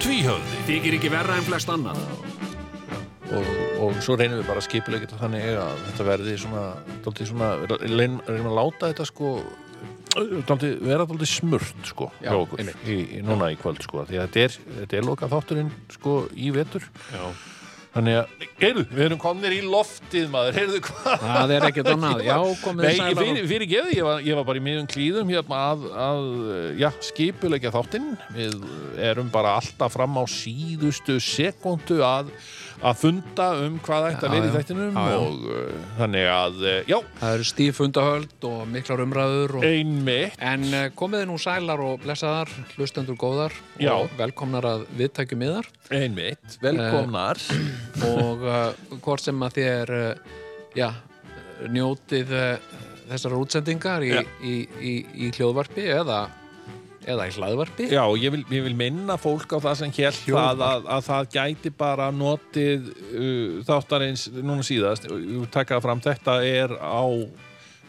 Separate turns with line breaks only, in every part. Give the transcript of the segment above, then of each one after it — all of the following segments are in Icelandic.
Tvíhöfði
Þykir ekki verra en flest annan.
og, og svo reynum við bara að skipulegja þetta þannig að þetta verði svona, dálítið svona reynum, reynum að láta þetta sko dálítið, vera dálítið smurt sko
Já,
hjá okkur
einmitt.
í, í, núna í kvöld sko því að þetta er, þetta er lokað þátturinn sko í vetur
Já.
þannig að, heyrðu, við erum komnir í loftið maður, heyrðu hvað
Það er ekkert annað. Já, komið
Nei,
þið
ég
sælar
fyrir, fyrir geði, ég var, ég var bara í miðum klíðum hérna að, að já, skipulegja þáttinn. Við erum bara alltaf fram á síðustu sekundu að, að funda um hvað ætti að vera í
Já, já.
þættinum
Já, já.
og uh, þannig að, uh, já,
Það eru stífundahöld og miklar umræður og...
einmitt,
En eh, komið þið nú sælar og blessaðar, hlustendur góðar
Já.
og velkomnar að viðtækjum yðar
einmitt,
Velkomnar.
Eh,
og uh, hvort sem að þið er, uh, já, njótið uh, þessar útsendingar í,
Já.
í, í, í hljóðvarpi eða, eða í hlaðvarpi.
Já, ég vil, ég vil minna fólk á það sem held það að, að það gæti bara notið uh, þáttarins núna síðast uh, taka það fram, þetta er á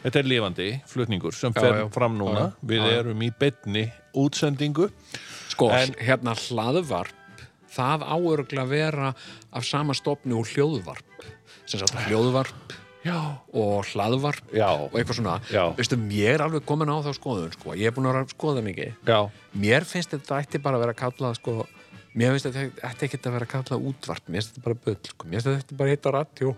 þetta er lifandi flutningur sem
Já,
fer
já.
fram núna,
Já, já.
við
Já, já.
erum í betni útsendingu
Sko,
En-
hérna hlaðvarp, það áörgla vera af sama stofni og hljóðvarp. Sem sagt hljóðvarp
Já,
og hlaðvarp
já,
og eitthvað svona.
Já.
Veistu, mér er alveg komin á þá skoðun, sko. Ég er búin að vera að skoða mikið.
já.
Mér finnst þetta ætti bara að vera kallað sko, mér finnst þetta ætti ekkert að vera kallað útvarp, mér finnst þetta bara bull sko. mér finnst þetta ætti bara að heita radio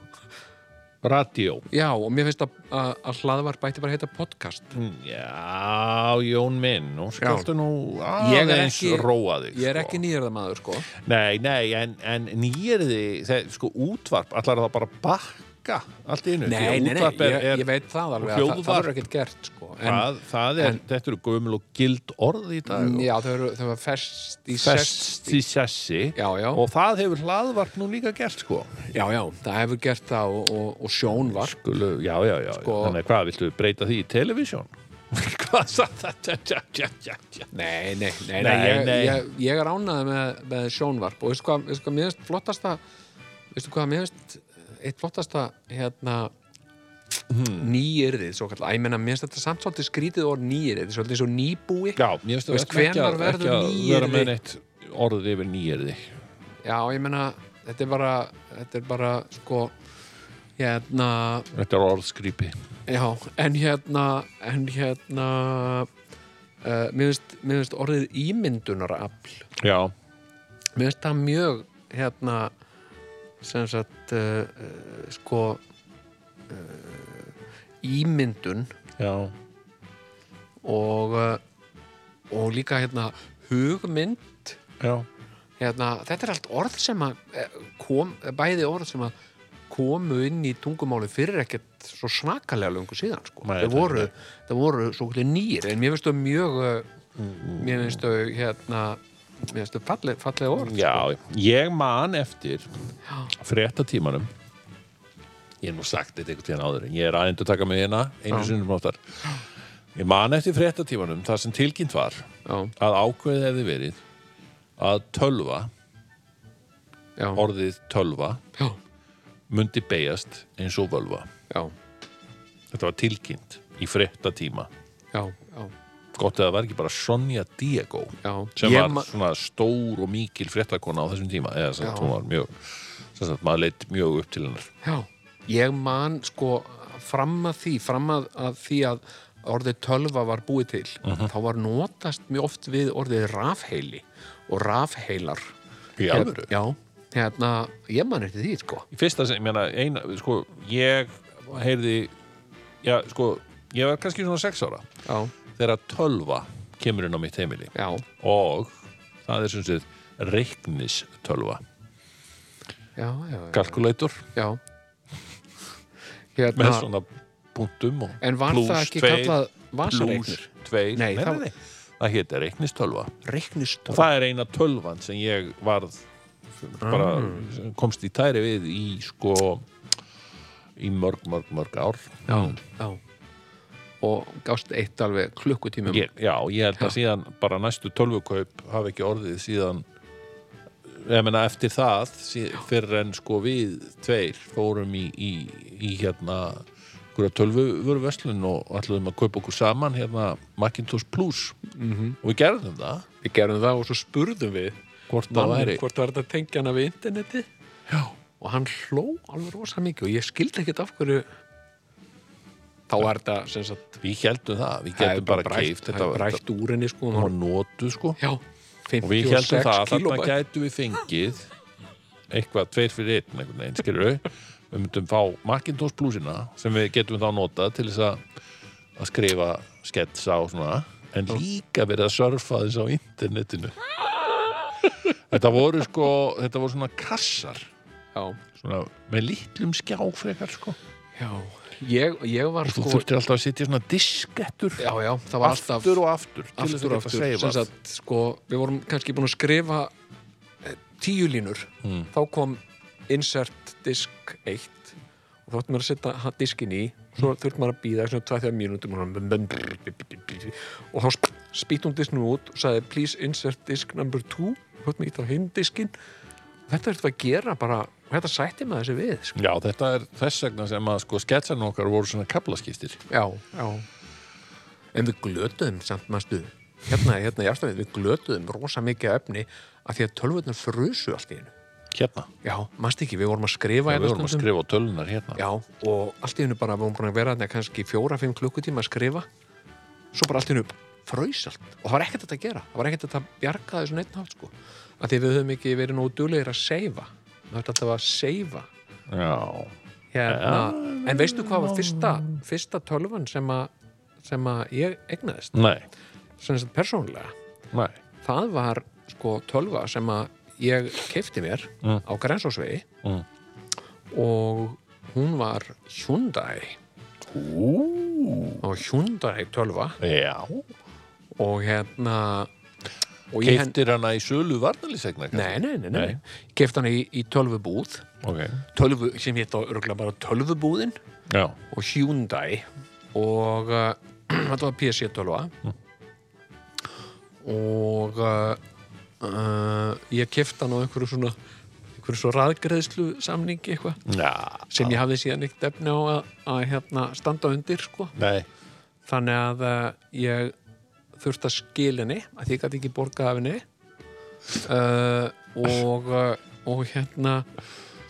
Radio
Já, og mér finnst að, að, að hlaðvarp ætti bara að heita podcast
Já, Jón minn, nú skaltu nú
Ég er
aðeins
ekki-
róa þig
Ég er
sko.
ekki nýjörða maður sko
Nei, nei, en, en nýjirði þeir, sko útvarp, allar það bara að bakka allt í einu
Nei,
Því að
nei, nei,
útvarp er,
ég,
er,
ég veit það
og
alveg að það, það
hljóðvarp.
er ekkert gert sko
það, það er,
en-
þetta eru gömul og gild orð í dag og
Já, þau eru, þau eru fest í
fest
sest
í sessi
Já, já.
og það hefur hlaðvarp nú líka gert sko
Já, já, það hefur gert það og, og, og sjónvarp
Skulu, já, já, já,
Sko-
þannig að hvað viltu breyta því í televisjón? hvað satt þetta? Ja, ja, ja, ja.
Nei, nei, nei, nei,
Nei,
ég,
nei.
Ég, ég er ánaði með, með sjónvarp og veistu hvað, veistu hvað mér finnst flottasta veistu hvað mér finnst eh, eitt flottasta hérna
Hmm.
nýyrðið, svo kallar, að ég menna mér finnst þetta samt svolítið skrítið orð nýyrðið svolítið svo nýbúi
Já, mér finnst
Veist,
við ætlum
hvenær
að-
verður
að vera
nýyrði?
með neitt orðið yfir nýjirði
Já, ég menna, þetta er bara þetta er bara, sko hérna,
Þetta er orðskrípi
já, en hérna en hérna uh, mér finnst- mér finnst orðið ímyndunarafl
Já,
Mér finnst það mjög hérna sem sagt uh, uh, sko uh, ímyndun
já,
og uh, og líka hérna hugmynd
já
hérna, þetta er allt orð sem að eh, kom, bæði orð sem að komu inn í tungumáli fyrir ekkert svo svakalega löngu síðan sko.
Nei,
það,
þetta-
voru, það voru svo kvöldi nýr en mér finnst þau mjög uh, mér finnst þau hérna mér finnst þau falleg, falleg orð
Já, ég man eftir fréttatímanum ég hef nú sagt þetta einhvern tíðan áður en ég er aðeins að taka mig hérna einu
Já.
sinnum áttar ég man eftir fréttatímanum þar sem tilkynnt var
já,
að ákveðið hefði verið að tölva,
já,
orðið tölva
já,
mundi beigjast eins og völva
já.
þetta var tilkynnt í fréttatíma
já, já,
gott eða var ekki bara Sonja Diego
já.
sem
Ég
var
ma-
svona stór og mikil fréttakona á þessum tíma eða sem
Já.
sagt, hún var mjög sem sagt, maður leitt mjög upp til hennar
já, ég man sko fram að því, fram að, að því að orðið tölva var búið til
Mhm.
þá var notast mjög oft við orðið rafheili og rafheilar
í alvöru
já, hérna, ég man eftir því sko
í fyrsta sem, ég meina, eina, sko, ég heyrði, já, sko, ég var kannski svona sex ára
já,
þegar tölva kemur inn á mitt heimili
já,
og það er sem sagt reiknis tölva,
já, já, já,
kalkulator
já.
með
hérna,
svona punktum og
en var
plús
það ekki
tveir.
kallað vasareiknir
plús tveir
Nei,
það,
það-
nei, nei. það héti reiknistölva og
reiknistölva
það er eina tölvan sem ég varð bara
Ah.
komst í tæri við í sko í mörg, mörg, mörg ár
já. og gást eitt alveg um klukkutímum
ég, Já, ég held að síðan bara næstu tölvukaup hafi ekki orðið síðan ég meina eftir það sí- fyrr en sko við tveir fórum í, í, í hérna hverja tölvuvörverslun og ætluðum að kaupa okkur saman hérna Macintosh Plus
Mhm.
-hmm. og við gerðum það
við gerum það og svo spurðum við
hvort það væri
manninn hvort var þetta tengja hana við interneti já. og hann hló alveg rosa mikið og ég skildi ekkert af hverju þá er þetta sem sagt
við heldum það, við
það er
getum bara
brætt-
keift
það er brætt úr henni sko hún
var
var-
notu sko
já,
og við heldum
56
það að þarna
kilobæt
gætu við fengið eitthvað tveir fyrir einn einhvern veginn, skilur við við myndum fá Macintosh blúsina sem við getum þá notað til þess að að skrifa sketsa og svona en líka verið að surfa þess á internetinu þetta voru sko þetta voru svona kassar
já,
svona með litlum skjáfrekar sko og
já, ég, ég var
þú
sko
þurftir alltaf að setja svona diskettur
já, já, það var alltaf
aftur og aftur til þess
aftur,
að
og
geta
aftur sem
seifað
sagt, sko, við vorum kannski búin að skrifa eh, tíu línur
Hmm.
þá kom insert disk 1 og þá ætti maður að setja ha- diskinn í svo
Hmm.
þurfti maður að býða svona 2-3 mínútum og hann- og þá sp- spýtti hún disknum út og sagði please insert disk number 2 og þá ætti maður að hinn diskinn þetta er þetta að gera bara og þetta sætti maður þessi við sko.
já þetta er þess vegna sem að sko sketsan okkar voru svona kaplaskiptir
já, já en við glötuðum samt maður hérna, hérna í afstæðið, við glötuðum rosa mikið af efni af því að tölvöldin frusu allt í hennu
hérna
já, maður ekki, við vorum að skrifa
Já,
hérna
við vorum að
stundum.
skrifa á tölunar hérna
Já, og allt í hennu bara, við vorum búin að vera þetta kannski fjóra-fimm klukkutíma að skrifa svo bara allt í hennu fröys allt og það var ekkert þetta að gera, það var ekkert þetta að bjarga þessu neitt nátt sko, af því við höfum ekki verið nógu duglegir að seifa það var alltaf að seifa
Já.
hérna, en veistu hvað var fyrsta, fyrsta tölvan sem að sem að ég egnaðist
Nei,
sem þess að persónulega
nei
það var sko tölva sem að ég keipti mér á Grensásvegi
Mm.
og hún var Hyundai og Hyundai tölva
Já,
og hérna og ég hen-
keiftir hana í sölu varnalýsegna
Nei, nei, nei,
Nei.
nei. nei. Kefti hana í, í tölvubúð
Ok,
tölvu, sem hétt á örgulega bara tölvubúðin
já,
og Hyundai og uh, þetta var PC 12 og uh, uh, ég kefti hann á einhverju svona einhverju svo raðgreðslu samningi eitthvað
já
sem ég hafði síðan eitt efni á að, að hérna, standa undir sko.
Nei,
þannig að uh, ég þurfti að skil henni að því ég gæti ekki borgað af henni uh, og, uh, og hérna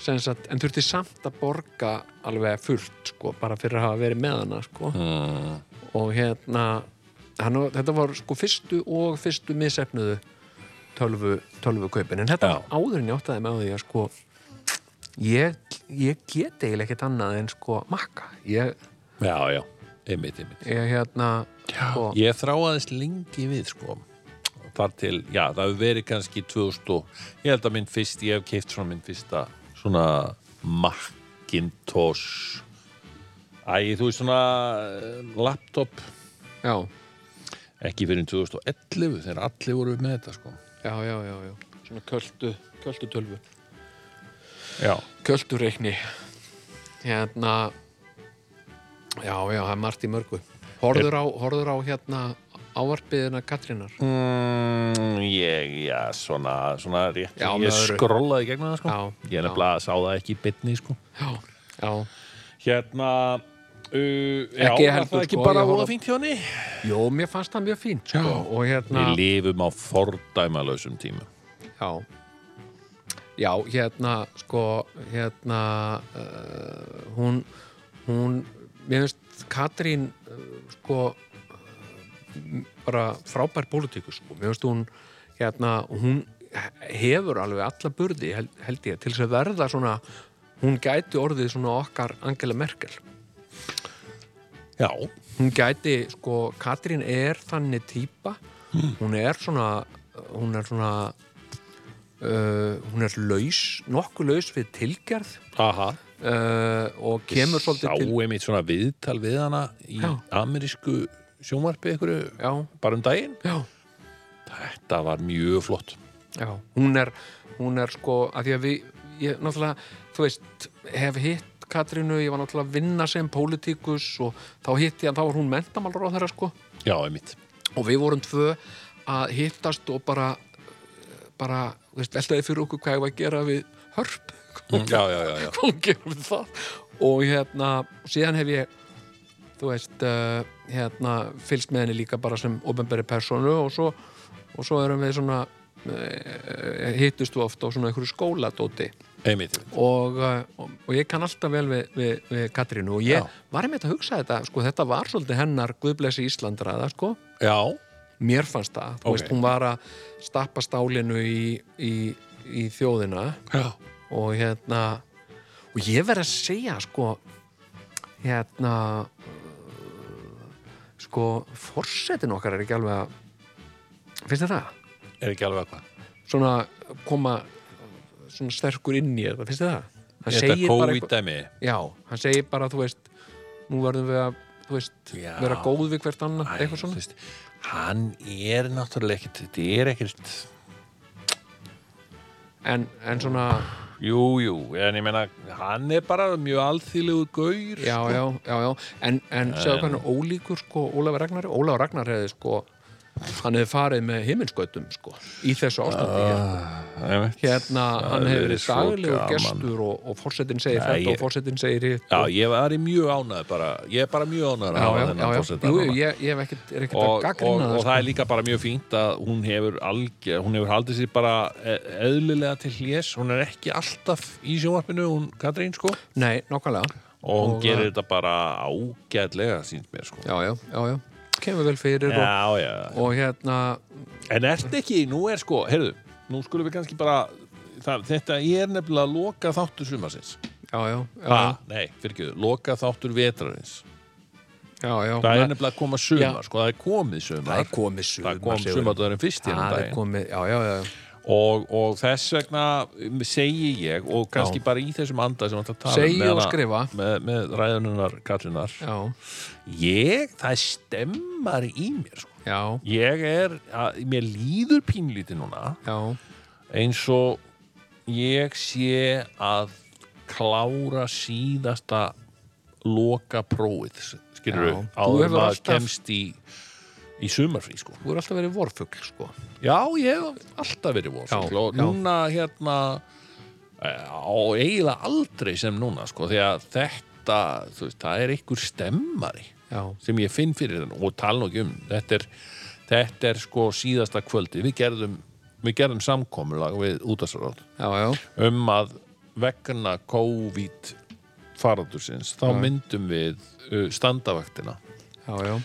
sem sagt, en þurfti samt að borga alveg fullt sko, bara fyrir að hafa verið með hana sko.
mm.
og hérna hann, var- þetta var sko fyrstu og fyrstu misefnuðu tölvu, tölvu kaupin en þetta
Já.
áðurinn ég áttaði með á því að sko ég, ég get eiginlega ekkert annað en sko makka ég,
já, já, einmitt, einmitt
ég hérna sko,
Ég þráaðist lengi við, sko Þar til, já, það hefur verið kannski 2000 og ég held að minn fyrst, ég hef keift svona minn fyrsta svona Macintosh Æ, þú veist svona eh, laptop
já
ekki fyrir 2011 þegar allir voru með þetta, sko
Já, já, já, já. Svona köldu, köldu tölvu.
Já,
Köldu reikni. Hérna, já, já, það er margt í mörgu. Horður á, horður á hérna ávarpiðina Katrínar.
Mm, ég, já, svona, svona rétt
Já, með
Ég
öðru.
skrollaði gegnum það, sko
Já,
Ég er
já.
nefnilega sá það ekki í bytni, sko
Já, já.
Hérna uh, Já,
Ekki
var
heldur,
það ekki
sko,
bara
ég horfði-
voða fínt hjá henni
Jó, mér fannst það mjög fínt, sko. Og hérna,
Við lifum á fordæmalausum tímum
já. Já, hérna, sko, hérna, uh, hún, hún, mér finnst Katrín, uh, sko, bara frábær pólitíkus sko. mér veist hún, hérna, hún hefur alveg alla burði hel- held ég, til þess að verða svona hún gæti orðið svona okkar Angela Merkel
Já,
hún gæti, sko, Katrín er þannig típa, hún er svona hún er svona uh, hún er laus nokkuð laus við tilgerð
aha
uh, og kemur
Sá
svolítið til
einmitt svona viðtal við hana í
Já.
amerísku sjónvarpi ykkur
já,
bara um daginn
já,
þetta var mjög flott
já hún er, hún er sko að því að við, ég náttúrulega þú veist, hef hitt Katrínu ég var náttúrulega að vinna sem pólitíkus og þá hitti ég, þá var hún mentamálur á þeirra sko
já, einmitt
og við vorum tvö að hittast og bara bara, þú veist, veltaði fyrir okkur hvað ég var að gera við hörp
já, já, já, já.
hvað gerum við það og hérna, síðan hef ég þú veist, uh, hérna fylgst með henni líka bara sem ofinberi personu og svo, og svo erum við svona uh, hittust við oft á svona einhverju skóladóti
einmitt
og, uh, og, og ég kann alltaf vel við, við, við Katrínu og ég
Já.
var einmitt að hugsa þetta, sko, þetta var svolítið hennar Guðblessi Íslandraða, sko
já,
mér fannst það, þú
Ok.
veist, hún var að stappa stálinu í, í, í þjóðina
já,
og hérna og ég verð að segja, sko hérna uh, sko, forsetin okkar er ekki alveg að finnst þér það?
er ekki alveg hvað
Svona koma svona sterkur inn í þetta, finnst þér það? Hann
þetta
segir bara eitthvað-
COVID-dæmi
Já, hann segir bara, þú veist nú verðum við að, þú veist
Já.
vera góð við hvert
Æ,
annað, eitthvað
þú
svona
veist, hann er náttúrulega ekkert þetta er ekkert,
en, en svona,
jú, jú en ég meina, hann er bara mjög alþýlegu gaur
já, já, já, já en, en segðu hvað hann er ólíkur sko Ólafur Ragnar, Ólafur Ragnar hefði sko hann hefði farið með himinskautum sko, í þessu ástandi hérna.
einmitt.
hérna, hann
Ah, hefði
hefði
verið
verið
svo
daglegur
gaman.
gestur og, og forsetin segir þetta
ég-
og forsetin segir hitt
já,
og-
ég var í mjög ánæður bara ég er bara mjög ánæður
já, já, já, já. Jú, jú, ég, ég hef ekkert, er ekkert
og,
að sko.
og,
gaggrina
og það er líka bara mjög fínt að hún hefur, algjör, hún hefur haldið sér bara e- eðlilega til hlés hún er ekki alltaf í sjónvarpinu hún Katrín sko og
nei, nákvæmlega
hún
Og,
gerir þetta bara ágætlega sínt mér sko
já, já, já, já, kemur vel fyrir og,
já, já.
og hérna
en ert ekki, nú er sko, heyrðu nú skulum við kannski bara það, þetta er nefnilega loka þáttur sumarsins
já, já, já,
ha, nei, fyrirgjöðu, loka þáttur vetrarins
já, já
það er nefnilega að koma sumar
Já.
sko, það er komið
það
sumar
er komið sumar
það kom
Sigurður.
sumardagurinn fyrst hérna
það er komið, já, já, já, já
og, og þess vegna um, segi ég og kannski bara í þessum anda sem þetta tala um
Segi
með
og
hana-
skrifa.
með, með ræðununar kallunar
Já,
ég, það stemmar í mér sko.
já,
ég er, að, mér líður pínlítið núna
já,
eins og ég sé að klára síðasta loka prófið skilur
Já. Þú
áður
hefur
maður
alltaf-
kemst í í sumarfrí sko
þú er alltaf verið vorfugl, sko.
Já, ég hef alltaf verið vorfugl
Já,
og
já.
núna hérna eh, á eiginlega aldrei sem núna sko, því að þetta þú veist, það er einhver stemmari
Já,
sem ég finn fyrir þennan og tala nú ekki um þetta er, þetta er sko síðasta kvöldi við gerðum, við gerðum samkomulag við útastaráð
já, já,
um að vegna COVID faraldursins þá myndum við uh, standavaktina
já, já,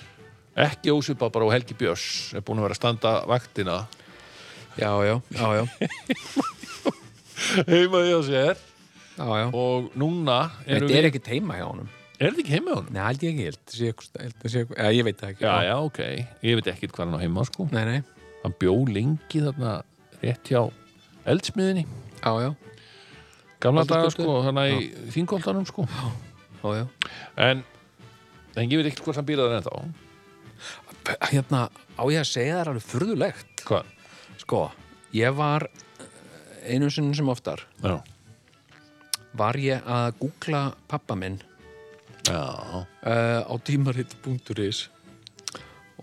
ekki ósvipa bara og Helgi Björns er búin að vera að standa vaktina
já, já, já, já,
heima hjá sér
já, já.
og núna erum
Þetta er ekkert heima hjá honum.
við er þetta ekki heima hjá honum?
Nei, held ég ekki, held, sé eitthvað, held, það sé eitthvað, já, ég veit það ekki.
Já, já, ok, ég veit ekki hvað hann á heima sko.
Nei, nei,
hann bjó lengi þarna rétt hjá eldsmiðinni
já, já,
gamla daga
Baldursgötu.
sko, hann í þingoltanum sko.
já, já.
en, en ég veit ekkert hvort hann býr það ennþá
B- Hérna, á ég að segja það er alveg furðulegt.
hvað?
Sko, ég var, eh, einu sinni sem oftar,
Já.
var ég að googla pappa minn
Já.
uh, á tímarit.is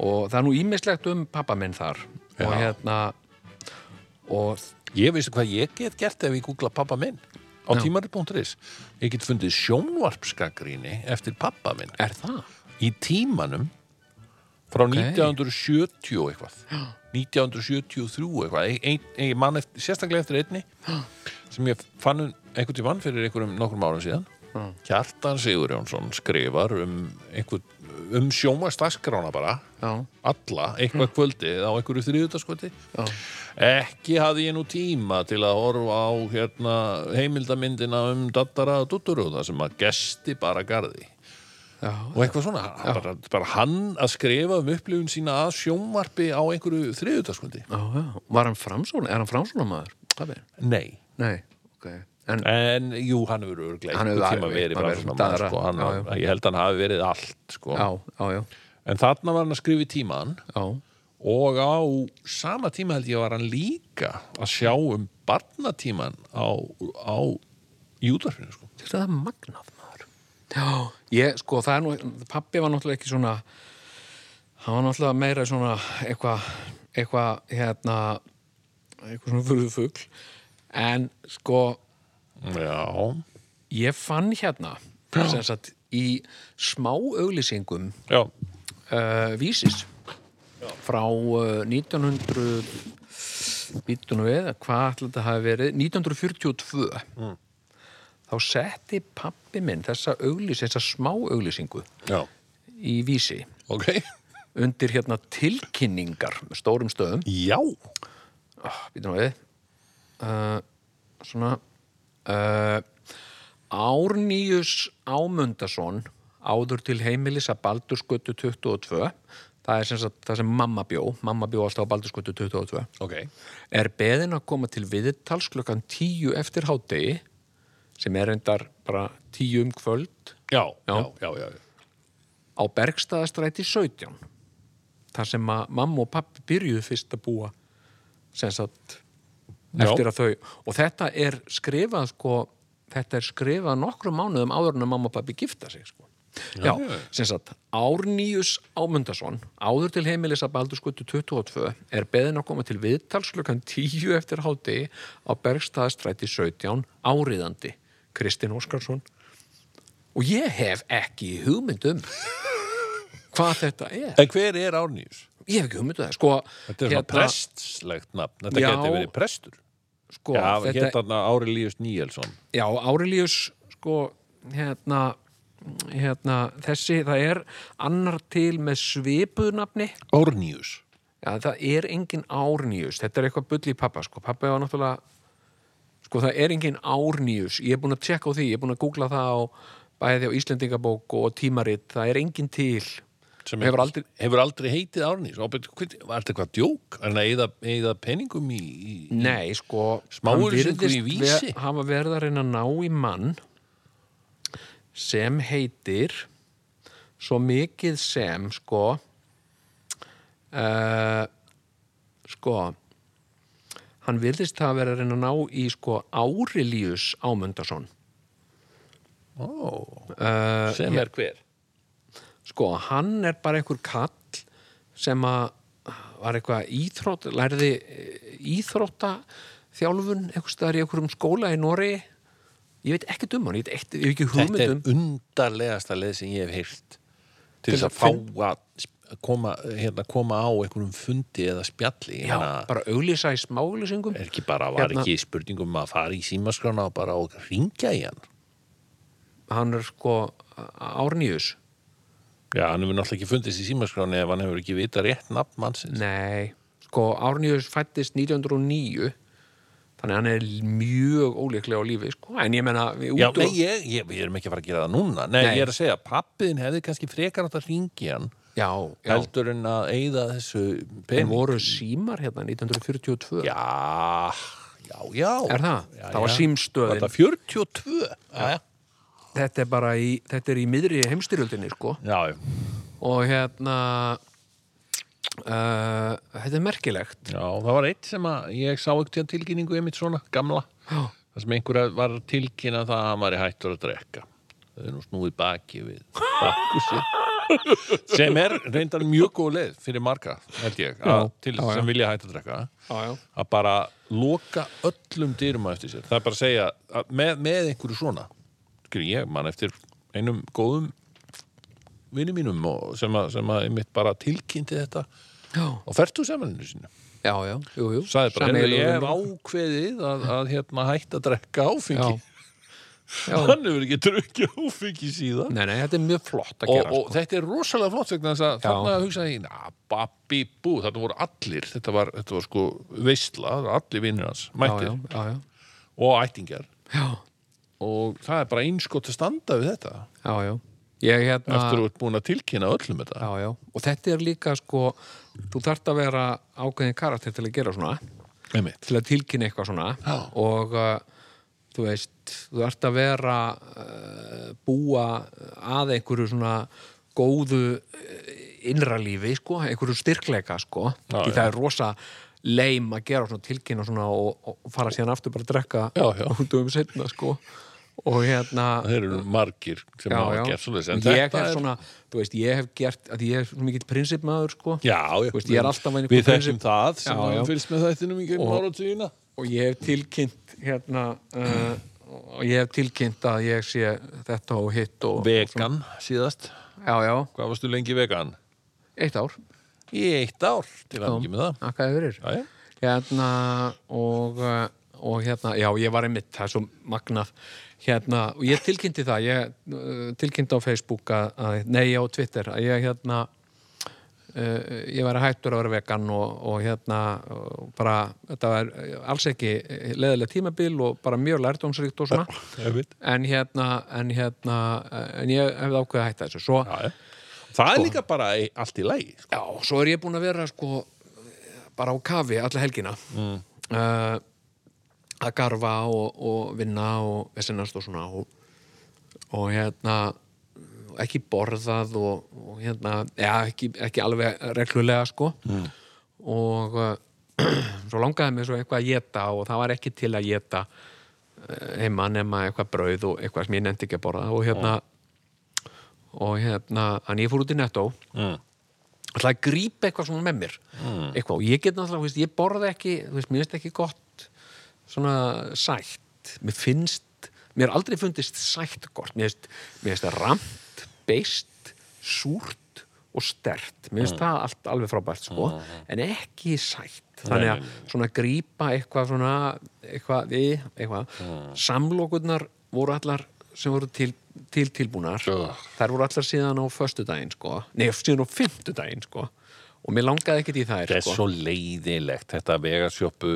og það er nú ímislegt um pappa minn þar og
Já.
hérna og
ég veistu hvað ég get gert ef ég googla pappa minn á tímarit.is ég get fundið sjónvarpskagríni eftir pappa minn
er það?
í tímanum frá
Ok.
1970 og eitthvað 1973 og eitthvað ein, ein, ein mann eftir, sérstaklega eftir einni sem ég fann um einhvern tímann fyrir einhverjum nokkrum árum síðan Kjartan Sigurjónsson skrifar um, einhver, um sjómastaskrána bara
Já.
alla,
Mm.
eitthvað kvöldið á einhverju þriðutaskvöldi ekki hafði ég nú tíma til að horfa á hérna, heimildamyndina um dattara og dutturúða sem að gesti bara garði
Já,
og eitthvað svona, hann- bara, bara hann að skrifa um upplifun sína að sjónvarpi á einhverju þriðutaskvöldi
já, já. Var hann framsóna, er hann framsóna maður? Pabbi?
nei,
Nei, ok. En,
en jú, hann hefur örglega
Hann
einhver
hefur
tíma
alveg-
verið
maður
bara
verið
svona
daðra.
mann, sko, hann,
Já, já.
ég held að hann hafi verið allt sko.
já, já, já.
en þarna var hann að skrifa í tíman
já,
og á sama tíma held ég var hann líka að sjá um barnatíman á, á júdarfinu sko.
þetta er magnað maður já, ég, sko, það er nú pappi var náttúrulega ekki svona hann var náttúrulega meira svona eitthvað, eitthvað, hérna eitthvað svona furðufugl en, sko,
Já,
ég fann hérna sem sagt í smá auglýsingum
já,
uh, vísis frá uh, 1900 býtunum við, hvað ætla þetta hafi verið 1942 þá setti pappi minn þessa auglýs, þessa smá auglýsingu
já,
í vísi
ok
undir hérna tilkynningar með stórum stöðum
Já,
oh, býtum við uh, svona uh, Árnýjus Ámundason áður til heimilis að Baldurskötu 22 það er sem sagt það sem mamma bjó mamma bjó alltaf á Baldurskötu 22
ok
er beðin að koma til viðtals klukkan 10 eftir hádegi sem er reyndar bara 10 um kvöld
Já, já,
Já.
já, já,
á Bergstaðastræti 17 þar sem að mamma og pappi byrjuðu fyrst að búa sem sagt eftir að þau og þetta er skrifað sko þetta er skrifað nokkrum mánuðum áður en að mamma og pappi gifta sig sko Já, sem sagt, Árnýjus Ámundason, áður til heimilis að Baldurskutu 22, er beðin að koma til viðtalslukan 10 eftir hádegi á Bergstaðastræti 17 áriðandi, Kristinn Óskarsson og ég hef ekki hugmynd um hvað þetta er
En hver er Árnýjus?
ég hef ekki hugmynd um það sko,
Þetta er svona prestslegt nafn, þetta
Já.
geti verið prestur
sko,
Já,
þetta,
hérna Ári Líus Níelsson
já Árelíus sko, hérna, hérna þessi, það er annar til með svipuðnafni
Árnýjus
Já, það er engin árnýjus. Þetta er eitthvað bull í pappa, sko. Pappa var náttúrulega, sko, það er engin árnýjus. Ég er búin að tjekka á því, ég er búin að googla það á bæði á Íslendingabók og tímarit. Það er engin til.
sem
Hefur aldrei-
hefur aldrei heitið Árnýjus og betur, hvað- var þetta eitthvað djók? Er hann að eyða, eyða peningum í, í...
Nei, sko,
Smáauglýsingu í
virðist
Vísi?
ver- hafa verið að reyna að ná í mann sem heitir svo mikið sem, sko, uh, sko, hann virðist hafa verið að reyna að ná í, sko, Árilius Ámundason.
Ó,
Uh,
sem er hver?
sko, hann er bara einhver kall sem að var eitthvað íþrótt, lærði íþrótta þjálfun eitthvað staðar í einhverjum skóla í Nóri ég veit ekki um hann, ég veit ekki, ég veit ekki um-
Þetta er
hugmyndum
undarlegasta leið sem ég hef heyrt til
Til
þess
að
að fá að sp- koma, hérna, koma á einhverjum fundi eða spjalli Hérna,
já, bara auglýsa í smáauglýsingum
er ekki bara, var
Hérna-
ekki spurningum að fara í símaskrána og bara og ringja í hann
hann er sko Árnýjus
Já, hann hefur náttúrulega ekki fundist í símaskráni ef hann hefur ekki vita rétt nafn mannsins
nei, sko Árnýjus fættist 1909 þannig að hann er mjög ólíklega á lífi sko, en ég menna
Já, nei, ég, ég, við erum ekki að fara að gera það núna Nei,
Nei.
ég er að segja, pappiðin hefði kannski frekar átt að ringi hann
já, já.
heldur en að eyða þessu
En
pening
voru símar hérna 1942
Já, já, já
Er það?
Já,
það var
já. Var
símstöðin.
það 42? Já, já
Þetta er bara í, þetta er í miðri heimstyrjöldinni, sko.
Já,
Og hérna, uh, þetta er merkilegt.
já, það var eitt sem að ég sá ekkert tíðan tilkynningu einmitt svona, gamla
Já.
það sem einhverja var að tilkynna það að hann var í hættur að drekka það er nú snúið baki við bakkusi sem er reyndar mjög góð leið fyrir marga, held ég að, til
já, já.
sem vilja hætta að drekka
Já, já.
að bara loka öllum dyrum á eftir sér það er bara að segja að með, með einhverju svona skil ég mann eftir einum góðum vinni mínum og sem að, sem að einmitt bara tilkynnti þetta
Já,
á fertugsefælinu sínu
já, já, jú, jú.
sagði bara, "Heyrðu,
Sameiginlegur
ég hef
vinur.
ákveðið að, að hérna, hætta að drekka áfengi
Já. Já.
hann hefur ekki drukkið áfengi síðan
Nei, nei, þetta er mjög flott að
og,
gera, sko.
og þetta er rosalega flott vegna þess að
Já.
þarna hugsaði ég, na, babbi bú þarna voru allir, þetta var, þetta var sko veistla, það voru allir vinnir hans
sko.
mættir
Já, já, já, já.
og ættingjar
Já,
og það er bara einskott að standa við þetta
já, já. Ég hérna...
eftir þú ert búin að tilkynna öllum þetta
Já, já. Og þetta er líka, sko, þú þarft að vera ákveðin karakter til að gera svona.
einmitt,
til að tilkynna eitthvað svona
Já.
og uh, þú veist, þú ert að vera uh, búa að einhverju svona góðu uh, innra lífi, sko, einhverju styrkleika, sko,
Já,
því
já.
það er rosa leim að gera svona tilkynna svona og, og fara síðan aftur bara að drekka
Já, já.
út um setna, sko og hérna
þeir eru margir sem
já,
hafa
já.
gert svoleiðis en
ég
þetta
hef
er-
svona, þú veist, ég hef gert að ég er svona mikill prinsipmaður, sko
já, já,
Þú veist, ég er alltaf að vinna
við
eitthvað
þekkjum
prinsip-
það sem
Já,
já,
já.
fylgst með þættinum í gegnum
Og-
áratugina
og ég hef tilkynnt hérna uh, og ég hef tilkynnt að ég sé þetta og hitt og
vegan síðast,
já, já,
hvað varstu lengi vegan?
eitt ár
í eitt ár til að mikið með það
Þakkaði fyrir
já, já.
hérna og, eh, og hérna, já ég var einmitt það er svo magnað hérna, og ég tilkynnti það ég eh, tilkynnti á Facebook að, að nei á Twitter að ég hérna uh, ég væri hættur að vera vegan og, og hérna og bara, þetta var eh, alls ekki leðilega tímabil og bara mjög lærdómsríkt og svona
einmitt.
en hérna, en hérna eh, en ég hefði ákveðið að hætta þessu svo,
Já, já. það er líka bara í- allt í lagi sko.
Já, svo er ég búin að vera sko bara á kafi alla helgina mm. að garfa og, og vinna og vesenast og svona og, og hérna og ekki borðað og, og hérna, já, ekki, ekki alveg reglulega sko mm. og eh, svo langaði mig svo eitthvað að geta og það var ekki til að geta eh, heima nema eitthvað brauð og eitthvað sem ég nefndi ekki að borða og hérna og hérna, en ég fór út í nettó
mm.
ætla að grípa eitthvað svona með mér eitthvað, og ég get náttúrulega, þú veist, ég borða ekki þú veist, mér finnst ekki gott svona sætt mér finnst, mér er aldrei fundist sætt gott, mér finnst, mér finnst það ramt beist, súrt og stert, mér finnst það allt alveg frábært, sko, en ekki sætt, þannig að svona grípa eitthvað svona, eitthvað við, eitthvað, samlokurnar voru allar sem voru til, til tilbúnar
Ugh.
þær voru allar síðan á föstudaginn sko. nei, síðan á fimmtudaginn sko. og mér langaði ekkert í þær
þetta er
sko.
svo leiðilegt þetta vegasjópu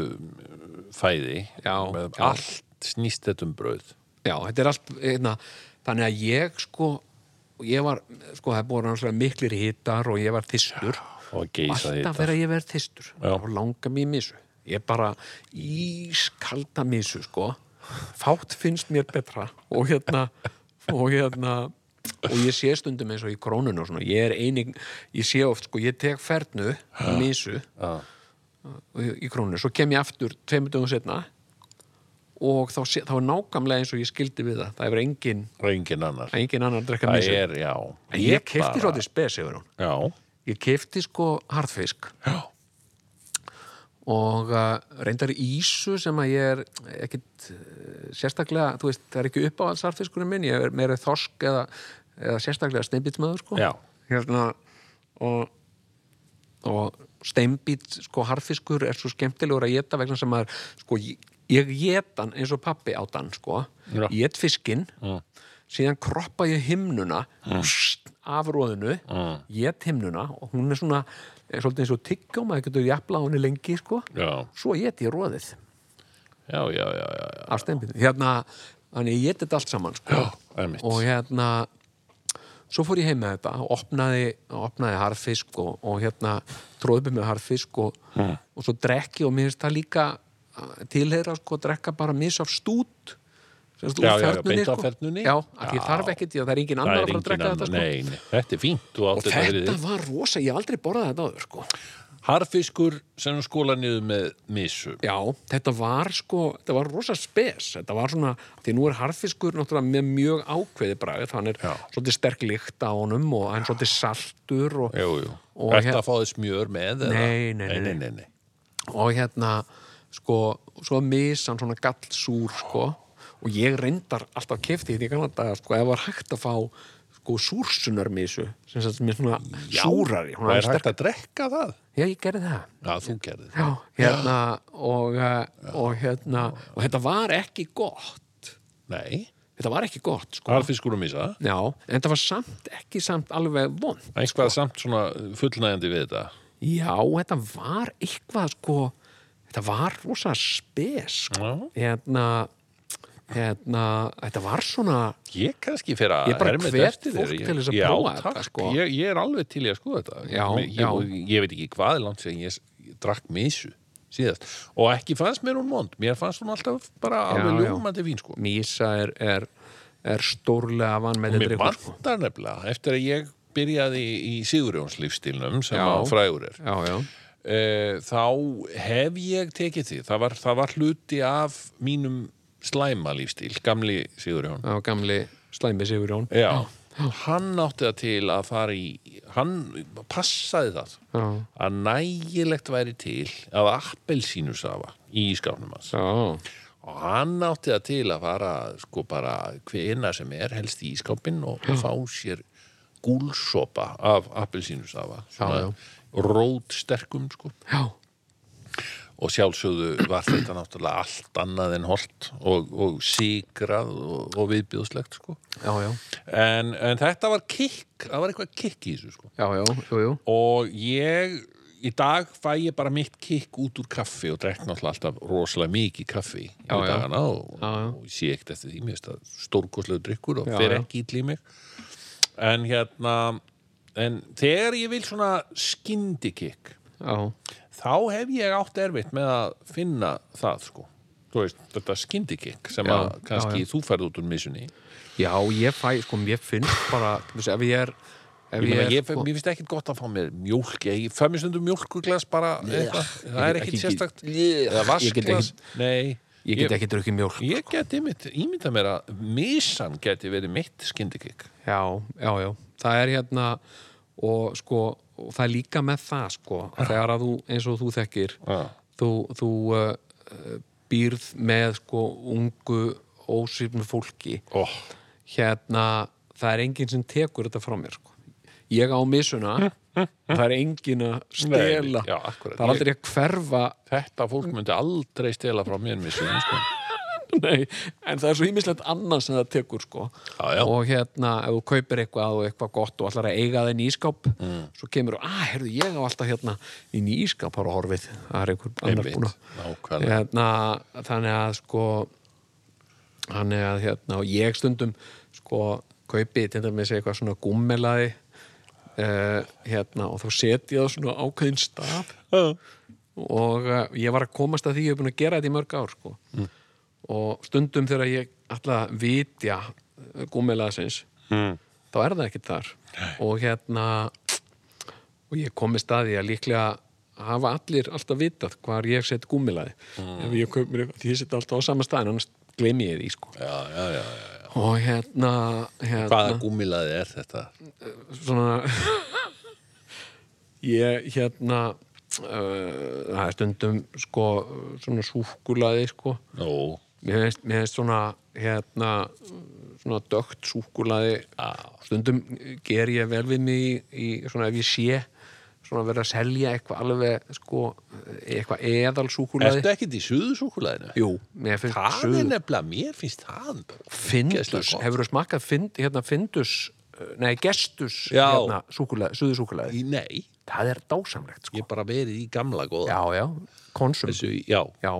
fæði
Já,
með
já.
allt snýst þetta um brauð
Já, þetta er allt einna, þannig að ég sko ég var, sko það búið náttúrulega miklir hittar og ég var þystur
og geisa
alltaf
þetta
þegar ég verið þystur
Já.
og langa mér misu ég bara ískalda misu sko fátt finnst mér betra og hérna og hérna og ég sé stundum eins og í krónun og svona ég er eining, ég sé oft sko ég tek fernu, misu
Já.
í í krónunni, svo kem ég aftur tveimur dögum setna og þá, sé, þá er nákvæmlega eins og ég skildi við það það hefur engin,
reyngin annar
engin annar að drekka
það
misu
er, já
en ég kefti svo til spes yfir hún
já,
ég kefti sko harðfisk
já,
og uh, reyndar ísu sem að ég er ekkit uh, sérstaklega, þú veist, það er ekki upp á alls harðfiskurinn minn, ég er meira þorsk eða, eða sérstaklega steinbítsmaður sko
já.
hérna og, og steinbít sko harfiskur er svo skemmtilegur að geta vegna sem maður sko ég- ég get hann eins og pappi át hann sko
Já.
get fiskinn síðan kroppa ég himnuna pst, af róðinu get himnuna og hún er svona er svolítið eins og tyggjó maður getur jafnla á henni lengi sko
Já,
svo get ég róðið
já, já, já, já, já.
af steinbít hérna þannig ég get þetta allt saman sko
Einmitt.
og hérna svo fór ég heim með þetta og opnaði, opnaði harfisk og, og hérna tróði upp með harfisk og,
Hmm.
og svo drekki og mér finnst það líka uh, tilheyra sko að drekka bara mis af stút sem sagt, úr
Já, já, já,
fernunni,
beint af
sko.
fernunni.
já, að
Já.
ég þarf ekkit, já, það er engin
það er
annar að fara að
engin
drekka
annar
þetta sko.
nei, nei, þetta er fínt, þú átt
og
þetta fyrir
þetta
þig
var rosa, ég hef aldrei borðað þetta áður sko.
harfiskur sem skóla niður með missu
Já, þetta var sko, þetta var rosa spes, þetta var svona, því nú er harðfiskur náttúrulega með mjög ákveði bragð, hann er
Já.
svolítið sterk lykt á honum og hann er svolítið saltur og,
Jú, jú.
Og
Ertu
hér-
að fá þið smjör með? eða?
Nei, nei, nei,
nei, nei, nei.
og hérna, sko, svo misan svona gallsúr, sko, og ég reyndar alltaf kefti því kannan dag, sko, ef var hægt að fá, sko, súrsunarmisu, sem sagt, sem er svona súrari, hún
Það
er
er
sterk,
hægt að drekka það?
já, ég gerði það.
Já, þú gerði það.
Já, hérna, og, eh, og hérna, og þetta var ekki gott.
Nei,
þetta var ekki gott sko.
harfiskur og misa.
já, en þetta var samt ekki samt alveg vond
Eitthvað samt svona fullnægjandi við þetta.
já, þetta var eitthvað sko, þetta var rosa spes sko.
Já.
hérna, hérna þetta var svona
Ég kannski fer að
Ég bara
herma þetta
hvet
eftir
fólk
þér.
til þess að
Já,
prófa þetta,
takk.
sko.
Ég, ég er alveg til í að skoða þetta.
Já,
ég,
já.
Ég, ég veit ekki hvað er langt sem ég, ég drakk misu síðast. Og ekki fannst mér hún vond. Mér fannst hún alltaf bara
Já,
alveg
já.
ljómandi fín, sko.
mísa er, sko. er, er stórlega vann með
Mér
þetta
vantar nefnilega eftir að ég byrjaði í Sigurjónslífstilnum sem
Já.
á frægur er
já, já,
e, þá hef ég tekið því það var, það var hluti af mínum slæma lífstíl, gamli Sigurjón
já, gamli slæmi Sigurjón
já, hann átti það til að fara í hann passaði það
já,
að nægilegt væri til af appelsínusafa í skáfnum hans
já,
og hann átti það til að fara sko bara hvena sem er helst í ískápinn og fá sér gúlsopa af appelsínusafa
já.
svona rótsterkum sko
já,
og sjálfsögðu var þetta náttúrulega allt annað en holt og, og sigrað og, og viðbjóðslegt sko.
já, já,
en, en þetta var kikk, það var eitthvað kikk í þessu sko.
já, já, jú, jú.
og ég í dag fæ ég bara mitt kikk út úr kaffi og drekk náttúrulega alltaf rosalega mikið kaffi
Já,
í
já.
dagana og,
Já, já.
og ég sé ekkert eftir því, mér finnst það stórkoslegu drikkur og
Já,
fer
já.
ekki ítl í mig en hérna en þegar ég vil svona skyndikikk
já,
þá hef ég átt erfitt með að finna það sko þú veist, þetta skyndikikk sem
Já,
að
já,
kannski
já.
þú færð út úr missunni ég,
já, ég fæ, sko, ég finn bara, þú veist, ef ég er ef
meina, ég,
sko-
mér finnst ekkert gott að fá mér mjólk ég ég fæ mér stundum mjólkuglas bara eitthvað, það er ekkert
ekki-
sérstakt eða
ég get
vaskglas, nei
ég get ekki drukkið mjólk
ég get einmitt, ímynda mér að misan geti verið mitt skyndikikk
Já, já, já, það er hérna og sko, og það er líka með það sko, að þegar að þú, eins og þú þekkir
Já.
þú, þú uh, uh, býrð með sko ungu ósýfnu fólki
oh.
hérna, það er enginn sem tekur þetta frá mér sko ég á misuna, það er enginn að stela,
Nei, já, akkúrat.
það er aldrei að hverfa
þetta fólk myndi aldrei stela frá mér misunni sko.
Nei, en það er svo ímislegt annað sem það tekur sko
Já, já.
og hérna, ef þú kaupir eitthvað og eitthvað gott og allar að eiga það inn í ískáp
Mm.
svo kemur þú, að, herðu, ég á alltaf hérna inn í ískáp ára horfið það er einhver annar
Einmitt,
búin
nákvæmlega.
hérna, þannig að sko þannig að hérna, og ég stundum sko kaupi, til dæmis eitthvað svona gummelaði uh, hérna, og þá set ég það svona á ákveðin stað og uh, ég var að komast að því ég hef búin að gera þetta í mörg ár sko.
Mm.
og stundum þegar ég ætla að vitja gúmilaðsins mm. þá er það ekkert þar og hérna og ég komist að því að líklega hafa allir alltaf vitað hvar ég set gúmilaði
Mm.
ef ég kaup mér eitthvað, því ég set alltaf á sama staðin annars gleymi ég því sko.
já, já, já, já.
og hérna, hérna
hvaða gúmilaði er þetta
svona ég hérna uh, það er stundum sko svona súkulaði sko
Ó,
mér finnst, mér finnst svona hérna svona dögt súkulaði
á,
stundum ger ég vel við mig í, í svona ef ég sé svona verið að selja eitthvað alveg sko eitthvað eðal súkulaði
ertu ekkert í suðusúkulæðinu?
Jú, mér finnst
Það
suð-
er nefnilega, mér finnst það ógeðslega
Findus,
gott.
hefur þú smakkað find, hérna Findus, uh, nei Gestus
Já.
hérna, súkulaði, suðusúkulaði
Í- Nei,
það er dásamlegt
ég
sko
hef bara verið í gamla góða
Já, já, konsum
Þessu, já,
Já,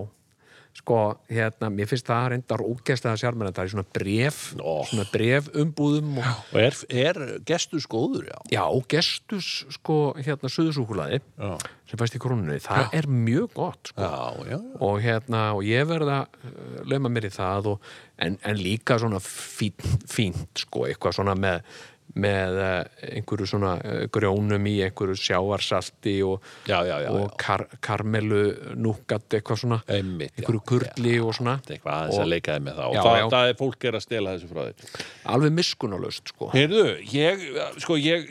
sko, hérna, mér finnst það reyndar ógeðslega sjármennan, það er í svona bref
Ó.
svona bref umbúðum og,
og er, er gestus góður, já
Já, gestus, sko, hérna suðusúkulaði,
Já.
sem fæst í krónunni það er mjög gott, sko
Já, já,
og hérna, og ég verða uh, lauma mér í það og, en, en líka svona fínt, fínt sko, eitthvað svona með með uh, einhverju svona uh, grjónum í einhverju sjáarsalti og,
Já, já, já,
og
já.
kar, karmelu núkat eitthvað svona
Einmitt, já.
einhverju kurli og svona
Þetta er eitthvað aðeins að leikaði með það og
Já,
það,
já.
það er fólk er að stela þessu frá þér
alveg miskunalöst sko
Heyrðu, ég, sko, ég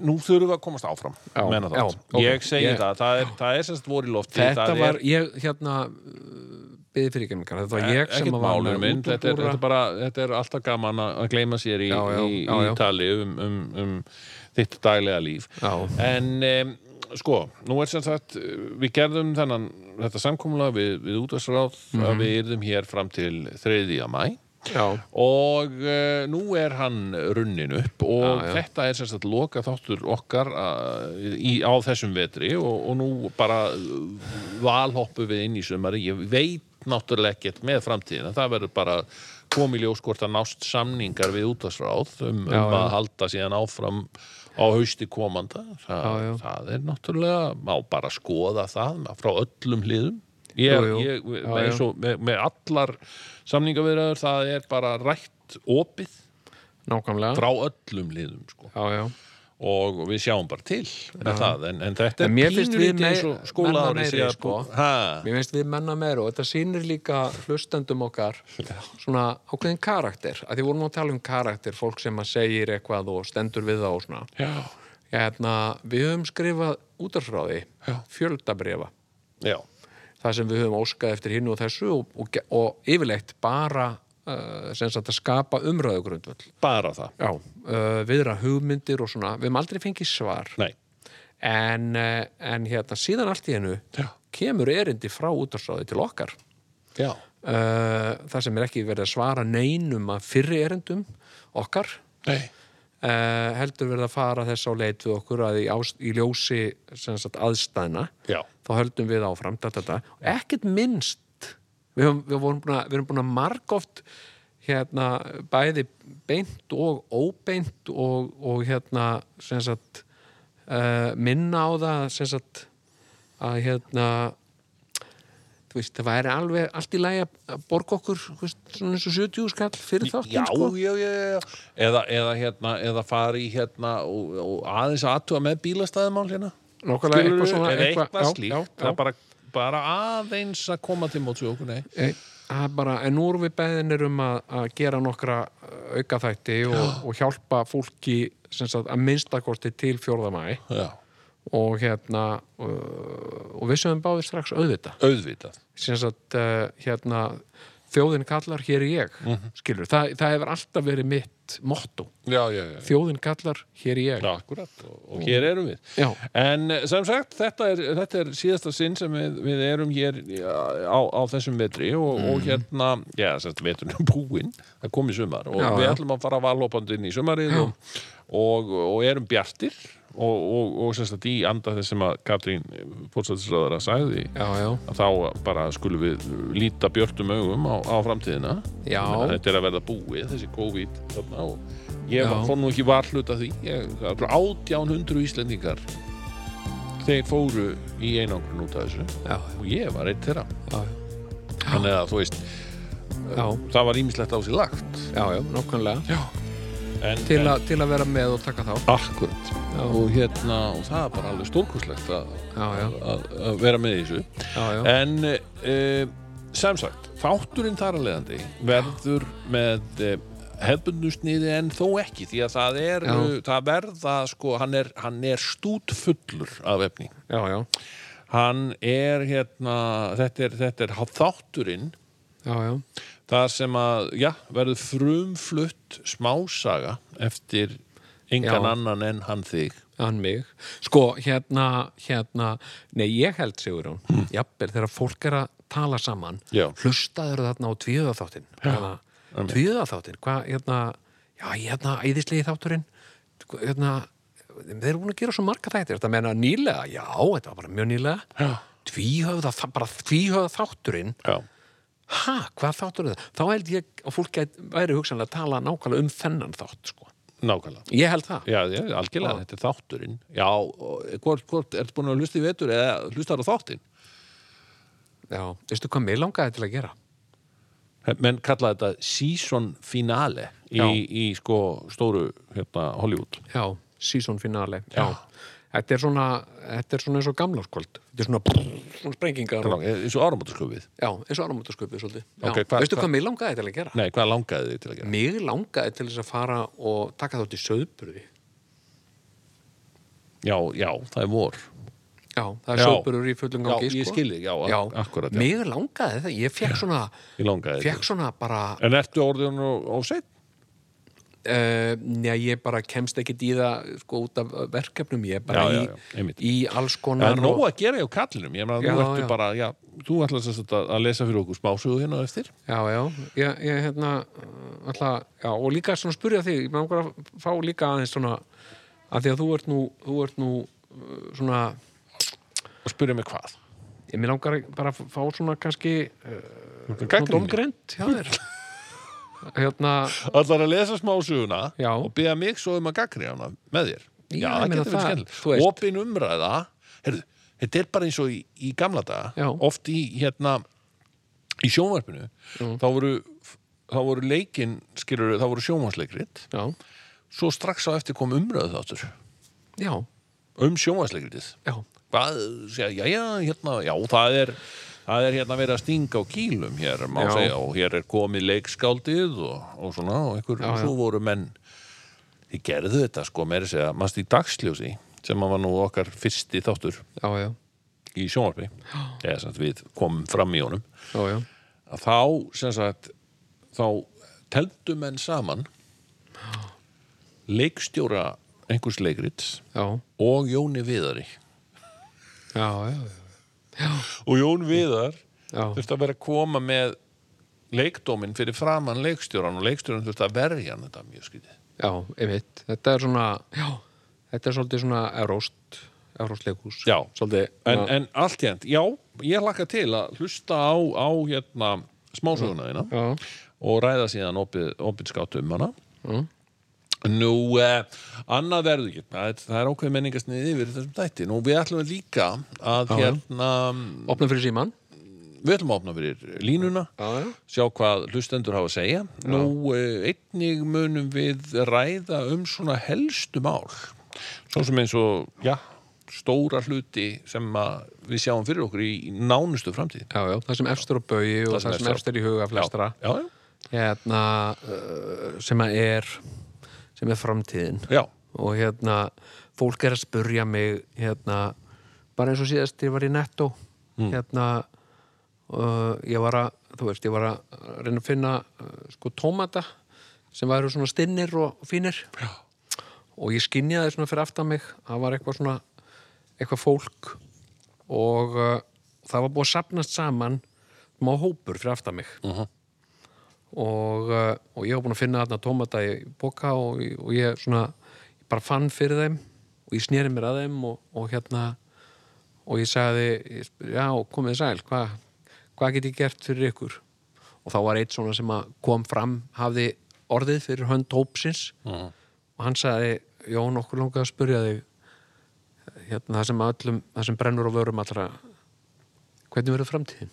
nú þurfum við að komast áfram
Já,
meina það.
já, ok.
Ég segi
Ég-
það, það er, það er semst voru í lofti
þetta
það
var,
er,
ég hérna byggði fyrir ekki mingar, þetta var ég sem
E- ekkert
að var
málur
með
minn þetta er,
útúrdúra.
þetta, er bara, þetta er alltaf gaman að að gleyma sér í,
Já, já,
í,
já, já.
í tali um, um, um þitt daglega líf
Já.
en um, sko, nú er sem sagt eh, við gerðum þennan, þetta samkomla við, við útvarsráð
Mhm.
að við yrðum hér fram til 3. mæ
já,
og uh, nú er hann runnin upp og
Já, já.
þetta er sem sagt loka þáttur okkar uh, í, á þessum vetri og, og nú bara uh, valhoppu við inn í sumari ég veit náttúrulega ekkert með framtíðina það verður bara komið ljós hvort að nást samningar við útastráð um, um
Já, já.
að halda síðan áfram á hausti komanda Þa,
Já, já.
það er náttúrulega, má bara skoða það frá öllum hliðum ég,
Jú, jú.
ég,
Já,
með,
já.
eins og, með, með allar samningavirðaður það er bara rætt opið
nákvæmlega
frá öllum liðum sko.
já, já,
og við sjáum bara til með það, en, en þetta er
En mér finnst við
pínulítið eins og
mei-
skóla
menna
ári
meiri,
síðan
sko.
ha,
Mér finnst við menna meira og þetta sýnir líka hlustendum okkar svona ákveðin karakter að því vorum nú að tala um karakter, fólk sem að segir eitthvað og stendur við það og svona
já,
hérna, við höfum skrifað útarsráði fjöldabrefa
já,
það sem við höfum óskað eftir hinn og þessu og, og, ge- og yfirleitt bara uh, sem sagt að skapa umræðu grundvöll
bara það
Já, uh, viðra hugmyndir og svona við höfum aldrei fengið svar
nei,
en, uh, en hérna síðan allt í hennu
Já.
kemur erindi frá útarsráði til okkar
já,
uh, þar sem er ekki verið að svara neinum að fyrri erendum okkar
nei
uh, heldur verið að fara þess á leit við okkur að í, ást, í ljósi sem sagt, aðstæðna
Já.
þá höldum við áfram da, da, da. Og ekkert minnst við, höfum, við, vorum búin að, við erum búin að margóft hérna, bæði beint og óbeint og, og hérna sem sagt, uh, minna á það sem sagt, að hérna þú veist, það væri alveg allt í lagi að borga okkur þú veist, svona eins og 70 skall fyrir þáttinn
já,
sko.
já, já, já. Eða, eða, hérna, eða fari í, hérna og, og aðeins aðtuga með bílastæðumál hérna
Nákvæmlega,
Skilurðu?
eitthvað svona-
eða
eitthvað-
eitthvað
já,
slíkt
já,
það
já.
er bara, bara aðeins að koma til móts við okkur, nei
Nei, það er bara, en nú erum við beðinir um að, að gera nokkra uh, aukaþætti og, og hjálpa fólki sem sagt, að minnstakosti til 4. mæ
já,
og hérna uh, og við sögum báðir strax auðvita
auðvitað
sem sagt, uh, hérna þjóðin kallar, hér er ég
Mhm.
skilur, það, það hefur alltaf verið mitt motto,
já, já, já,
þjóðin kallar, hér er ég
Já, akkurat, og, og hér erum við.
Já.
En eh, sem sagt, þetta er, þetta er síðasta sinn sem við, við erum hér já, á, á þessum vetri og,
Mm.
og hérna, já, sem sagt, veturinn er búinn, það kom í sumar og
Já,
við
já.
ætlum að fara valhópandi inn í sumarið og, og, og erum bjartir og, og, og sem sagt, í anda þess sem að Katrín fórstæðisraðara sagði
Já, já,
að þá bara skulum við líta björtum augum á, á framtíðina
Já.
Ég meina, þetta er að verða búið, þessi COVID þarna, og ég
Já.
var, fór nú ekki varhlut af því ég, það eru 1800 Íslendingar þeir fóru í einangrun út af þessu
já,
og ég var eitt þeirra
já,
þannig að þú veist,
já,
það var ímislegt á sér lagt
já, já, nákvæmlega
en,
til,
en
að- til að vera með og taka þá
akkurat
Já.
og hérna, og það er bara alveg stórkurslegt að,
Já, já.
að, að vera með í þessu
Já, já,
En uh, sem sagt, þátturinn þar að leiðandi verður með uh, hefbundusniði en þó ekki því að það er,
Já.
uh, það verða sko, hann er, hann er stútfullur af efni.
já, já,
Hann er hérna, þetta er, þetta er þátturinn
já, já,
þar sem að, já, verður frumflutt smásaga eftir engan
Já.
annan en hann þig.
hann mig sko, hérna, hérna nei, ég held Sigurjón mm. jafnvel, þegar fólk er að tala saman
Já.
hlustaður þarna á tvíðaþáttin tvíðaþáttin, hvað, hérna já, hérna, æðislegi þátturinn hva- hérna, þeir eru búin að gera svo marga þættir, þetta meina nýlega já, þetta var bara mjög nýlega tvíhöfða, þa- bara tvíhöfða þátturinn
Já.
ha, hvað þáttur er það? þá held ég að fólk gæti- væri hugsanlega að tala nákvæmlega um þennan þátt, sko
Nákvæmlega.
ég held það
Já, já, algjörlega, þetta er þátturinn Já, og hvort, hvort, ertu búin að hlusta í vetur eða hlustar á þáttinn?
Já, veistu hvað mig langaði til að gera?
Menn kalla þetta season finale í,
Já.
í sko stóru hérna, Hollywood
Já, season finale Já, Þetta, er svona, þetta er svona eins og gamlarskvöld Þetta er svona, brrr, svona sprengingar
Lang- eins og áramótasköfið
Já, eins og áramótasköpið svolítið Já.
Ok, hvað-
Veistu
hvað-
hvað mig langaði til að gera?
Nei, hvað langaði þið til að gera?
Mig langaði til þess að fara og taka þátt í söðbröði
Já, já, það er vor
Já, það er
Já.
söðbröður í fullum
Já,
gangi
ég
sko.
skil þig, já, ak- akkúrat, já.
Mig langaði það, ég fekk svona
Ég langaði
Fekk svona bara
þetta En ertu orðin og, og sett?
uh, Njá, ég bara kemst ekkit í það sko út af verkefnum Ég er bara
Já, já, já,
í,
einmitt.
í alls
Það
konar
er nóg að gera hjá kallinum Ég meina,
Já,
þú ertu
já.
bara, já, þú ætlar sem sagt að að lesa fyrir okkur smásögu hérna á eftir
Já, já, ég, ég hérna uh, ætla, já, og líka svona spyrja þig ég með okkur að fá líka aðeins svona að því að þú ert nú, þú ert nú uh, svona,
og spyrja mig hvað
ég mér langar að bara að fá svona kannski uh, svona
Gagnrýni.
domgreind hjá þér hérna,
Ætlar að lesa smásuguna
Já.
og beða mig svo um að gaggri hana með þér. Já,
Já, ég
það
meina
getur verið
það, þú
skemmtileg.
veist.
Opin umræða, heyrðu, þetta er bara eins og í, í gamla daga,
Já.
oft í hérna, í sjónvarpinu, þá voru, þá voru leikin, skilur, þá voru sjónvarsleikrit,
já,
svo strax á eftir kom umræðu þáttur.
já,
um sjónvarsleikritið
já,
hvað, segja, já, já, hérna, já, það er það er hérna verið að stinga á kýlum hér, má
Já.
segja, og hér er komið leikskáldið og, og svona og einhver,
Já, já.
svo voru menn þið gerðu þetta, sko, meira að segja mannst í dagsljósi, sem að var nú okkar fyrsti þáttur
já, já,
í sjónvarpi eða sem sagt, við komum fram í honum
já, já.
að þá, sem sagt þá teldu menn saman leikstjóra einhvers leikrits
Já,
og Jóni Viðari
já, já,
og Jón Viðar
já,
þurfti að vera að koma með leikdóminn fyrir framann leikstjóran og leikstjóran þurfti að verja hann þetta er mjög skytið.
já, einmitt. Þetta er svona, já, þetta er svolítið svona eróst, eróst leikús.
Já.
Svolítið,
En,
já,
en allt hérnt, já, ég laka til að hlusta á, á hérna smásöguna þína
já,
og ræða síðan opið, opið skátt um hana. Nú, eh, annað verður ekki, það er, það er ákveð menningasnið yfir í þessum þætti. Nú, við ætlum líka að
Já, já.
hérna,
opna fyrir síman.
við ætlum að opna fyrir línuna.
Já, já.
sjá hvað hlustendur hafa að segja. Nú, eh, einnig munum við ræða um svona helstu mál. Svo sem eins og, já, stóra hluti sem að við sjáum fyrir okkur í í nánustu framtíð.
Já, já, það sem efstur á bauði og það sem efstur í huga flestra.
Já, já,
Hérna, uh, sem að er, sem er framtíðin.
já.
Og hérna, fólk er að spurja mig, hérna, bara eins og síðast ég var í netto, hérna, uh, ég var að, þú veist, ég var að reyna að finna, uh, sko, tómata sem væru svona stinnir og fínir
Já.
og ég skinjaði svona fyrir aftan mig það var eitthvað svona eitthvað fólk og uh, það var búið að sapnast saman má hópur fyrir aftan mig -huh. og, uh, og ég var búin að finna þarna tómata í boka og, og ég svona ég bara fann fyrir þeim og ég sneri mér að þeim og, og hérna og ég sagði, ég sp- já, komið sæl hvað hva get ég gert fyrir ykkur og þá var eitt svona sem að kom fram hafði orðið fyrir hönd hópsins
Mm.
og hann sagði Jón, okkur langaði að spyrja þig hérna það sem, öllum, það sem brennur á vörum allra hvernig verður framtíðin?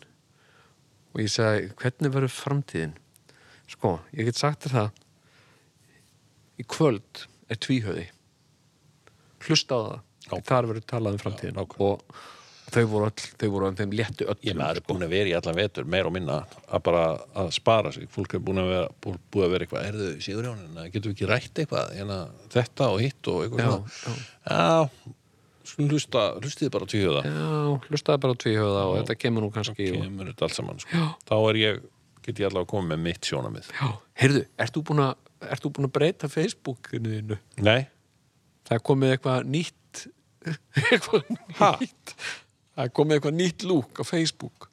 og ég sagði, hvernig verður framtíðin? sko, ég get sagt þér það í kvöld er tvíhöði hlusta á það þar verður talað um framtíðin og þau voru öll, þau voru öll, þeim léttu öll
Ég maður er búin að vera í allan vetur, meir og minna, að bara að spara sig. Fólk er búin að vera, bú- búið að vera eitthvað, erðu Sigurjónin, getum við ekki rætt eitthvað, hérna, þetta og hitt og eitthvað
Já,
svona. Já, skulum hlusta, hlustið bara til hjóða.
já, hlustaði bara á tvíhöða og þetta kemur nú kannski og,
kemur þetta allt saman sko. þá er ég, get ég allavega komið með mitt sjónamið
já, heyrðu, ert þú búin að ert þú búin að breyta Facebookinu þínu?
nei,
það er komið eitthvað nýtt eitthvað nýtt það er komið eitthvað nýtt lúk á Facebook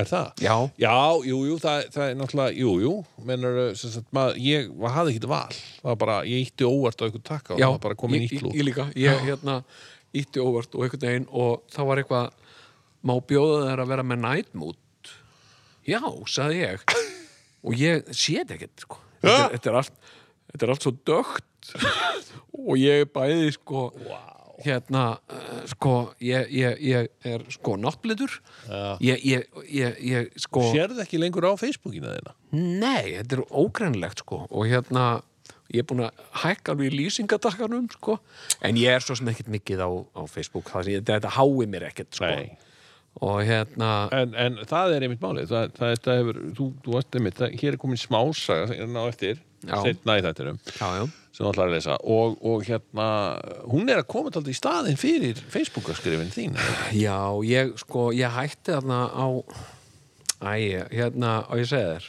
er það?
Já.
já, jú, jú, það, það er náttúrulega jú, jú, menur, sem sagt maður, ég maður hafði ekki val, það var bara ég ítti óvart á ykkur takka og sko, það var bara komið
ég,
nýtt lúk
ég, ég líka, ég hérna ítti óvart og einhvern veginn og þá var eitthvað má bjóða þær að vera með night mood já, sagði ég og ég sé þetta ekkert sko. þetta, er- þetta, er allt, þetta er allt svo dögt og ég bæði sko hérna uh, sko, ég, ég, ég er sko náttblitur ég, ég, ég, ég sko
sérðu ekki lengur á Facebookina þeina
Nei, þetta er ógreinlegt sko og hérna, ég er búin að hækka alveg í lýsingadakkanum sko en ég er svo sem ekkert mikið á, á Facebook það sem ég, þetta hái mér ekkert sko
Nei.
og hérna
en, en það er einmitt málið það, það, það hefur, þú, þú ert einmitt það, hér er komin smásaga sem er ná eftir
Já.
setna í þættinum
já, já,
sem þú ætlar að lesa og, og hérna, hún er að koma taldið í staðin fyrir Facebookaskrifin þín
já, ég sko ég hætti þarna á æ, hérna, á ég segi þér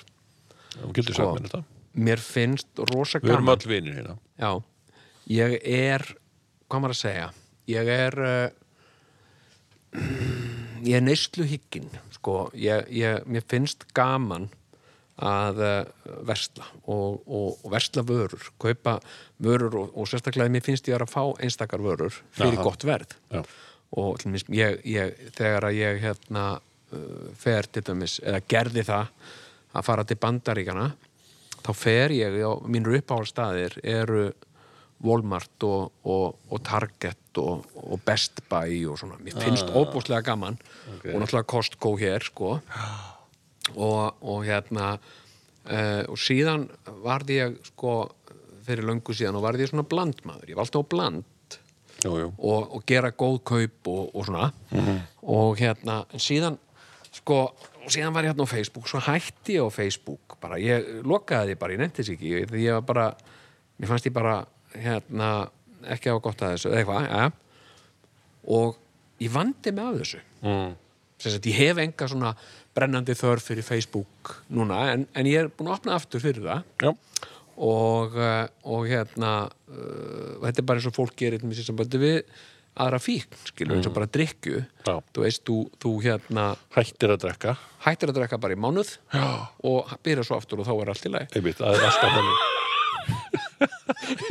þú getur sagt mér þetta
mér finnst rosa
Við erum
gaman
öll vinir hérna.
Já, ég er hvað maður að segja ég er uh, ég er neyslu higgin sko, ég, ég, mér finnst gaman að uh, versla og, og, og versla vörur kaupa vörur og, og sérstaklega mér finnst ég vera að fá einstakar vörur fyrir
Aha.
gott verð
Já.
og til dæmis, ég, ég, þegar að ég hérna uh, fer til dæmis, eða gerði það að fara til Bandaríkana þá fer ég, já, mínur uppáhaldstaðir eru Walmart og, og, og Target og, og Best Buy og svona mér finnst óbúslega gaman og náttúrulega Costco hér, sko og, og hérna uh, og síðan varði ég sko fyrir löngu síðan og varði ég svona blandmaður ég var alltaf á bland
jú, jú.
og, og gera góð kaup og, og svona og hérna, en síðan sko, og síðan var ég hérna á Facebook svo hætti ég á Facebook bara, ég lokaði því bara, ég nefnti þess ekki ég- því ég var bara, mér fannst ég bara hérna, ekki hafa gott að þessu eða eitthvað, ja og ég vandi mig af þessu mm. sem sagt, ég hef enga svona brennandi þörf fyrir Facebook núna, en, en ég er búin að opna aftur fyrir það
Já.
og, eh, og hérna uh, þetta er bara eins og fólk gerir með sér sambandi við aðra fíkn, skilur, eins og bara drikju
Já.
þú veist, þú, þú hérna
Hættir að drekka
hættir að drekka bara í mánuð Já. og byrja svo aftur og þá er allt í lagi
einmitt, það er alltaf þannig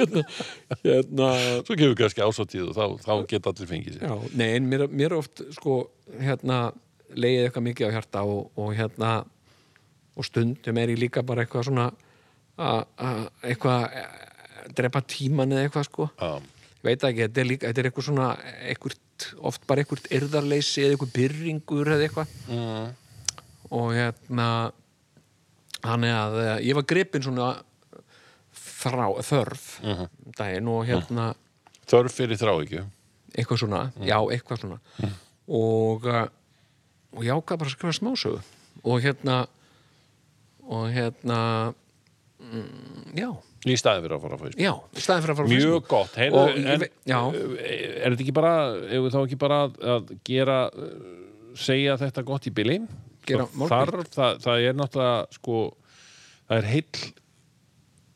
hérna,
Svo gefur kannski ásóttíð og þá, þá geta allir fengið sér
Já, nei, en mér, mér er oft sko, hérna, leiðið eitthvað mikið á hjarta og, og hérna og stundum er ég líka bara eitthvað svona að- að- eitthvað eh, drepa tíman eða eitthvað sko
Já.
ég veit það ekki, þetta er líka, þetta er eitthvað svona eitthvað, oft bara eitthvað erðarleysi eða eitthvað byrringur eða eitthvað og hérna þannig að eh, ég var gripin svona þrá, þörf daginn og hérna
Þörf fyrir þráhyggju
eitthvað svona,
Mm.
já, eitthvað svona og, uh, og ég ákvað bara að skrifa smásögu og hérna og hérna mm, já,
Í staði fyrir að fara á Facebook
já, í staðin fyrir að fara á
Mjög
Facebook.
gott, heyrðu,
Og ég
en
ve- já.
Eh, er þetta ekki bara, ef þá ekki bara að- að gera, eh, segja þetta gott í bili?
Gera
Það
málhvíld.
Þarf, það, það er náttúrulega, sko, það er heill,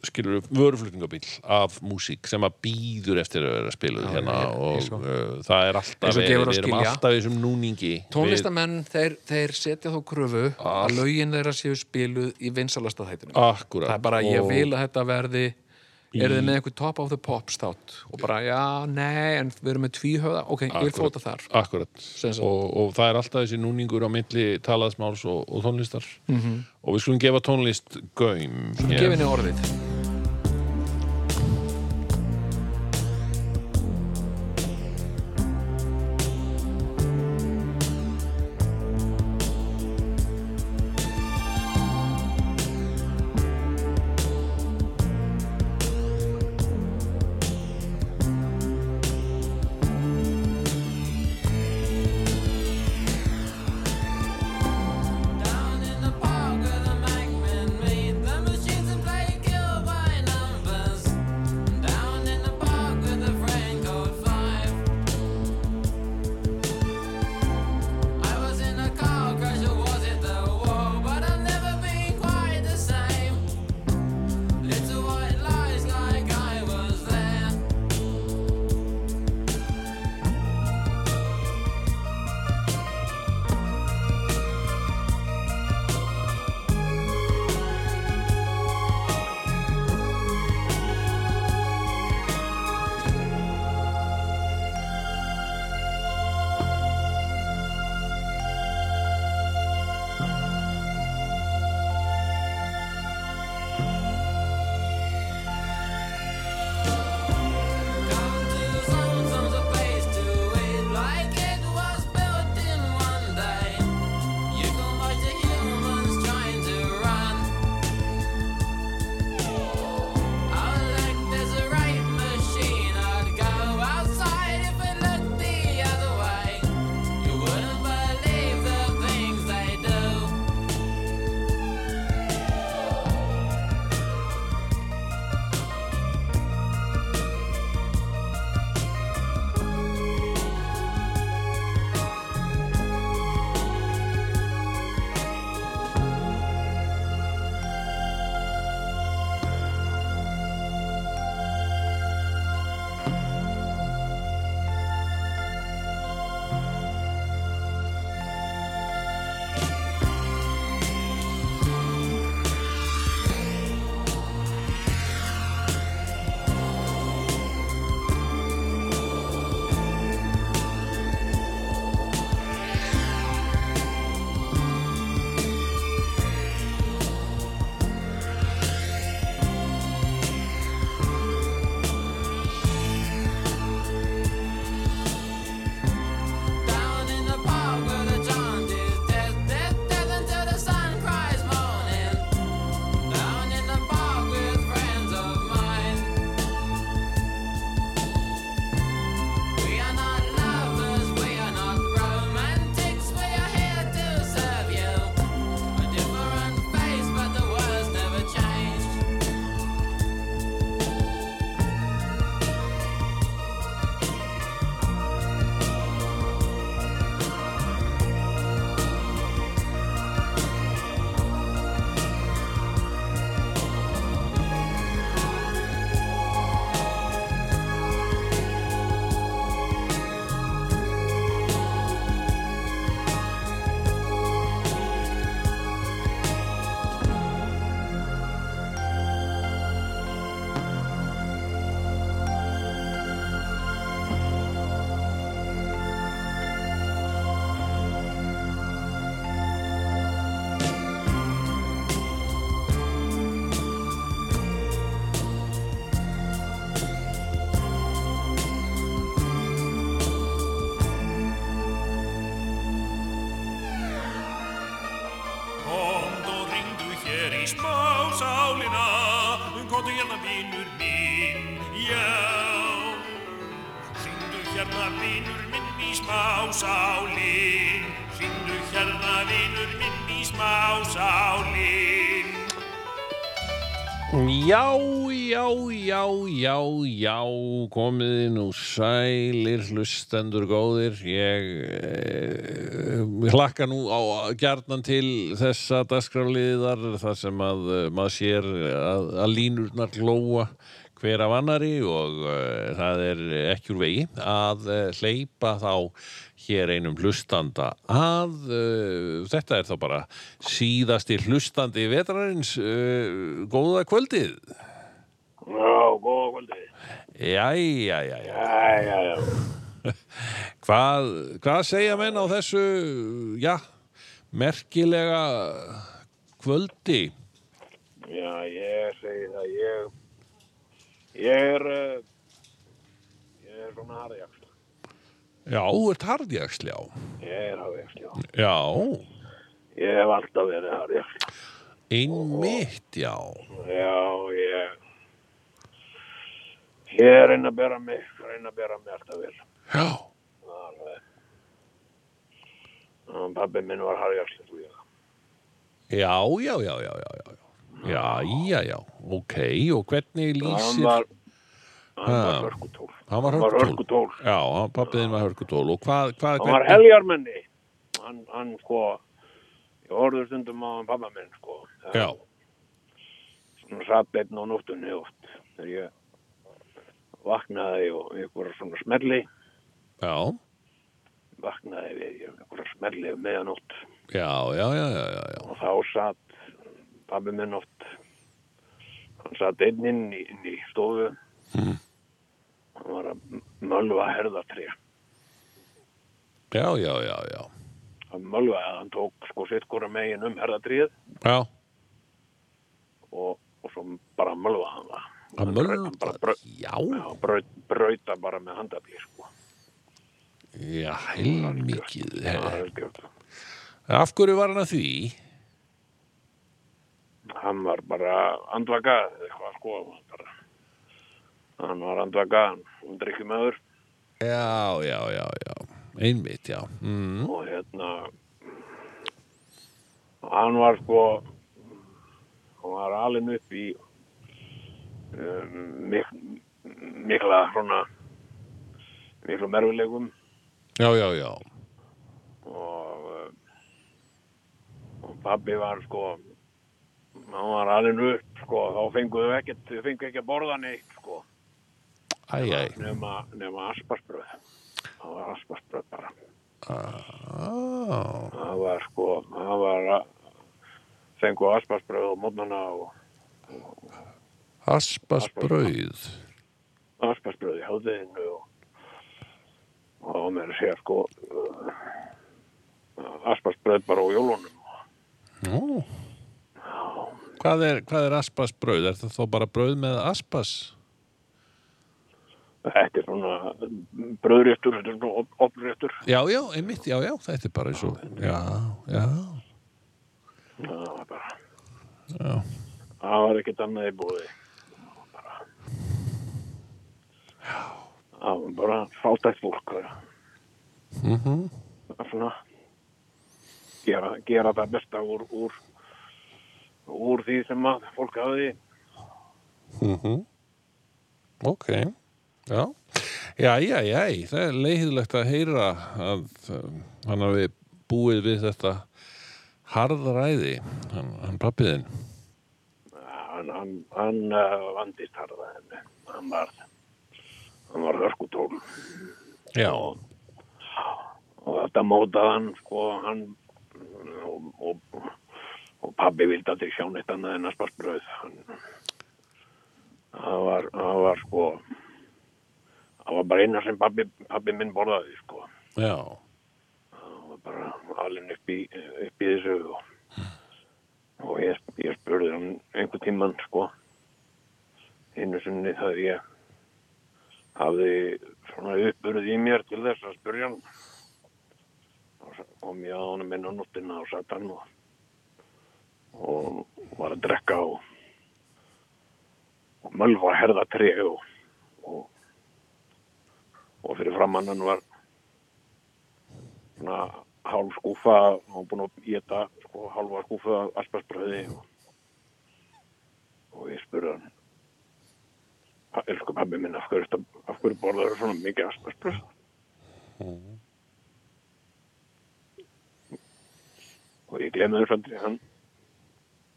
skilur við, vöruflutningabíl af músík sem að býður eftir að vera spiluð hérna
ég-
og
ég svo.
uh, það er alltaf,
Eins og
við,
gefur að
við erum
skilja.
alltaf í þessum núningi.
tónlistamenn, þeir, þeir setja þó kröfu að lögin þeirra séu spiluð í vinsalasta þættinu
Akkurat.
það er bara, ég
Og-
vil að þetta verði
Í-
eru þið með eitthvað top of the pops þátt og bara, já, nei, en við erum með tvíhöða ok, ég vil
Akkúrat.
fóta þar
Akkurat,
Sem sagt.
og, og það er alltaf þessi núningur á milli talaðsmáls og, og tónlistar
Mhm.
-hmm. og við skulum gefa tónlist gaum hér.
gefinni orðið
Down in the park where the mic men made the machines and play kill hér í smá sálina um kontu hérna vinnur minn, já Hringdu hérna vinnur minn í smá sálin Hringdu hérna vinnur minn í smá sálin
Já, já, já, já, já, komiði nú sælir hlustendur góðir. Ég eh, hlakka nú á gjarnan til þessa dagskrafliðar þar sem að eh, maður sér að, að línurnar glóa hver af annari og eh, það er ekki úr vegi að eh, hleypa þá hér einum hlustanda að uh, þetta er þá bara síðasti hlustandi vetrarins uh, góða kvöldið
Já, góða kvöldi.
Jæja, jæja
Já, já, já.
hvað, hvað segja menn á þessu já, merkilega kvöldi
Já, ég segi það, ég, ég er, eh, ég er svona harðjaksl.
já, þú ert hardjaksli á
Ég er harðjaksl, já.
já,
Ég hef alltaf verið harðjaksl.
einmitt, já
Já, ég, ég er reyna að bera mig, reyna að bera mig alltaf vel.
já,
Alveg. Og Pabbi minn var harðjaksl, þú ég.
já, já, já, já, já, já. Já, já, já, ok, og hvernig
Hann
lýsir...
var, hann
Ha.
var hörkutól.
Hann var
Hann var
hörkutól.
hörkutól.
Já, hann- pabbi þinn var hörkutól. Og hvað, hvað,
hann var heljarmenni hann, hann sko ég horfður stundum á hann pappa minn sko
Já,
svona satt einn á nóttunni oft þegar ég vaknaði og ykkur svona smelli
já,
vaknaði við ykkur smelli um meðanótt
já, já, já, já, já, já.
og þá satt pappi minn oft hann satt einn inn í, inn í stofu
Mhm.
hann var að mölva herðatré
Já, já, já, já.
hann mölvaði hann tók sko sitt hvora megin um herðatréð
Já,
og, og svo bara mölvaði hann það
hann
braut-
mölva.
hann bara braut-
Já,
Já, braut, brauta bara með handafli, sko.
já, heilmikið.
Það
he-
er gjöld.
Af hverju var hann að því?
Hann var bara andvakað, eða eitthvað, sko. hann var Bara. Hann var andvakað, hann drikkið meður
Já, já, já, já. Einmitt, já. Mm.
og hérna, hann var sko, hann var alinn upp í um, mik mikla, svona, miklu merfilegum
Já, já, já.
og, eh, og pabbi var sko hann var alveg upp sko þá fenguðu ekkert, þau fengu ekki að borða neitt sko
Æ, æ.
nema, nema asparsbröð það var asparsbröð bara
Á,
það var sko það var að fengu asparsbröð á mótnana og
aspasbrauð.
asparsbröð í háðinu og og það var meira að segja sko eh, asparsbröð bara á jólunum
Nú. Hvað er, hvað er aspasbrauð? Er það þá bara brauð með aspas?
þetta er svona bröðréttur þetta er svona op- opnréttur
Já, já, einmitt, já, já, þetta er bara eins og... Já, já.
Já, það var bara
Já.
það var ekkert annað í búði það var bara fátækt fólk mm -hmm. svona gera, gera það besta úr, úr úr því sem að fólk hafði
Mhm. Ok, já. Já, já, já, það er leiðilegt að heyra að um, hann hafi búið við þetta harðræði, hann, hann pappiðinn.
hann, hann, hann uh, vandist harða henni hann var hann var hörkutól
Já,
og þetta mótaði hann sko hann og, og, og pabbi vildi aldrei sjá neitt annað en að spart bröð hann það var, það var sko það var bara eina sem pabbi, pabbi minn borðaði sko
já,
það var bara alinn upp í, upp í þessu og, og ég, ég spurði hann einhver tíman sko einu sinni það ég hafði svona uppurð í mér til þess að spurja hann og sa- kom ég að honum inn á nóttina og satt hann og, og, var að drekka og, og mölva að herða tré og, og, og fyrir framann hann var svona hálf skúfa og búin að geta sko, hálfa skúfa asparsbröði og, og ég spurði hann "Pa- elsku pabbi minn af hverju, ertu- af hverju borðar svona mikið asparsbröð og ég glemði þess aldrei hann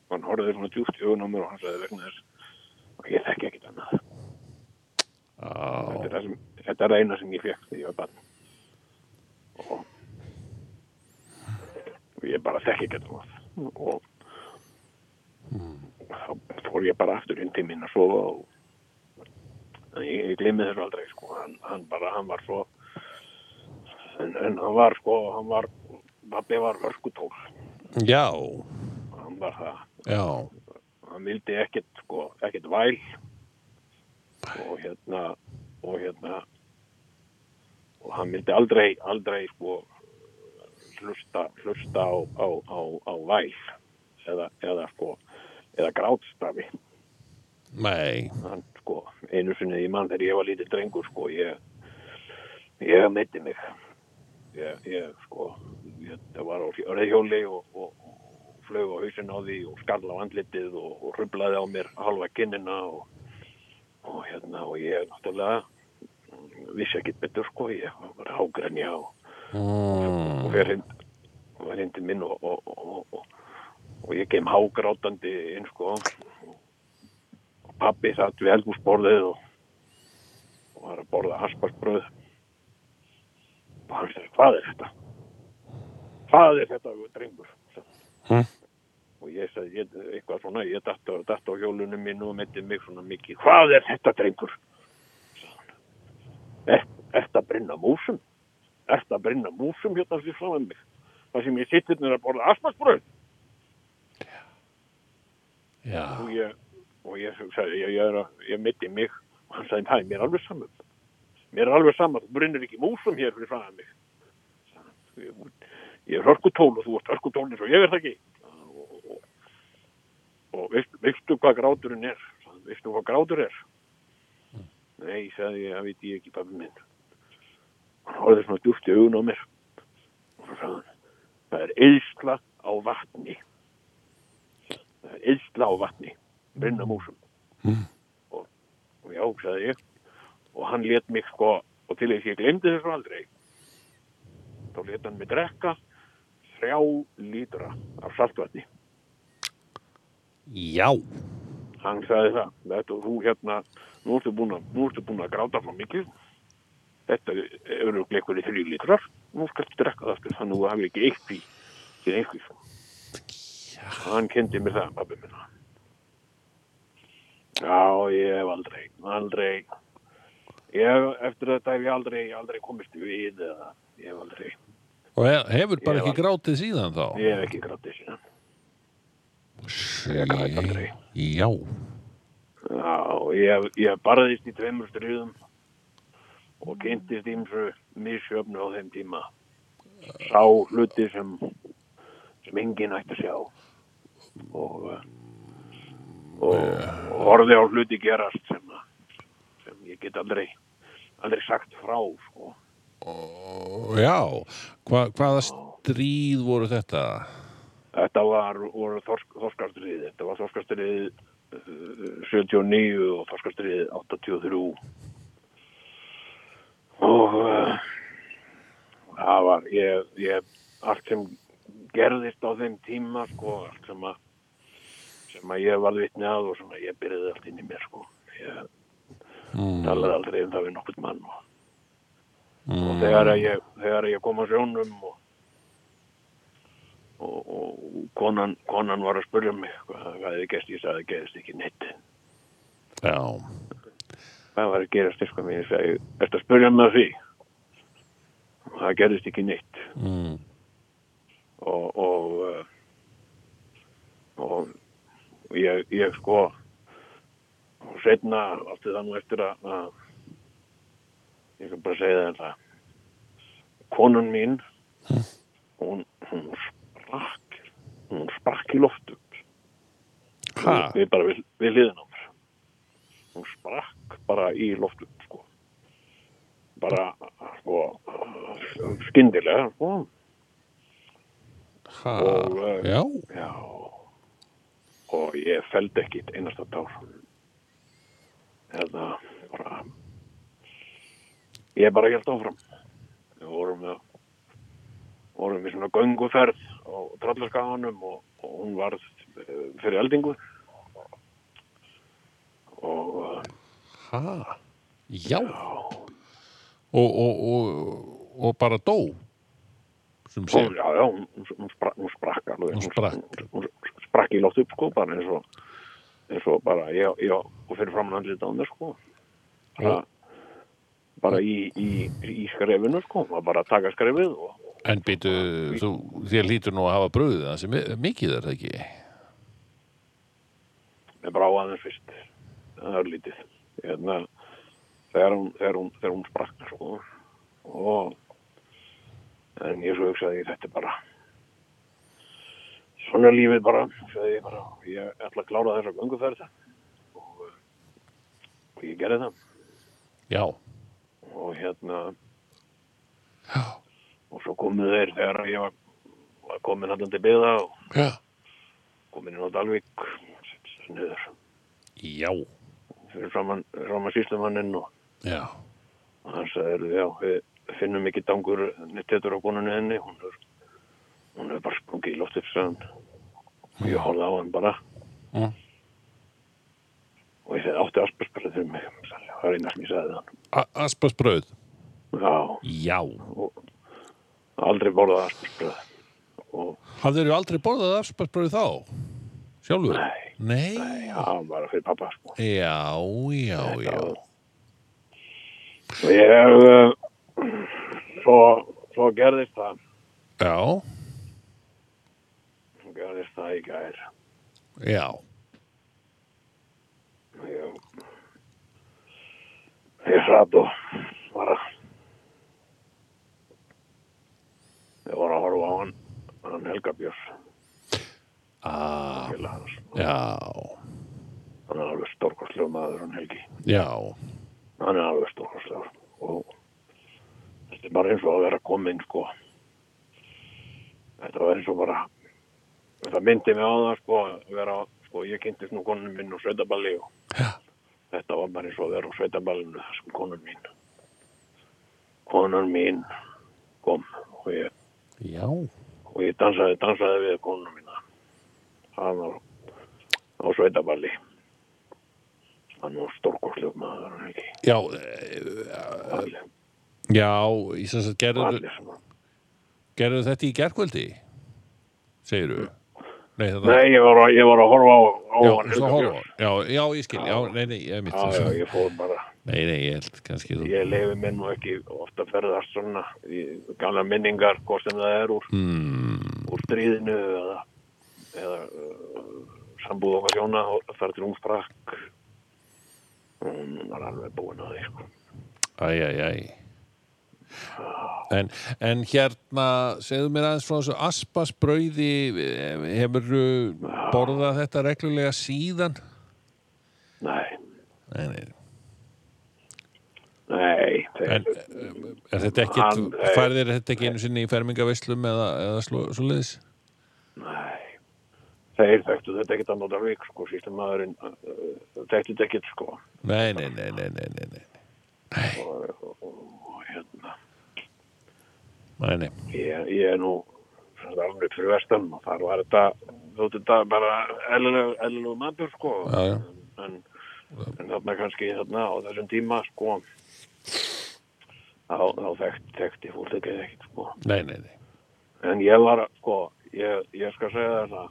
og hann horfði svona djúpt í augun á mér og hann sagði vegna þess og ég þekki ekkit annað þetta er, það sem, þetta er það eina sem ég fekk þegar ég var barn og, og ég bara þekki ekkit annað og þá fór ég bara aftur inn til mín að sofa og en ég, ég glemði þess aldrei sko. hann, hann bara, hann var svo en, en hann var sko, hann var pabbi var vörskutól
Já,
hann var það
já,
hann vildi ekkert sko, ekkert væl og hérna og hérna og hann vildi aldrei aldrei sko hlusta, hlusta á, á, á, á væl eða, eða sko eða grátstafi
nei,
hann sko einu sinni í mann þegar ég var lítið drengur sko ég ég meiti mig ég, ég sko ég, það var á örðhjóli og, og, og flög á hausin á því og skarla á andlitið og, og rublaði á mér halva kinnina og, og hérna og ég náttúrulega mm, vissi ekkit betur sko ég var bara að hágrenja og, mm. og fer hind og fer hindi minn og, og, og, og, og ég kem hágrátandi inn sko pappi satt við eldhúsborðið og, og var að borða asparsbröð og hann sagði hvað er þetta hvað er þetta drengur sagði hann. og ég sagði ég, eitthvað svona ég datt á, datt á hjólunum mín og metti mig svona mikið hvað er þetta drengur sagði hann. "Er- ertu að brinna músum ertu að brinna músum hérna fyrir fram mig það sem ég sittir er að borða asparsbröð
já,
og ég, og ég sagði, ég, ég, er að- ég mitti mig og hann sagði, hæ, mér er alveg saman mér er alveg saman, þú brinnur ekki músum hér fyrir fræða mig Sagði hann, ég, ég er örkutól og þú ert örkutól eins og ég er það ekki og, og, og veist, veistu hvað gráturinn er Sagði hann, veistu hvað grátur er nei, sagði ég, það veit ég ekki pabbi minn hann horfði svona djúft í augun á mér og svo sagði hann það er eðsla á vatni það er eðsla á vatni brinna músum og, og já, sagði ég og hann let mig sko og til þess ég glemdi þessu aldrei þá let hann mig drekka þrjá lítra af saltvatni
já,
hann sagði það, þetta þú hérna nú ertu búin að, nú ertu búin að gráta frá mikið þetta eru gleikur í þrjú lítrar nú skaltu drekka það aftur, þannig að þú hafi ekki eitt í til einhvers hann kendi mér það, pabbi minna já, ég hef aldrei aldrei ég hef, eftir þetta hef ég aldrei, aldrei komist við eða, ég hef aldrei
og he- hefur bara
Ég
ekki grátið síðan þá.
ég hef ekki grátið síðan ég græt aldrei.
Já,
Já, ég, ég barðist í tveimur stríðum og kynntist ímsu misjöfnu á þeim tíma. Sá hluti sem, sem enginn ætti að sjá og, eh, og, og horfði á hluti gerast sem, að- sem ég get aldrei, aldrei sagt frá. Sko.
já, Hva, hvaða stríð voru þetta?
Þetta var voru þorsk, þorskastriðið, þetta var þorskastriðið eh, 79 og þorskastriðið 83 og eh, það var ég, ég, allt sem gerðist á þeim tíma sko, allt sem að sem að ég varð vitni að og sem að ég byrjaði allt inn í mér sko. ég talaði aldrei um það við nokkurn mann og, og þegar að ég, þegar að ég kom að sjónum og og, og konan, konan var að spurja mig hvað hvað hefði gerst, ég sagði gerðist ekki neitt
Já,
hvað var að gerast eitthvað mér, ég sagði, ertu að spurja mig að því og það gerðist ekki neitt
mm.
og og, eh, og ég, ég sko og setna átti það nú eftir að, að ég skal bara segja þér það konan mín hún, hún sprakk hún sprakk í loft upp
Ha?
við bara við, við liðin á mér hún sprakk bara í loftu sko bara sko skyndilega sko
Ha?
Og, eh,
Já,
já og ég feld ekki eitt einasta tár eða bara ég bara held áfram við vorum með vorum við svona gönguferð á trallarskaganum og, og hún varð eh, fyrir eldingu og eh,
ha? Já. Og, og, og, og bara dó. Sem sé.
Hún, já, já, hún, hún, sprak, hún sprakk alveg.
Hún sprakk.
Hún, hún sprakk í loft upp, sko, bara eins og, eins og bara, já, já, og fyrir framann andlita á mér, sko. Bara, bara í, í, í skrefinu, sko, hún var bara að taka skrefið og,
En býtu, þú, þér lítur nú að hafa bröðið það sem mikið er það ekki.
með brá aðeins fyrst, það er lítið. Hérna, þegar hún, þegar hún, þegar hún sprakk, sko, og, en ég svo hugsaði ég þetta er bara, svona er lífið bara, hugsaði ég bara, ég ætla að klára þessa gönguferð og, og ég gerði það
Já.
og hérna og svo komuð þeir þegar ég var, var komin hann til byggða og
Já.
komin inn á Dalvík niður
Já.
fyrir framann, framann síslumanninn og
Já.
og hann sagði, já, við finnum ekki dangur nittetur á konunni henni, hún er, hún er bara sprungið í loftið, sagði hann. Og ég horfði á hann bara.
Mm.
Og ég segi, átti aspersperrið fyrir mig, sagði, hann. það er eina sem ég sagði við hann.
Aspas bröð.
Já,
Já.
aldrei borðað aspersperrið. Og
Hafðir þú aldrei borðað aspas bröð þá? Sjálfur?
Nei.
Nei.
já, hann var fyrir pappa, sko.
Já, já, já.
Og ég, eh, svo, svo gerðist það,
Já.
svo gerðist það í gær.
Já.
Ég, ég satt og var að ég var að horfa á hann hann Helga Björs
Ah,
félag hans.
já.
hann er alveg stórkostlegur maður hann Helgi
Já.
hann er alveg stórkostlegur og þetta er bara eins og að vera komin sko þetta var eins og bara þetta myndi mig á það sko að vera sko ég kynntist nú konun minn og sveitaballi og
Já.
Þetta var bara eins og að vera á sveitaballinu þar sem konan mín. Konan mín niin kom og ég,
Já.
og ég dansaði, dansaði við konuna mína. Hann var á sveitaballi. Hann var stórkoslug maður, hann ekki.
Já, eh,
Allir,
já, ég sem sagt gerður,
allir sem hann.
gerður þetta í gerkvöldi? Segir þú? Nei, þetta
Nei, ég var, að- ég var að horfa á, á
já,
hann.
svona
Helga
horfa á
Björns.
hann. já, já, ég skil, já, nei, nei, ég mitt
Já, já, ég fór bara,
Nei, nei, ég held kannski þú
ég leifi mér nú ekki ofta ferðast svona í gana minningar, hvað sem það er úr,
mm,
úr stríðinu eða, eða uh, sambúð okkar hjóna og þar til hún sprakk hún var alveg búin að því sko.
Æ, æ, æ En, en hérna, segðu mér aðeins frá þessu aspasbrauði, hefur borðað þetta reglulega síðan?
nei,
Nei, nei,
nei
en
þeir,
er þetta ekkit,
Hann- nei.
færðir þetta ekki einu sinni í fermingavislum eða, eða svo, svo liðis?
nei þeir þekktu þetta ekkert að nota vik sko, sístum maðurinn uh, þekktu þetta ekkert sko
Nei, nei, nei, nei, nei, nei, nei,
og, og, og hérna
nei, nei.
ég, ég er nú sem sagt, alveg upp fyrir vestan og þar var þetta þótti þetta bara eðlilegu matur sko
Já, já.
En, en þarna kannski þarna á þessum tíma sko þá, þá þekkt, þekkti fólk ekki ekkert sko
Nei, nei, nei.
en ég var að, sko ég, ég skal segja þér það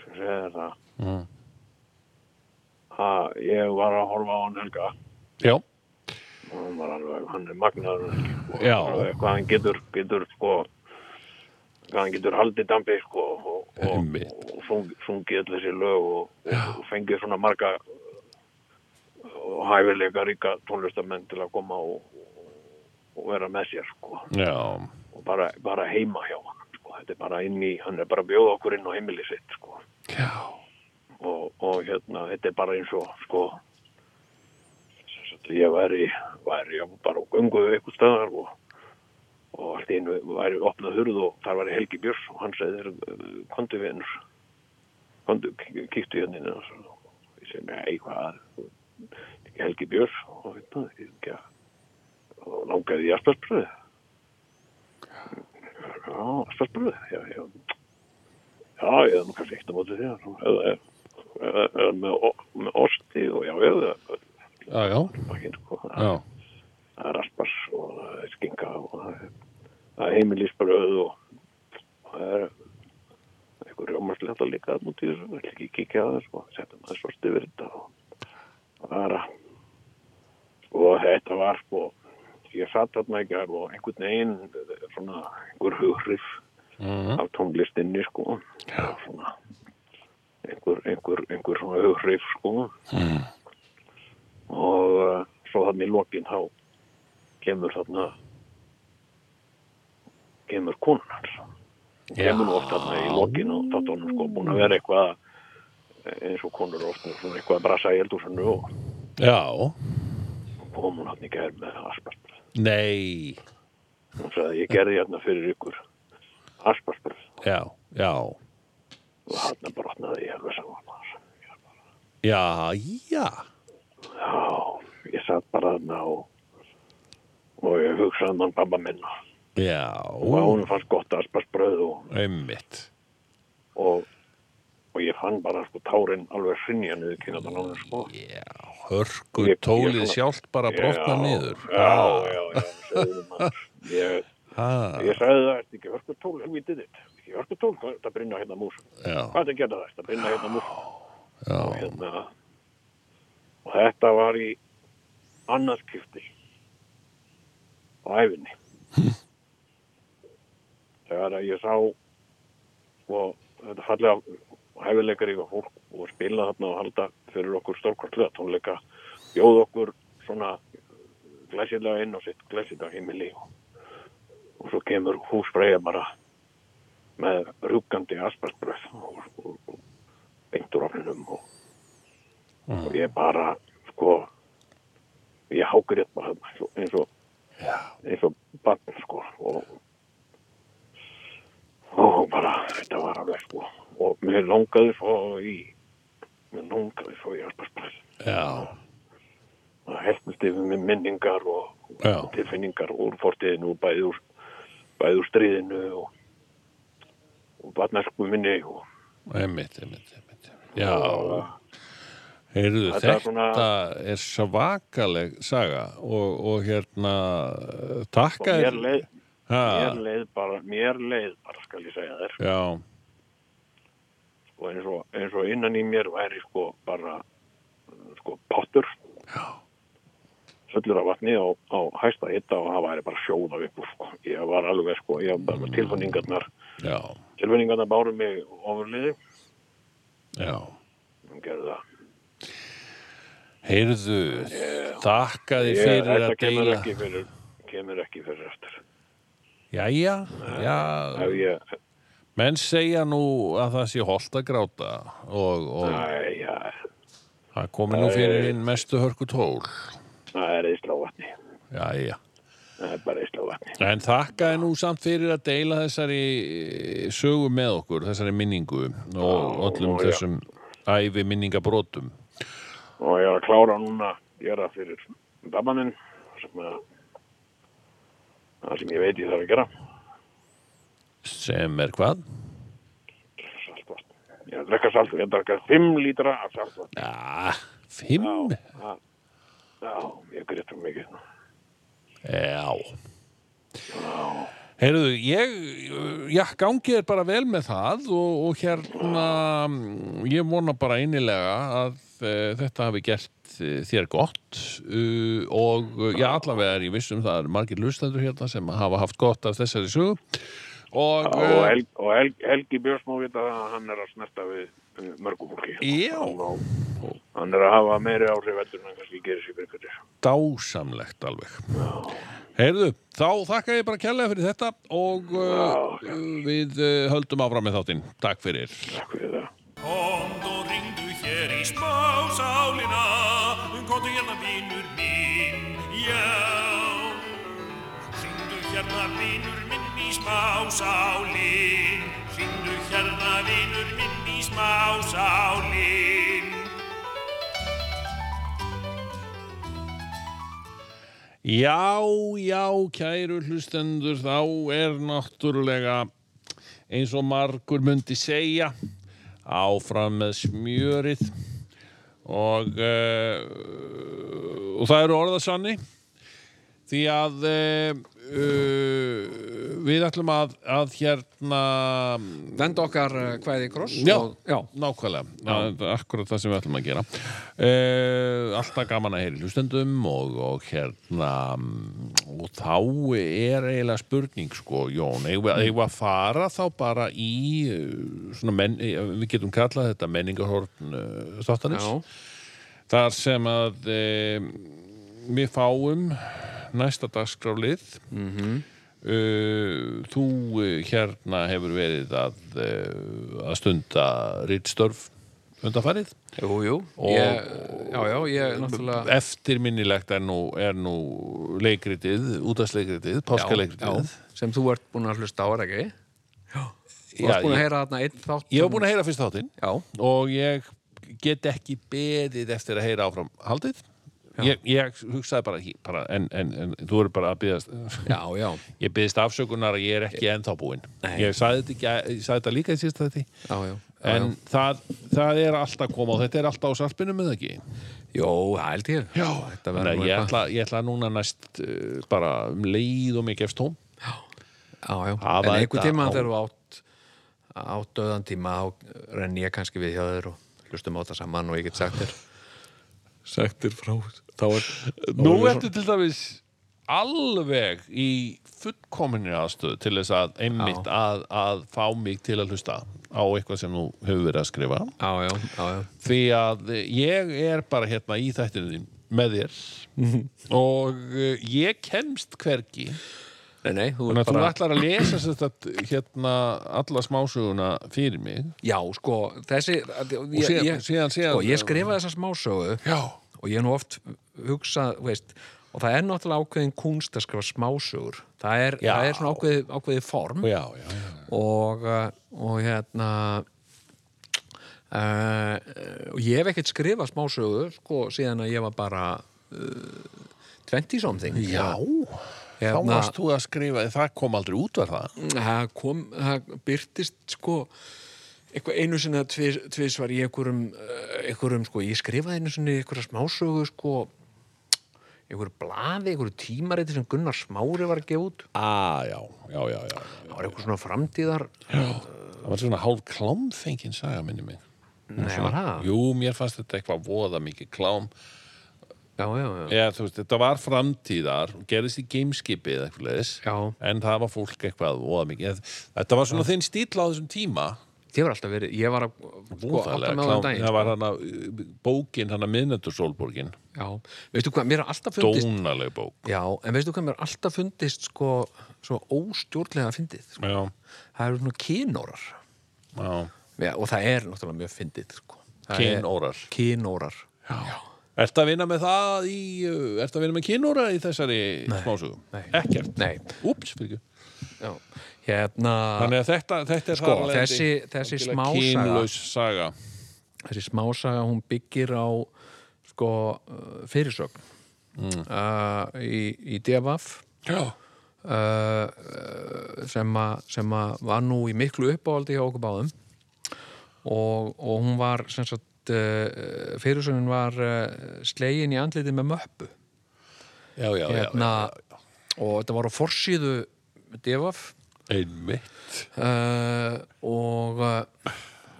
ég skal segja þér það
Mm.
að ég var að horfa á hann Helga
Já,
og hann var alveg, hann er magnaður hann Helgi, sko.
Já.
Alveg hvað hann getur, getur sko hvað hann getur haldið dambi sko og, og,
Einmitt.
og sung, sungið öll þessi lög og, og fengið svona marga og hæfilega ríka tónlistamenn til að koma og, og vera með sér sko
já,
og bara, bara heima hjá hann sko. þetta er bara inn í, hann er bara að bjóða okkur inn á heimili sitt sko
já,
og, og hérna, þetta er bara eins og sko sem sagt, ég væri, væri bara á göngu eitthvað staðar og, og allt í einu væri opnað hurð og þar væri Helgi Björs og hann segði þér kondu vinnur kondu, kíktu hérna inn og svo- ég segi, nei, hvað ekki Helgi Björs og hérna, ég er ekki að og langaði í asparsbröði já, asparsbröði já, já Já, ég hef nú kannski eitt á móti því að- eða- eða- eða- eða með, o- með osti og já, já, já,
Já, já,
ekki, sko, það
já.
það er aspars og það er skinka og það er- það er heimilisbröð og og það er einhver rjómarslega líka að múti þessu, vill ekki kíkja að þessu og setja maður svart yfir þetta og og það er að og þetta var sko ég satt þarna ekki og einhvern veginn svona einhver hughrif af tónlistinni sko Já. svona einhver, einhver, einhver svona hughrif sko og uh, svo þarna í lokin þá kemur þarna kemur konan hans Hún kemur nú oft þarna í lokin og þátt honum sko búin að vera eitthvað eins og konur oft nú svona eitthvað að brasa í eldúsinu og
Já,
kom hún hann í gær með asparsbröð
nei,
hún sagði ég gerði hérna fyrir ykkur asparsbröð
já, já,
og hann bara opnaði ég alveg saman maður.
já, já,
já, ég satt bara þarna og og ég hugsaði um mann pappa minn og
já,
og hún fannst gott asparsbröð og,
einmitt.
og og ég fann bara sko tárin alveg hrinja niður kynatan á henni sko
Já, hörku
Ég- ég
tólið
svona-
sjálft bara brotna niður. Ah.
já, já, já, segðu maður ég,
Ha,
ég sagði það, þetta ekki hörku tól, helvítið þitt ekki hörku tól, hvað er þetta að brinna hérna músum
já,
hvað er þetta að gera það, þetta að brinna hérna músum og
já,
hérna og þetta var í annarskipti á æfinni þegar að ég sá og þetta fallega hæfileikar yfir fólk og spila þarna og halda fyrir okkur stórkvartlega tónleika bjóð okkur svona glæsilega inn á sitt glæsilega heimili og, og svo kemur húsfreyja bara með rúkandi asparsbröð og, og, og beint úr ofninum og, og ég bara sko ég hákur rétt bara þarna, eins og- eins og eins og barn sko og og bara þetta var alveg sko og mér langaði svo í mér langaði svo í alparsbræð
já,
það helpist yfir með minningar og,
Já.
og tilfinningar úr fortiðinu og bæði úr, bæði úr stríðinu og, og barnarsku minni og
einmitt, einmitt, einmitt. Já, heyrðu,
Þetta
þetta
er svona-
er svakaleg saga og, og hérna, eh,
og
takka
mér leið,
ha,
mér leið bara, mér leið bara skal ég segja þér
já,
og eins og, eins og innan í mér væri sko bara uh, sko pottur fullur af vatni á, á hæsta hitta og það væri bara sjóða upp úr sko. ég var alveg sko, ég var bara tilfinningarnar
já,
tilfinningarnar báru mig ofurliði
já.
hún gerði það
Heyrðu, þakka þér
ég,
fyrir að
þetta kemur
deila.
ekki fyrir kemur ekki fyrir eftir
Jæja, já,
ef ég,
menn segja nú að það sé holdt að gráta og, og
næ, já,
það komi nú fyrir inn mestu hörku tól.
það er eisla á vatni
Jæja,
það er bara eisla á vatni
en þakka þér nú samt fyrir að deila þessari eh, sögu með okkur, þessari minningu og öllum
já.
þessum ævi minningabrotum.
og ég er að klára núna gera fyrir babba minn sem að það sem ég veit ég þarf að gera
Sem er hvað?
saltvatn ég er að drekka saltvatn, ég er að drekka 5 lítra af saltvatn
Já, Ah, fimm?
já, ég grétt um mikið
Já. Heyrðu, ég, já, gangi er bara vel með það og, og hérna, mm, ég vona bara einilega að e, þetta hafi gert e, þér gott uh, og eh, já, allavega er ég viss um það er margir lustendur hérna sem hafa haft gott af þessari sögu og,
og,
eh,
Hel, og Hel, Helgi Björns má vita að hann er að snerta við eh, mörgu fólki
Já.
hann, á- hann er að hafa meiri áhrif heldur en hann kannski gerir sér fyrir hverju
dásamlegt alveg. Heyrðu, þá þakka ég bara kærlega fyrir þetta og e, uh, við uh, höldum áfram með þáttinn. Takk fyrir.
takk fyrir það
Komd og ringdu er í smásálina Komdu hérna vinur minn, já Hringdu hérna vinur minn í smásálin Hringdu hérna vinur minn í smásálin
Já, já, kæru hlustendur, þá er náttúrulega eins og margur myndi segja áfram með smjörið og, uh, og það eru orðasanni því að uh, uh, við ætlum að, að hérna
Venda okkar uh, kvæði í kross
Já.
og, já,
Nákvæmlega, það er akkurat það sem við ætlum að gera uh, Alltaf gaman að heyri hlustendum og, og hérna mm, og þá er eiginlega spurning sko, Jón, eigum við- eigum við að fara þá bara í eh, svona menn, eh, við getum kallað þetta menningarhorn uh, þáttanins
já.
þar sem að e, við fáum næsta dagskráflið mm
Mhm.
þú eh, hérna hefur verið að, e, að stunda rittstörf undanfarið
Jú, jú,
Og-
ég, já, já, ég náttúrulega
eftirminnilegt er nú, er nú leikritið, útastleikritið
já,
páskaleikritið
sem þú ert búin að hlusta á, er ekki? Þú
Já,
ert búin að
ég-
heyra þarna einn þátt
ég var búin að heyra fyrst þáttinn
Já,
og ég get ekki beðið eftir að heyra áfram haldið ég, ég hugsaði bara, hí- bara en, en, en þú eru bara að byggast
já, já,
Ég byggðist afsökunar að ég er ekki ennþá búinn. Ég sagði þetta, ekki, ég sagði þetta líka í síðast þetta.
já, já, já,
En það, það er alltaf að koma og þetta er alltaf á sarpinum eða ekki.
Jó, það held ég Já, þetta
Þannig
verður
að
nú
ég
eitthvað
ætla, ég ætla núna næst uh, bara um leið og mig gefst tóm.
Já, já,
Hafa
en einhver
þetta
tíma
á-
þegar þú átt átt döðan tíma þá renni ég kannski við hjá þér og hlustum á þetta saman og ég get sagt þér sagt þér frá þá er,
Nú ertu til dæmis alveg í fullkominni aðstöð til þess að einmitt að, að fá mig til að hlusta á eitthvað sem þú hefur verið að skrifa.
Já, já, já, já,
því að ég er bara hérna í þættinu þín með þér og eh, ég kemst hvergi
nei, nei, þú
þannig
er
að þú
bara
ætlar að lesa sem sagt, hérna alla smásöguna fyrir mig
Já, sko, þessi ég,
síðan-
ég,
síðan- síðan-
sko, ég skrifaði þessa smásögu já. og ég hef nú oft hugsað, þú veist og það er náttúrulega ákveðin kunst að skrifa smásögur það er,
Já.
það er svona ákveðið ákveði form
já, já, já.
og, uh, og hérna uh, og ég hef ekkert skrifað smásögu sko síðan að ég var bara uh, 20 something
þá
hérna,
varst þú að skrifa það kom aldrei út var það
það kom, það byrtist sko eitthvað einu sinni að tvis, tvisvar í einhverjum, eh, einhverjum sko, ég skrifaði einu sinni einhverja smásögu sko einhverju blaði, einhverju tímariti sem Gunnar Smári var að gefa út
ah, já, já, já, já.
það var eitthvað svona framtíðar
það var svona hálf klámfengin saga minni mig
Nei, var það?
jú, mér fannst þetta eitthvað voða mikið klám
Já, já, já,
Já, þú veist, þetta var framtíðar og gerðist í gameskipi eða eitthvað leðis
Já.
en það var fólk eitthvað voða mikið Þetta var svona þinn stíl á þessum tíma
Ég var alltaf verið, ég var að sko, átta
Voðalega
með á
klám.
þann daginn
Það
sko.
var hana uh, bókin, hana miðnættursólborgin
Já, veistu hvað, mér er alltaf fundist
Dónaleg bók
Já, en veistu hvað, mér er alltaf fundist sko, svo óstjórnlega fyndið sko.
Já,
Það eru svona kynórar
já,
Já, og það er náttúrulega mjög fyndið sko. Það er-
kynórar
Kynórar Já,
Ertu að vinna með það í uh, Ertu að vinna með kynóra í þessari smásögum?
nei.
Ekkert?
Nei.
Úps, fyrir ekki
já. Hérna,
Þannig að þetta, þetta er
Sko,
þar af leiðandi
þessi- þessi
algjörlega
smásaga-
kynlaus saga
þessi smásaga hún byggir á sko uh, fyrirsögn
Mm.
uh, í, í DFF
Já,
uh, sem, a, sem a var nú í miklu uppáhaldi hjá okkur báðum og, og hún var sem sagt uh, fyrirsögnin var uh, slegin í andliti með möppu
já, já,
hérna, og þetta var á forsíðu devaf
já. Einmitt
uh, og uh,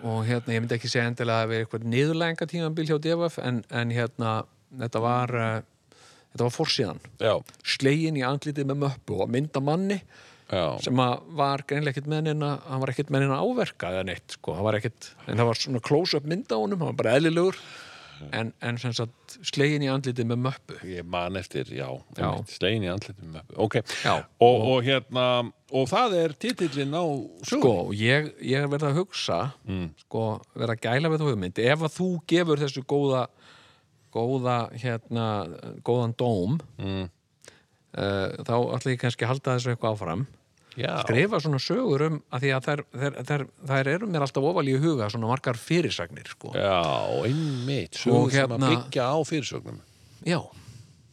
og hérna, ég myndi ekki segja endilega að vera eitthvað niðurlænga tímabil hjá devaf en, en hérna, þetta var uh, þetta var forsíðan
Já,
slegin í andlitið með möppu og mynda manni
já
sem að var greinlega ekkert með neina hann var ekkert með neina áverka eða neitt sko. það var ekkert, en það var svona close-up mynd á honum hann var bara eðlilegur en, en sem sagt slegin í andlitið með möppu
ég man eftir, já,
Já.
einmitt, slegin í andlitum ok,
Já.
og, og hérna og það er titillinn á
sko,
sögur Mm.
og ég, ég verð að hugsa sko, verð að gæla við þú hugmynd ef að þú gefur þessu góða góða, hérna góðan dóm mm. þá ætla ég kannski að halda þessu eitthvað áfram
já,
skrifa svona sögur um að því að þær, þær, þær, þær eru mér alltaf ofal í huga svona margar fyrirsagnir sko.
já, einmitt sögur
Og
sem
hérna-
að byggja á fyrirsögnum
Já,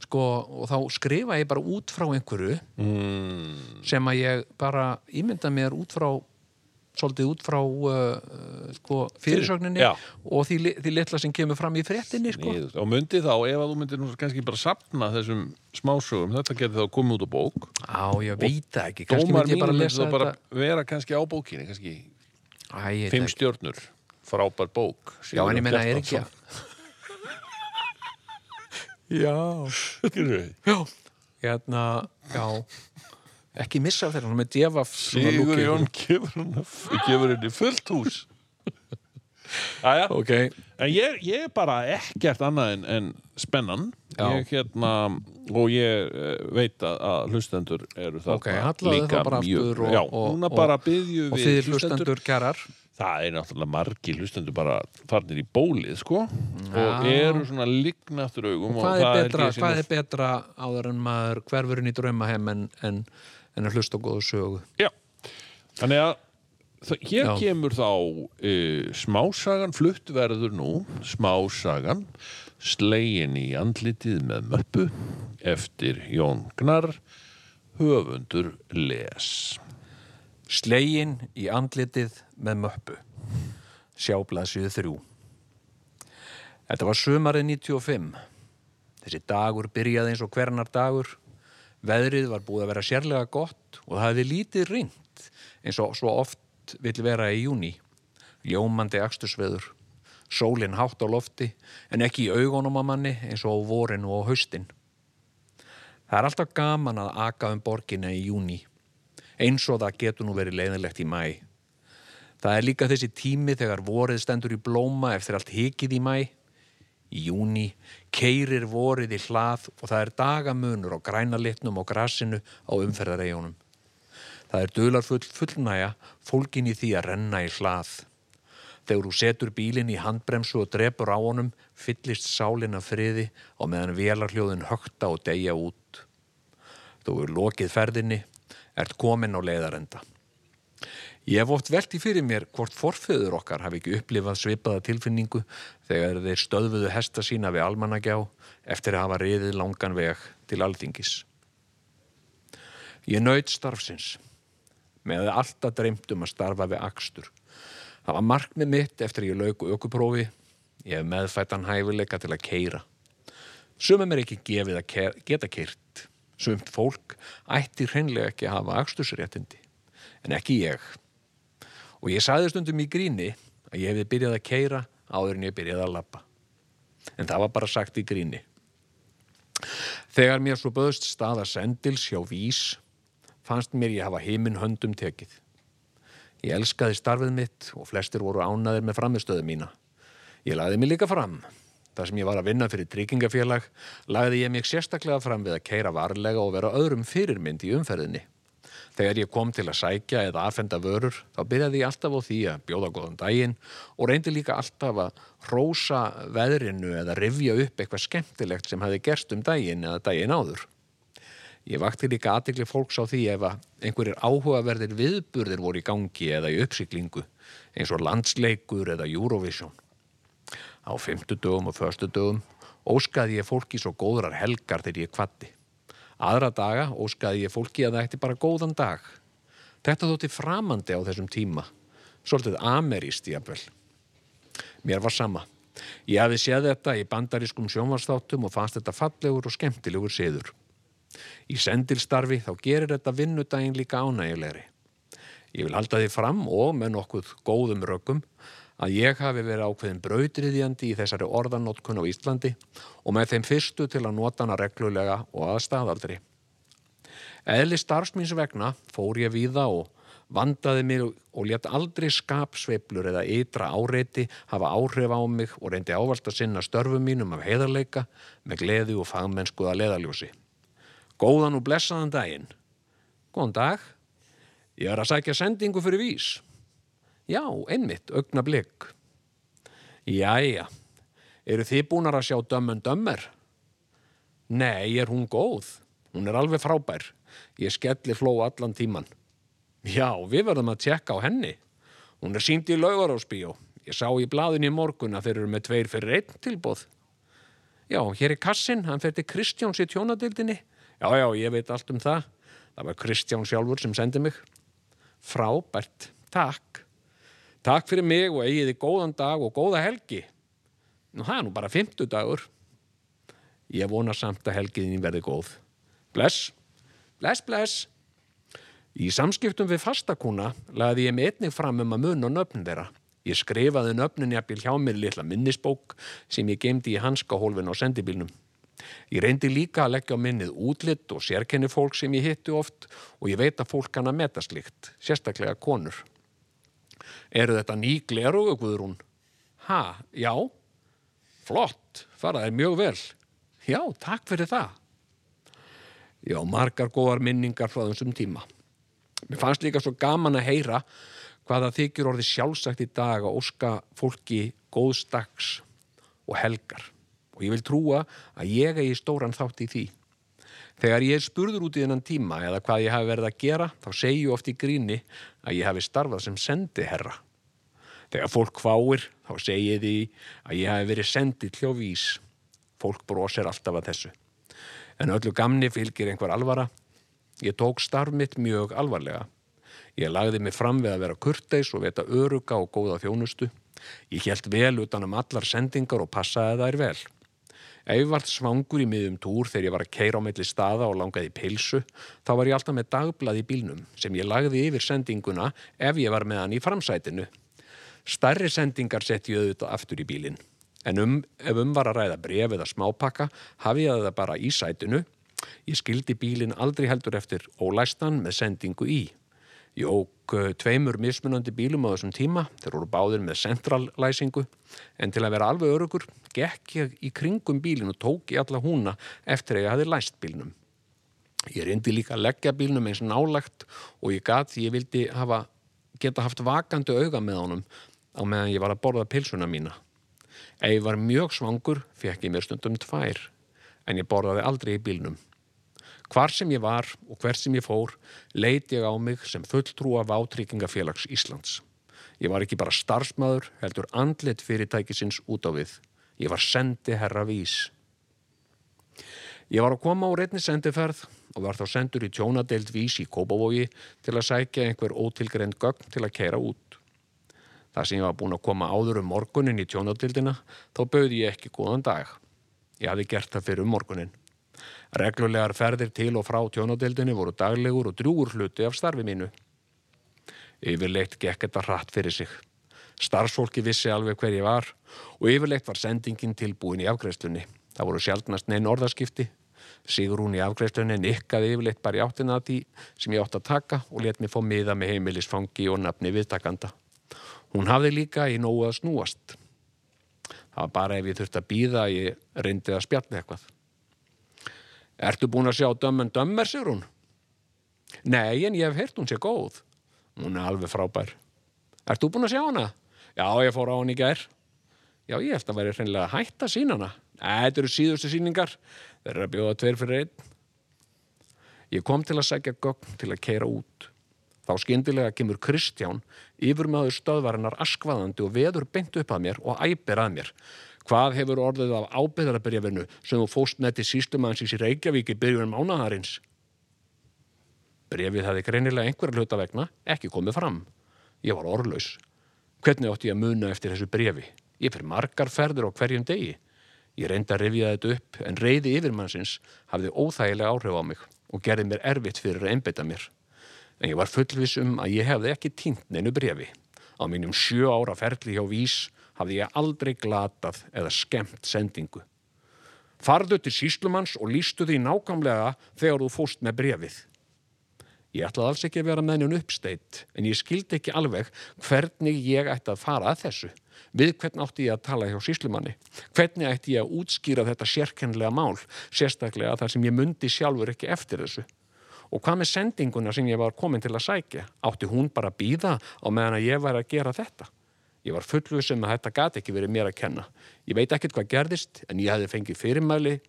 sko, og þá skrifa ég bara út frá einhverju mm. sem að ég bara ímynda mér út frá svolítið út frá uh, sko, fyrirsögninni
Já.
og því, li- því litla sem kemur fram í fréttinni sko.
Niður. og myndi þá, ef að þú myndir nú kannski bara sapna þessum smásögum, þetta geti þá komið út á bók
Á, ég veit það ekki kannski
dómar
myndi
mínu
ég bara
myndi
lesa
þá bara vera kannski á bókinni kannski
þetta Æ, ég veit
fimm
það ekki.
stjörnur, frábær bók
Já, en ég meina er ekki að Já
Sigurður
Já, hérna, já ekki missa af þeirra, hún er með djafaf
Sigurður Jón gefur henni gefur henni fullt hús Æja,
Ok,
En ég, ég er bara ekkert annað en, en spennan
Já.
ég, hérna, og ég eh, veit að, að hlustendur eru þarna
Ok, hallaðu
líka
þá bara
mjög-
aftur og-
Já,
og-
núna
og-
bara byggjum
og
við
þið hlustendur kærar
Það er náttúrulega margir hlustendur bara farnir í bólið sko og eru svona lignaftur augum
hvað er,
það held
betra,
ég sé
hvað
nú-
er betra áður en maður hverfurinn í draumaheim en, en, en að hlusta á góðu sögu
Já, þannig að þa- hér
Já.
kemur þá uh, smásagan, flutt verður nú smásagan slegin í andlitið með möppu eftir Jón Gnar höfundur les
Slegin í andlitið með möppu Sjáblasið þrjú Þetta var sumarið 95 Þessi dagur byrjaði eins og hvernar dagur Veðrið var búið að vera sérlega gott og það hefði lítið ringt eins og svo oft vill vera í júni Ljómandi akstusveður Sólin hátt á lofti en ekki í augunum á manni eins og á vorinu og á haustin Það er alltaf gaman að aka um borginna í júni eins og það getur nú verið leiðilegt í mæ. Það er líka þessi tími þegar vorið stendur í blóma eftir allt hikið í mæ. Í júni keirir vorið í hlað og það er dagamunur á grænalitnum og grasinu á umferðareigunum. Það er dularfull fullnæja fólkin í því að renna í hlað. Þegar þú setur bílinn í handbremsu og drepur á honum, fyllist sálin af friði og meðan vélarhljóðin högta og deyja út. Þú er lokið ferðinni, ert komin á leiðarenda. Ég hef oft velti fyrir mér hvort forföður okkar hafi ekki upplifað svipaða tilfinningu þegar þeir stöðvuðu hesta sína við almannagjá eftir að hafa riðið langan veg til alþingis. Ég naut starfsins. Mér hefði alltaf dreymt um að starfa við akstur. Það var markmið mitt eftir að ég lauk aukuprófi. Ég hef meðfættan hæfileika til að keira. Sumum er ekki gefið að ke- geta kyrt. Sumt fólk ætti hreinlega ekki að hafa akstursréttindi. En ekki ég. Og ég sagði stundum í gríni að ég hefði byrjað að keira áður en ég byrjaði að labba. En það var bara sagt í gríni. Þegar mér svo böðst staða sendils hjá vís, fannst mér ég hafa heiminn höndum tekið. Ég elskaði starfið mitt og flestir voru ánaðir með framistöðu mína. Ég lagði mig líka fram. Þar sem ég var að vinna fyrir tryggingafélag, lagði ég mig sérstaklega fram við að keira varlega og vera öðrum fyrirmynd í umferðinni. Þegar ég kom til að sækja eða afhenda vörur, þá byrjaði ég alltaf á því að bjóða góðan daginn og reyndi líka alltaf að rósa veðrinu eða rifja upp eitthvað skemmtilegt sem hafi gerst um daginn eða daginn áður. Ég vakti líka aðtikli fólks á því ef að einhverjir áhugaverðir viðburðir voru í gangi eða í uppsiklingu, eins og landsleikur eða Eurovision. Á fymtudögum og föstudögum óskaði ég fólki svo góðrar helgar þegar ég kvatti. Aðra daga óskaði ég fólki að það ætti bara góðan dag. Þetta þótti framandi á þessum tíma, svolítið ameríst jafnvel. Mér var sama. Ég hafi séð þetta í bandarískum sjónvarsþáttum og fannst þetta fallegur og skemmtilegur siður. Í sendilstarfi þá gerir þetta vinnudaginn líka ánægilegri. Ég vil halda því fram og með nokkuð góðum rökum að ég hafi verið ákveðin brautriðjandi í þessari orðanótkun á Íslandi og með þeim fyrstu til að nota hana reglulega og að staðaldri. Eðli starfsmýns vegna fór ég víða og vandaði mig og, og létt aldrei skapsveiflur eða ytra áreiti hafa áhrif á mig og reyndi ávalt að sinna störfum mínum af heiðarleika með gleði og fagmennskuða leðaljósi. Góðan og blessaðan daginn. Góðan dag. Ég er að sækja sendingu fyrir vís. Já, einmitt, augna blik. Jæja, eru þið búnar að sjá dömmen dömmer? Nei, er hún góð? Hún er alveg frábær. Ég skelli fló allan tíman. Já, við verðum að tjekka á henni. Hún er sínd í laugarósbíó. Ég sá í blaðinu í morgun að þeir eru með tveir fyrir einn tilbóð. Já, hér er kassin, hann fer til Kristjáns í tjónadildinni. Já, já, ég veit allt um það. Það var Kristján sjálfur sem sendi mig. Frábært, takk. Takk fyrir mig og eigiði góðan dag og góða helgi. Nú, það er nú bara fimmtudagur. Ég vona samt að helgiðin verði góð. Bless, bless, bless. Í samskiptum við fastakúna laði ég með einnig fram um að mun og nöfn þeirra. Ég skrifaði nöfnin jafnvel hjá mér í litla minnisbók sem ég gemdi í hanskahólfin á sendibílnum. Ég reyndi líka að leggja á minnið útlitt og sérkenni fólk sem ég hittu oft og ég veit að fólk kann að meta slíkt, sérstaklega konur. Eru þetta ný glerugu, Guðrún? Ha, já. Flott, faraði mjög vel. Já, takk fyrir það. Já, margar góðar minningar frá þessum tíma. Mér fannst líka svo gaman að heyra hvað það þykir orðið sjálfsagt í dag að óska fólki góðstags og helgar. Og ég vil trúa að ég eigi stóran þátt í því. Þegar ég er spurður út í þennan tíma eða hvað ég hafi verið að gera, þá segi ég oft í gríni að ég hafi starfað sem sendiherra. Þegar fólk hváir, þá segi ég því að ég hafi verið sendið hljóvís. Fólk brosir alltaf að þessu. En öllu gamni fylgir einhver alvara. Ég tók starf mitt mjög alvarlega. Ég lagði mig fram við að vera kurteis og veta öruga og góða þjónustu. Ég hjælt vel utan um allar sendingar og passaði þær vel. Ef varð svangur í miðum túr þegar ég var að keira á melli staða og langaði í pilsu, þá var ég alltaf með dagblað í bílnum sem ég lagði yfir sendinguna ef ég var með hann í framsætinu. Starri sendingar sett ég auðvitað aftur í bílinn. En um, ef um var að ræða bref eða smápakka, hafi ég það bara í sætinu. Ég skildi bílinn aldrei heldur eftir ólæstan með sendingu í. Ég ók eh, tveimur mismunandi bílum á þessum tíma, þeir voru báðir með centrallæsingu, en til að vera alveg örugur, gekk ég í kringum bílinn og tók í alla húna eftir að ég hafi læst bílnum. Ég reyndi líka að leggja bílnum eins nálagt og ég gat því ég vildi hafa, geta haft vakandi auga með honum á meðan ég var að borða pilsuna mína. Ef ég var mjög svangur fekk ég mér stundum tvær en ég borðaði aldrei í bílnum. Hvar sem ég var og hver sem ég fór leit ég á mig sem fulltrúa vátrykingafélags Íslands. Ég var ekki bara starfsmaður heldur andlit fyrirtækisins út á við. Ég var sendi herra vís. Ég var að koma úr einni sendiferð og var þá sendur í tjónadeild vís í Kópavogi til að sækja einhver ótilgrend gögn til að keira út. Það sem ég var búin að koma áður um morgunin í tjónadildina, þá bauði ég ekki góðan dag. Ég hafði gert það fyrir um morgunin. Reglulegar ferðir til og frá tjónadildinni voru daglegur og drjúgur hluti af starfi mínu. Yfirleitt gekk þetta hratt fyrir sig. Starfsfólki vissi alveg hver ég var og yfirleitt var sendingin tilbúin í afgreiðslunni. Það voru sjaldnast neinn orðaskipti. Sigrún í afgreiðslunni nikkaði yfirleitt bara í áttina að því sem ég átt að taka og let mér fá miða með heimilisfangi og nafni viðtakanda. Hún hafði líka í nógu að snúast. Það var bara ef ég þurfti að býða að ég reyndi að spjalla eitthvað. Ertu búin að sjá dömmen dömmer, Sigrún? Nei, en ég hef heyrt hún sé góð. Hún er alveg frábær. Ert þú búin að sjá hana? Já, ég fór á hann í gær. Já, ég held að væri hreinlega að hætta að sína hana. Æ, þetta eru síðustu síningar. Þeir eru að bjóða tveir fyrir einn. Ég kom til að sækja gögn til að keira út. Þá skyndilega kemur Kristján, yfirmaður stöðvarinnar askvaðandi og veður beint upp að mér og æpir að mér. Hvað hefur orðið af ábyrðarabrifinu sem þú fóst með til sístumannsins í Reykjavík í byrjunum mánaðarins? Brefið hafði greinilega einhverja hluta vegna ekki komið fram. Ég var orðlaus. Hvernig átti ég að muna eftir þessu brefi? Ég fyrir margar ferðir á hverjum degi. Ég reyndi að rifja þetta upp en reyði yfirmannsins hafði óþægilega áhrif á mig og gerði mér erfitt fyrir að einbeita mér. En ég var fullvis um að ég hefði ekki týnt neinu brefi. Á mínum sjö ára ferli hjá Vís hafði ég aldrei glatað eða skemmt sendingu. Farðu til síslumanns og lístu því nákvæmlega þegar þú fóst með brefið. Ég ætlaði alls ekki að vera með henni uppsteitt, en ég skildi ekki alveg hvernig ég ætti að fara að þessu. Við hvern átti ég að tala hjá síslumanni? Hvernig ætti ég að útskýra þetta sérkennlega mál, sérstaklega þar sem ég mundi sjálfur ekki eftir þessu? Og hvað með sendinguna sem ég var komin til að sækja? Átti hún bara að býða á meðan að ég væri að gera þetta? Ég var fullu sem að þetta gat ekki verið mér að kenna. Ég veit ekkert hvað gerðist, en ég hefði fengið fyrirmæli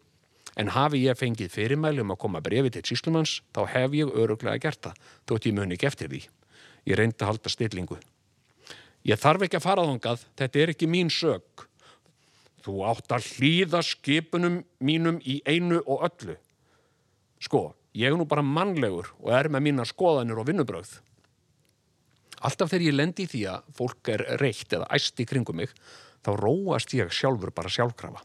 En hafi ég fengið fyrirmæli um að koma brefi til síslumanns, þá hef ég öruglega gert það, þótt ég muni ekki eftir því. Ég reyndi að halda stillingu. Ég þarf ekki að fara þangað, þetta er ekki mín sög. Þú átt að hlýða skipunum mínum í einu og öllu. Sko, ég er nú bara mannlegur og er með mína skoðanir og vinnubröð. Alltaf þegar ég lendi í því að fólk er reykt eða æst í kringum mig, þá róast ég sjálfur bara sjálfkrafa.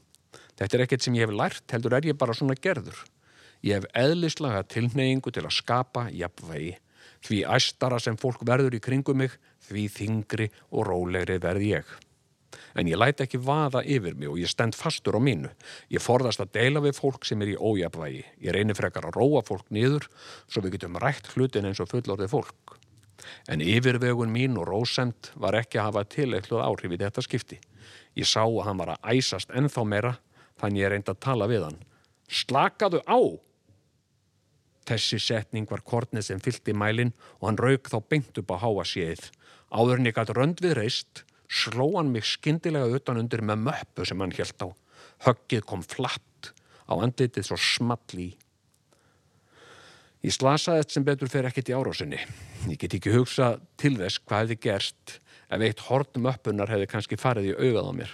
Þetta er ekkert sem ég hef lært, heldur er ég bara svona gerður. Ég hef eðlislega tilneyingu til að skapa jafnvegi. Því æstara sem fólk verður í kringum mig, því þingri og rólegri verð ég. En ég læt ekki vaða yfir mig og ég stend fastur á mínu. Ég forðast að deila við fólk sem er í ójafvægi. Ég reynir frekar að róa fólk niður svo við getum rætt hlutin eins og fullorðið fólk. En yfirvegun mín og rósend var ekki að hafa tileikluð áhrif í þetta skipti. Ég sá að hann var að æsast ennþá meira, þannig ég reyndi að tala við hann. Slakaðu á! Þessi setning var kornið sem fyllti mælin og hann rauk þá beint upp á háa séð. Áður en ég gætt rönd við reist, sló hann mig skyndilega utan undir með möppu sem hann held á. Höggið kom flatt, á andlitið svo small í. Ég slasaðist sem betur fyrir ekkert í árásinni. Ég get ekki hugsað til þess hvað hefði gerst ef eitt hortum öppunar hefði kannski farið í augað á mér.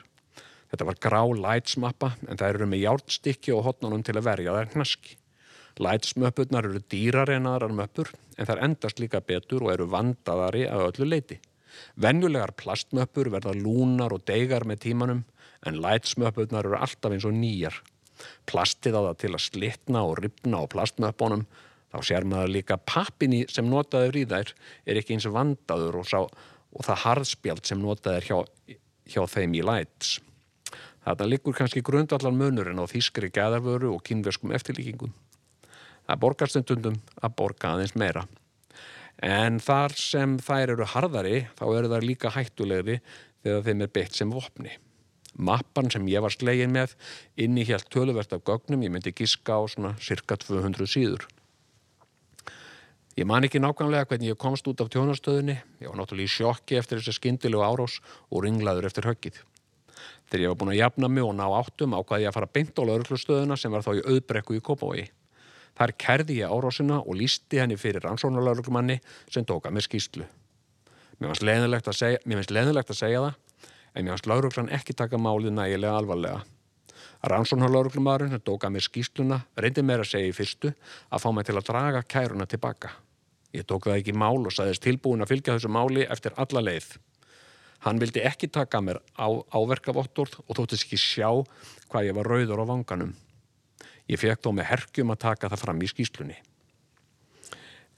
Þetta var grá lætsmappa en það eru með járnstykki og hotnunum til að verja þær hnaski. Lætsmöppunar eru dýrar en aðrar möppur en þær endast líka betur og eru vandaðari að öllu leiti. Venjulegar plastmöppur verða lúnar og deigar með tímanum en lætsmöppurnar eru alltaf eins og nýjar. Plastið á það til að slitna og ripna á plastmöppunum þá sér maður líka pappinni sem notaður í þær er ekki eins vandaður og, sá, og það harðspjald sem notaður hjá, hjá þeim í læts. Þetta liggur kannski grundvallan munurinn á þýskri gæðarvöru og kynverskum eftirlíkingum. Það borgar stundum að borga aðeins meira. En þar sem þær eru harðari þá eru þær líka hættulegri þegar þeim er beitt sem vopni. Mappan sem ég var slegin með inni hélt töluvert af gögnum, ég myndi giska á svona cirka 200 síður. Ég man ekki nákvæmlega hvernig ég komst út af tjónastöðinni. Ég var náttúrulega í sjokki eftir þessi skyndilegu árás og ringlaður eftir höggið. Þegar ég var búin að jafna mig og ná áttum ákvaði ég að fara beint á lauruglustöðina sem var þá í auðbrekku í Kópavogi. Þar kerði ég árásina og lísti henni fyrir rannsónalauruglumanni sem tóka með skýslu. Mér finnst leðilegt að segja, mér finnst leiðinlegt að segja það, en mér finnst lauruglan ekki taka málið nægilega alvarlega. Rannsónalauruglumadurinn sem tóka með skýsluna reyndi mér að segja í fyrstu að fá mig til að draga kæruna tilbaka. Ég tók það ekki í mál og sagðist tilbúin að fylgja þessu máli eftir alla leið. Hann vildi ekki taka mér á, áverkavottorð og þóttist ekki sjá hvað ég var rauður á vanganum. Ég fekk þó með herkjum að taka það fram í skýslunni.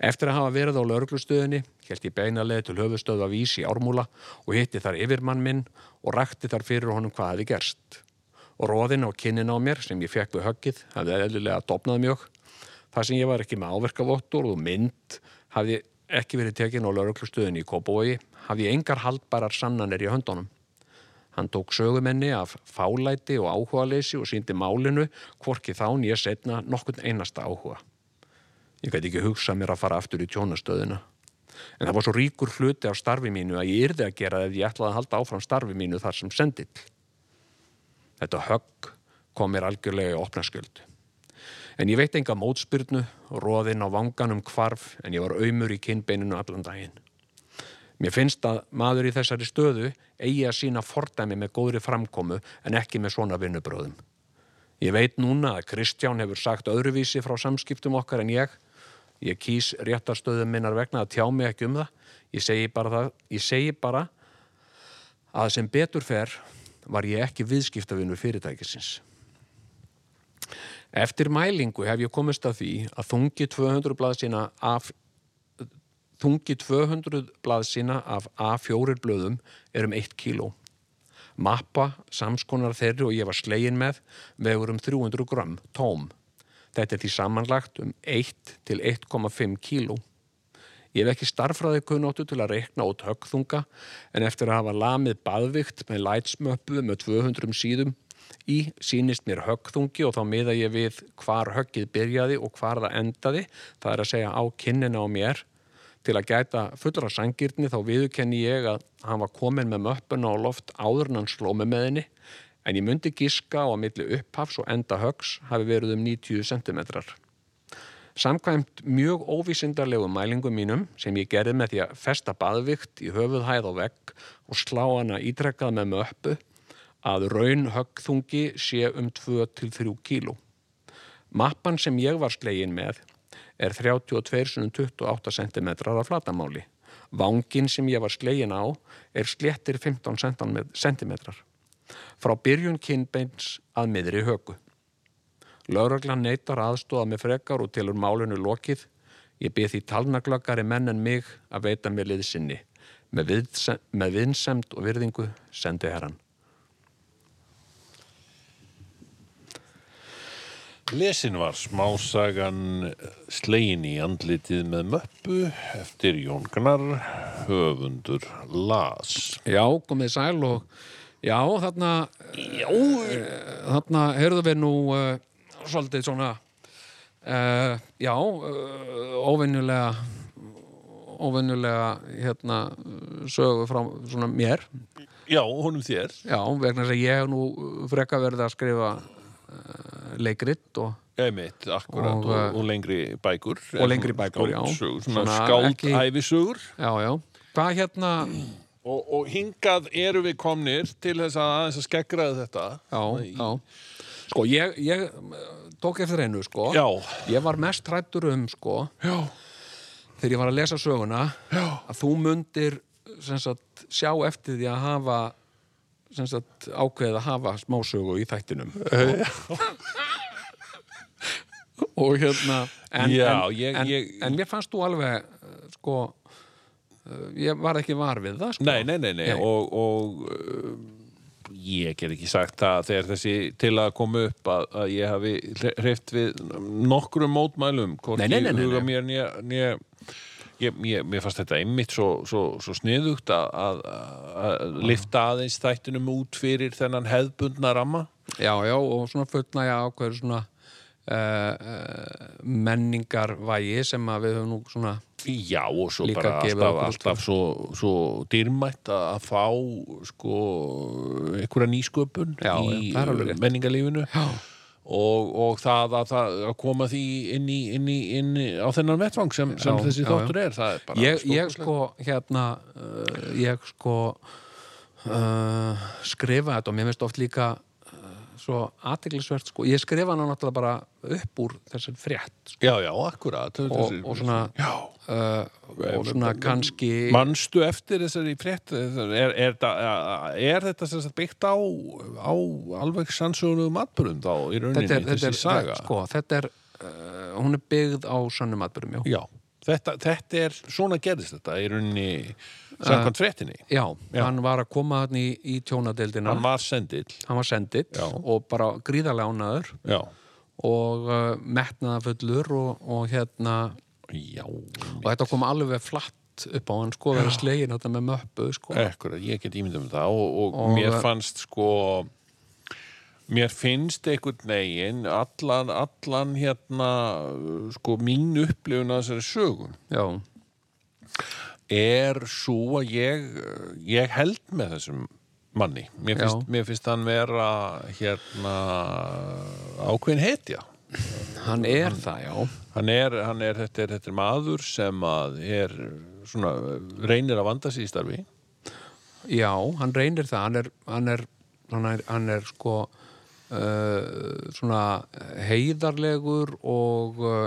Eftir að hafa verið á lauruglustöðinni held ég beina leið til höfustöðu af Ís í Ármúla og hitti þar yfirmann minn og rakti þar fyrir honum hvað hefði gerst. Og róðin á kinnin á mér sem ég fekk við höggið hafði eðlilega dopnað mjög. Það sem ég var ekki með áverkavottur og mynd hafði ekki verið tekin á lauruglustöðinni í Kópavogi, hafði ég engar haldbærar sannanir í höndunum. Hann tók sögumenni af fálæti og áhugaleysi og síndi málinu hvorki þá nýja setna nokkurn einasta áhuga. Ég gæti ekki hugsað mér að fara aftur í tjónastöðina. En það var svo ríkur hluti af starfi mínu að ég yrði að gera það ef ég ætlaði að halda áfram starfi mínu þar sem sendill. Þetta högg kom mér algjörlega í opnaskjöld. En ég veit enga mótspyrnu, róðinn á vanganum kvarf en ég var auðmur í kinnbeininu allan daginn. Mér finnst að maður í þessari stöðu eigi að sína fordæmi með góðri framkomu en ekki með svona vinnubröðum. Ég veit núna að Kristján hefur sagt öðruvísi frá samskiptum okkar en ég. Ég kýs réttastöðum minnar vegna að tjá mig ekki um það. Ég segi bara, það. Ég segi bara að sem betur fer var ég ekki viðskiptavinnur fyrirtækisins. Eftir mælingu hef ég komist að því að þungi 200 blaðsina af þungi 200 blaðsina af A4 blöðum er um 1 kíló. Mappa, samskonar þeirri og ég var slegin með vegur um 300 gram, tóm. Þetta er því samanlagt um 1 til 1,5 kíló. Ég hef ekki starfræði kunnáttu til að reikna út högþunga en eftir að hafa lamið baðvikt með lætsmöppu með 200 síðum í sýnist mér högþungi og þá miða ég við hvar höggið byrjaði og hvar það endaði, það er að segja á kinnina á mér til að gæta fullra sangirni þá viðurkenni ég að hann var komin með möppuna á loft áður en hann sló mig með henni en ég myndi giska á að milli upphafs og enda högs hafi verið um 90 cm. Samkvæmt mjög óvísindarlegu mælingum mínum sem ég gerði með því að festa baðvikt í höfuðhæð og vegg og slá hana ítrekkað með möppu að raun höggþungi sé um 2-3 kíló. Mappan sem ég var slegin með er 32,28 cm að flatamáli. Vangin sem ég var slegin á er sléttir 15 cm. Frá byrjun kinnbeins að miðri högu. Lögreglan neytar aðstóða með frekar og telur málinu lokið. Ég bið því talnaglöggari menn en mig að veita mér liðsinni. Með, viðse- með vinsemd og virðingu sendi herran.
Lesin var smásagan slegin í andlitið með möppu eftir Jón Gnar höfundur las.
Já, komið sæl og já, þarna já. þarna heyrðu við nú uh, svolítið svona uh, já uh, óvenjulega óvenjulega hérna sögu frá svona mér
Já, honum þér.
já, vegna þess að ég hef nú freka verið að skrifa uh, leikrit og
Einmitt, akkurat og,
Og,
og,
eh,
lengri bækur. eh,
og lengri bækur, já.
Skáldsögur, Svona,
Svona
skáld
ekki-
æfisugur.
já, já, hvað hérna
Og, og hingað eru við komnir til þess að aðeins að skeggraða þetta.
já, já sko, ég, ég eh, tók eftir einu, sko
Já.
ég var mest hrættur um, sko
Já.
þegar ég var að lesa söguna já. að þú mundir sem sagt, sjá eftir því að hafa sem sagt, ákveðið að hafa smásögu í þættinum og hérna en,
Já,
en,
ég-
en,
ég-
en mér fannst þú alveg eh, sko eh, ég var ekki var við það sko.
Nei, nei, nei, nei.
Nei.
Og, og uh, ég get ekki sagt það þegar þessi til að koma upp að, að ég hafi hreift við nokkrum mótmælum.
Nei, nei, nei, nei,
Huga
nei.
mér nýja... nýja Ég, ég, mér fannst þetta einmitt svo, svo, svo sniðugt að, að, að lifta aðeins þættinum út fyrir þennan hefðbundna ramma
já, já, og svona fullnæja ákveður svona uh, uh, menningarvægi sem að við höfum nú svona
Já, og svo
Líka
bara
gefið
alltaf,
okkur
alltaf svo, svo dýrmætt að að fá sko einhverja nýsköpun
Já,
í
já, það er alveg rétt.
menningarlífinu já. og, og það að, það að koma því inn í, inn í, inn í á þennan vettvang sem, sem
Já,
þessi
já,
þáttur er það er bara
ég, ég
stórkostlegt.
sko hérna uh, ég sko uh, skrifa þetta og mér finnst oft líka uh, svo aðteglisvert sko ég skrifa hann náttúrulega bara upp úr þessar frétt sko,
Já, já, akkurat
og, og svona uh, og svona kannski
Manstu eftir þessari frétt er, er, er, er þetta sem sagt byggt á, á alveg sannsögulegum atbyrðum þá í rauninni
þetta er, þetta
þessi
er,
saga
sko, þetta er uh, hún er byggð á sönnum atbyrjum já.
Já, þetta, þetta er svona gerðist þetta í rauninni samkvæmt fréttinni.
Já,
Já.
hann var að koma hann í, í tjónadeildina
Hann var sendill.
hann var sendill og bara gríðarlega ánaður
Já.
og uh, metnaðafullur og, og hérna
Já.
og þetta kom alveg flatt upp á hann sko verið slegin þetta með möppu sko
Ekkur, ég get ímyndað um það og, og,
Og-
mér fannst sko mér finnst einhvern veginn allan, allan hérna sko mín upplifun að þessari sögum
já,
er svo að ég, ég held með þessum manni. Mér
Já.
finnst, mér finnst hann vera hérna ákveðin hetja.
hann er það já
Hann er, hann er, þetta, er, þetta er maður sem að er svona, reynir að vanda sér í starfi
já, hann reynir það hann er, hann er, hann er, hann er sko uh, svona heiðarlegur og uh,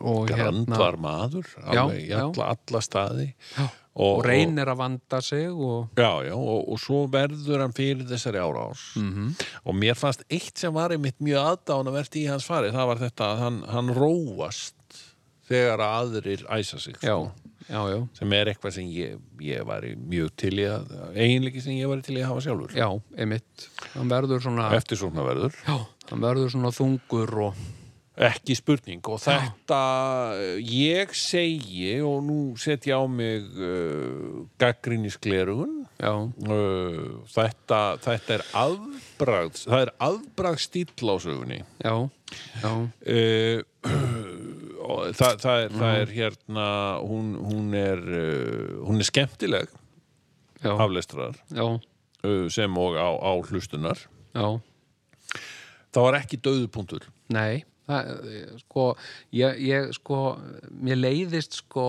og
grandvar maður alveg,
Hérna- Já,
í alla, alla staði já,
og reynir að vanda sig og
Já, já, og, og svo verður hann fyrir þessari árás -hmm. og mér fannst eitt sem var einmitt mjög aðdánavert í hans fari, það var þetta að hann, hann róast þegar að aðrir æsa sig
já, já, já,
sem er eitthvað sem ég, ég væri mjög til í að, eiginleiki sem ég væri til í að hafa sjálfur
já, einmitt hann verður svona
eftir svona verður
já, hann verður svona þungur og
Ekki spurning og þetta ég segi og nú setja á mig uh, gaggrinnisklerugun
já,
uh, þetta, þetta er afbragð það er afbragð stíll á sögunni
já, já,
uh, og það, það, er, það er hérna hún, hún er uh, hún er skemmtileg
já,
aflestrar
já,
uh, sem og á, á hlustunar
já,
það var ekki döðupunktur
nei, það, eh, sko, ég, ég, sko, mér leiðist, sko,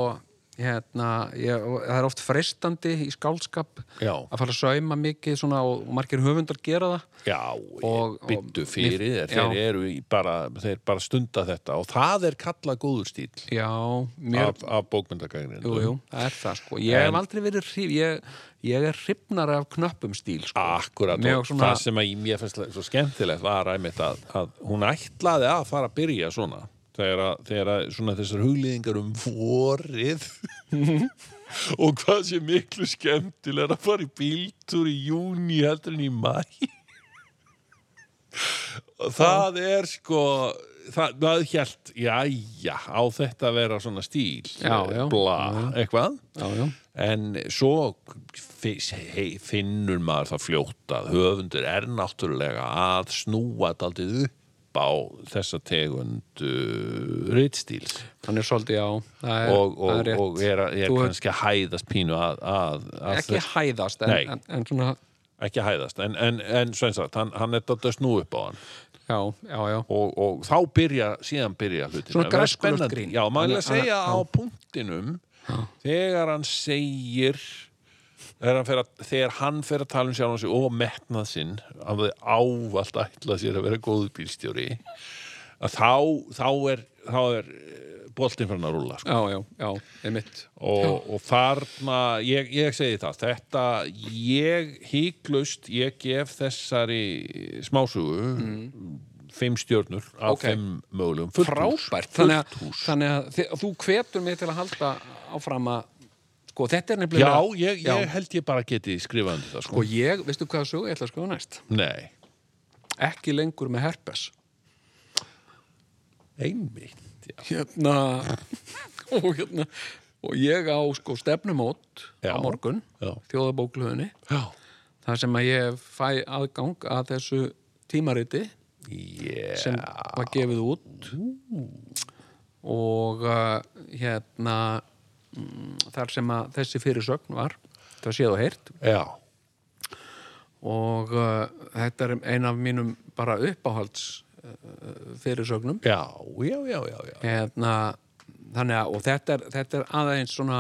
hérna, ég, og það er oft freistandi í skálskap
Já.
að fara að sauma mikið svona og, og margir höfundar gera það.
Já,
Og-
og, byttu
og-
fyrir
mér-
þér, þeir
já.
eru í bara, þeir bara stunda þetta og það er kallað góður stíl
Já, mér,
af, af bókmyndagagnin.
jú, jú, það er það, sko. Ég hef aldrei verið hrif, ég, ég er hrifnar af knöppum stíl, sko.
Akkurat,
Mjög
og
svona-
það sem að ég- mér finnst svo skemmtilegt var einmitt að, að hún ætlaði að fara að byrja svona þegar, að, þegar að svona þessar hugliðingar um vorið og hvað sé miklu skemmtilega að fara í bíltúr í júni heldur en í mæ og það er sko það, það hjælt, jæja á þetta að vera svona stíl
Já, já.
bla, eitthvað
Já, já,
En svo fi- hei- finnur maður það fljótt að höfundur er náttúrulega að snúa daldið upp á þessa tegund uh, reitstíls
hann er svolítið, já, það er,
og,
það
og,
er rétt.
og er, að- er
Þú-
kannski að hæðast pínu að, að, að
ekki
þess-
hæðast en,
Nei.
en, en svona,
ekki að hæðast en, en, en sveinsagt, hann, hann er daldið að snúa upp á hann
já, já, já
og, og þá byrja, síðan byrja hlutin
Svona græskulegt grín.
Já,
Hann
maður er
er-
að segja
hann
á
er-
punktinum þegar hann segir þegar hann, fer að, þegar hann fer að tala um sjálfan sig og metnað sinn að þau ávallt ætla sér að vera góðu bílstjóri að þá, þá er, þá er boltinn fyrir hann að rúlla sko
já, já, já, einmitt
og, og þarna ég, ég segi það, þetta ég híklaust, ég gef þessari smásugu
Mm.
fimm stjörnur af
Ókei.
fimm mögulegum fullt hús.
frábært, þannig að, þannig að þi- þú hvetur mig til að halda áfram að sko, þetta er
já,
nefnilega
ég,
Já.
ég held ég bara geti skrifað undir það sko,
og ég, veistu hvað sög ég ætla að skoða næst
nei
ekki lengur með herpes
einmitt, já,
hérna og hérna og ég á sko stefnumót
Já.
á morgun,
Já.
þjóðabóklöðinni
já.
þar sem að ég fæ aðgang að þessu tímariti
Yeah.
sem var gefið út og uh, hérna mm, þar sem að þessi fyrirsögn var það séð og heyrt
já
og uh, þetta er ein af mínum bara uppáhalds uh, fyrirsögnum
já, já, já, já, já
hérna, þannig að og þetta er, þetta er aðeins svona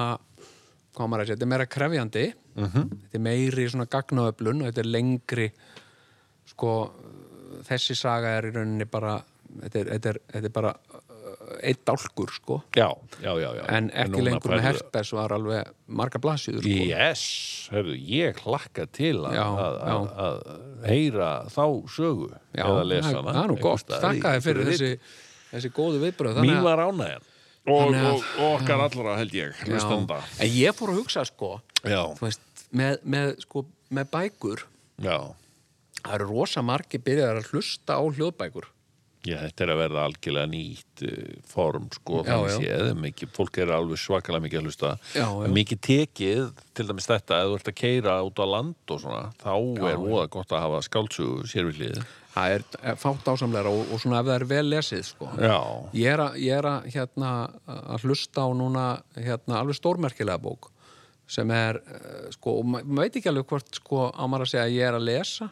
hvað á maður að segja, þetta er meira krefjandi
Mhm.
þetta er meiri svona gagnaöflun og þetta er lengri sko, þessi saga er í rauninni bara þetta er, þetta er, þetta er bara uh, eitt dálkur sko
já, já, já, já
en ekki
núna
lengur með
færðu-
herpes var alveg marga blasjúður sko.
Yes, hefðu, ég hlakka til að,
Já,
að,
já.
að, að heyra þá sögu
Já,
eða lesa hana.
það er nú
einhvers
gott,
staðar í
þakkaði fyrir
einhverju
þessi, þessi góðu viðbröð
riti.
þannig
Mín
að-
var ánægjan og,
Þannig að-
og, og okkar allra held ég
Já.
hlustanda.
en ég fór að hugsa sko
Já,
þú veist, með, með, sko, með bækur
já,
það eru rosa margi byrjaðar að hlusta á hljóðbækur
já, þetta er að verða algjörlega nýtt uh, form sko,
Já,
þannig
já.
séð, mikið, fólk er alveg svakalega mikið að hlusta,
Já, já.
mikið tekið til dæmis þetta, ef þú ert að keira út á land og svona, þá er voða gott að hafa skáldsögu sérvillið.
það er er fátt ásamlega og, og svona ef það er vel lesið sko.
Já,
ég er, að, ég er að, hérna, að hlusta á núna hérna, alveg stórmerkilega bók sem er, eh, sko, og ma- maður veit ekki alveg hvort sko, á maður að segja að ég er að lesa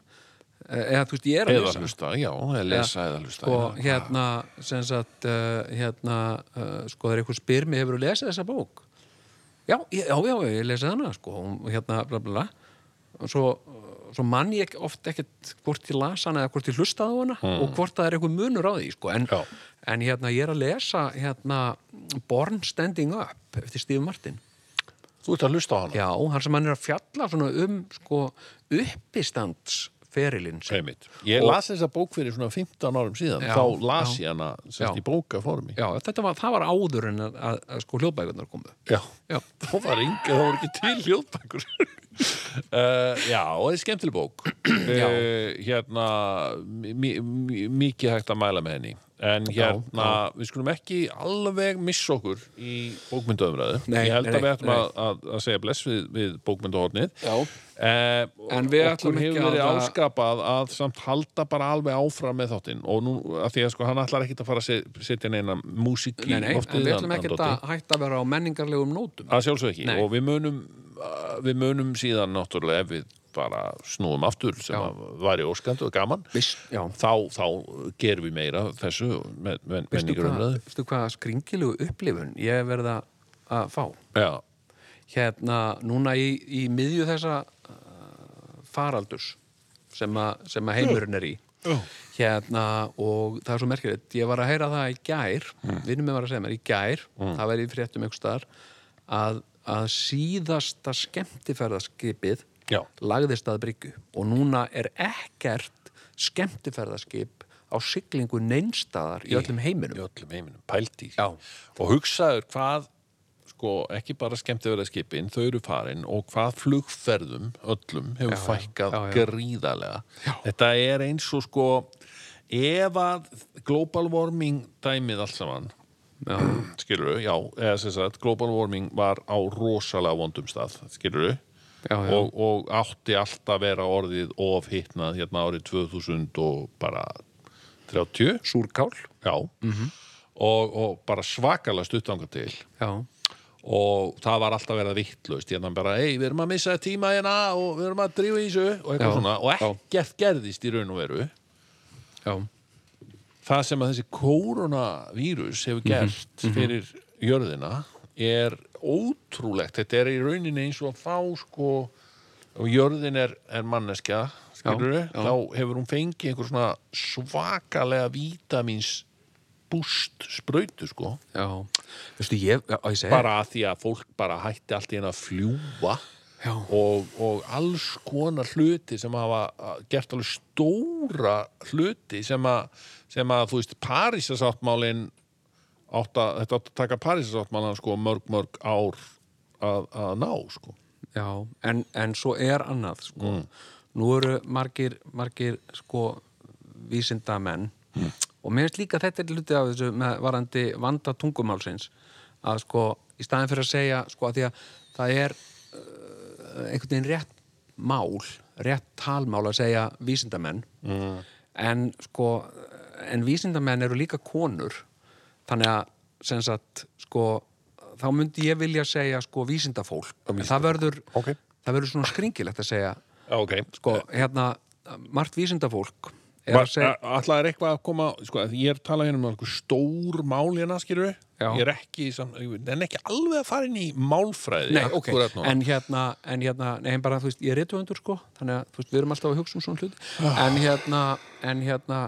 eh, eða þú veist, ég er að
eða
lesa
hlusta, já, eða lesa eða hlusta.
sko,
já.
hérna, sem sagt uh, hérna, uh, sko, það er eitthvað spyr mig, hefur þú lesið þessa bók? Já, ég- já, já, ég lesið hana, sko og hérna, bla, bla, bla og svo, svo mann ég ekki- oft ekkert hvort ég las hana eða hvort ég hlustaði á hana og hvort það er eitthvað munur á því, sko en,
Hmm. Já.
en hérna, ég er að lesa hérna, Born Standing Up eftir Steve Martin
Þú ert að hlusta á hana?
Já, hann sem hann er að fjalla svona um, sko, uppistandsferilinn sinn.
Einmitt. Ég las þessa bók fyrir svona 15 árum síðan
Já,
þá las
já.
ég hana sérst
Já.
í bókaformi
Já, þetta var, það var áður en að, að, að sko hljóðbækurnar komu.
Já.
Já.
þá var enga, þá voru ekki til hljóðbækur Uh, já, og það er skemmtileg bók uh, hérna mi mi mikið hægt að mæla með henni en hérna, við skulum ekki alveg missa okkur í bókmyndaumræðu
Nei,
ég held
nei,
að við
nei,
ætlum
nei.
að, að, að segja bless við, við bókmyndahornið
Já.
Eh,
En við
okkur
ætlum ekki
hefur verið
að-
áskapað að samt halda bara alveg áfram með þáttinn og nú, að því að sko, hann ætlar ekki að fara að se- setja neina músík í
Nei, nei, en
loftið,
við
hann-
ætlum
hann
ekkert
Doddi.
að hætta að vera á menningarlegum nótum
að sjálfsög ekki
Nei.
og við munum uh, við munum síðan náttúrulega ef við bara snúum aftur sem
Já.
að væri óskandi og gaman
Viss, já
þá, þá gerum við meira af þessu með, með
Veistu hvað,
menningarumræðu
veistu hvað skringilugu upplifun ég hef verið að- að fá
já,
hérna núna í, í miðju þessa uh, faraldurs sem, a, sem að heimurinn er í hérna og það er svo merkilegt ég var að heyra það í gær mm. vinnum með var að segja mér í gær það væri í fréttum einhvers staðar að, að síðasta skemmtiferðaskipið
Já.
lagðist að bryggju og núna er ekkert skemmtiferðaskip á siglingu neinstaðar í öllum heiminum
í öllum heiminum, pældi
Já.
og hugsaður hvað sko, ekki bara skemmt að vera skipin þau eru farin og hvað flugferðum öllum hefur
já.
fækkað
Já, já.
gríðarlega þetta er eins og sko ef að global warming dæmið allt saman
Já.
skilur já, eða sem sagt global warming var á rosalega vondum stað, skilur
Já, já.
Og, og átti alltaf að vera orðið of hitnað hérna árið 2000 og bara 30,
Súrkál
já og, og bara svakalega stuttanga til
Já,
og það var alltaf verið vittlaust hérna bara, ei, við erum að missa tíma hérna og við erum að drífa í þessu og eitthvað
Já,
svona, og
já.
ekkert gerðist í raun og veru
já
það sem að þessi koronavírus hefur
Mhm.
gert fyrir jörðina er ótrúlegt þetta er í rauninni eins og að fá sko, og jörðin er, er manneskja skilur
Já, já.
þá hefur hún fengið einhver svona svakalega vítamins búst sprautu sko
Já, veistu ég, já, ég segi
bara að því að fólk bara hætti allt í einu að fljúa
Já.
og, og alls konar hluti sem hafa að- gert alveg stóra hluti sem að, sem að þú veist Parísasáttmálin átt að, þetta átt að taka Parísasáttmálan sko mörg mörg ár að, að ná sko
Já, en, en svo er annað sko. Nú eru margir, margir sko, vísindamenn og mér finnst líka þetta er luti af þessu með varandi vanda tungumálsins að sko, í staðin fyrir að segja sko, að því að það er uh, einhvern veginn rétt mál rétt talmál að segja vísindamenn en sko en vísindamenn eru líka konur þannig að sem sagt sko, þá myndi ég vilja segja sko vísindafólk, en það verður
Um Ok.
það verður svona skringilegt að segja
Ok,
sko, hérna, margt vísindafólk er
Var,
að segja,
Alltaf er eitthvað að koma sko, að ég er talað hérna um einhver stór mál hérna, skilur
Já.
ég er ekki, sam, ég er ekki alveg að fara inn í málfræði
nei, ok,
akkúrat núna.
en hérna, en hérna nei, en bara, þú veist, ég er rituðundur, sko þannig að, þú veist, við erum alltaf að hugsa um svona hluti
Ah.
en hérna, en hérna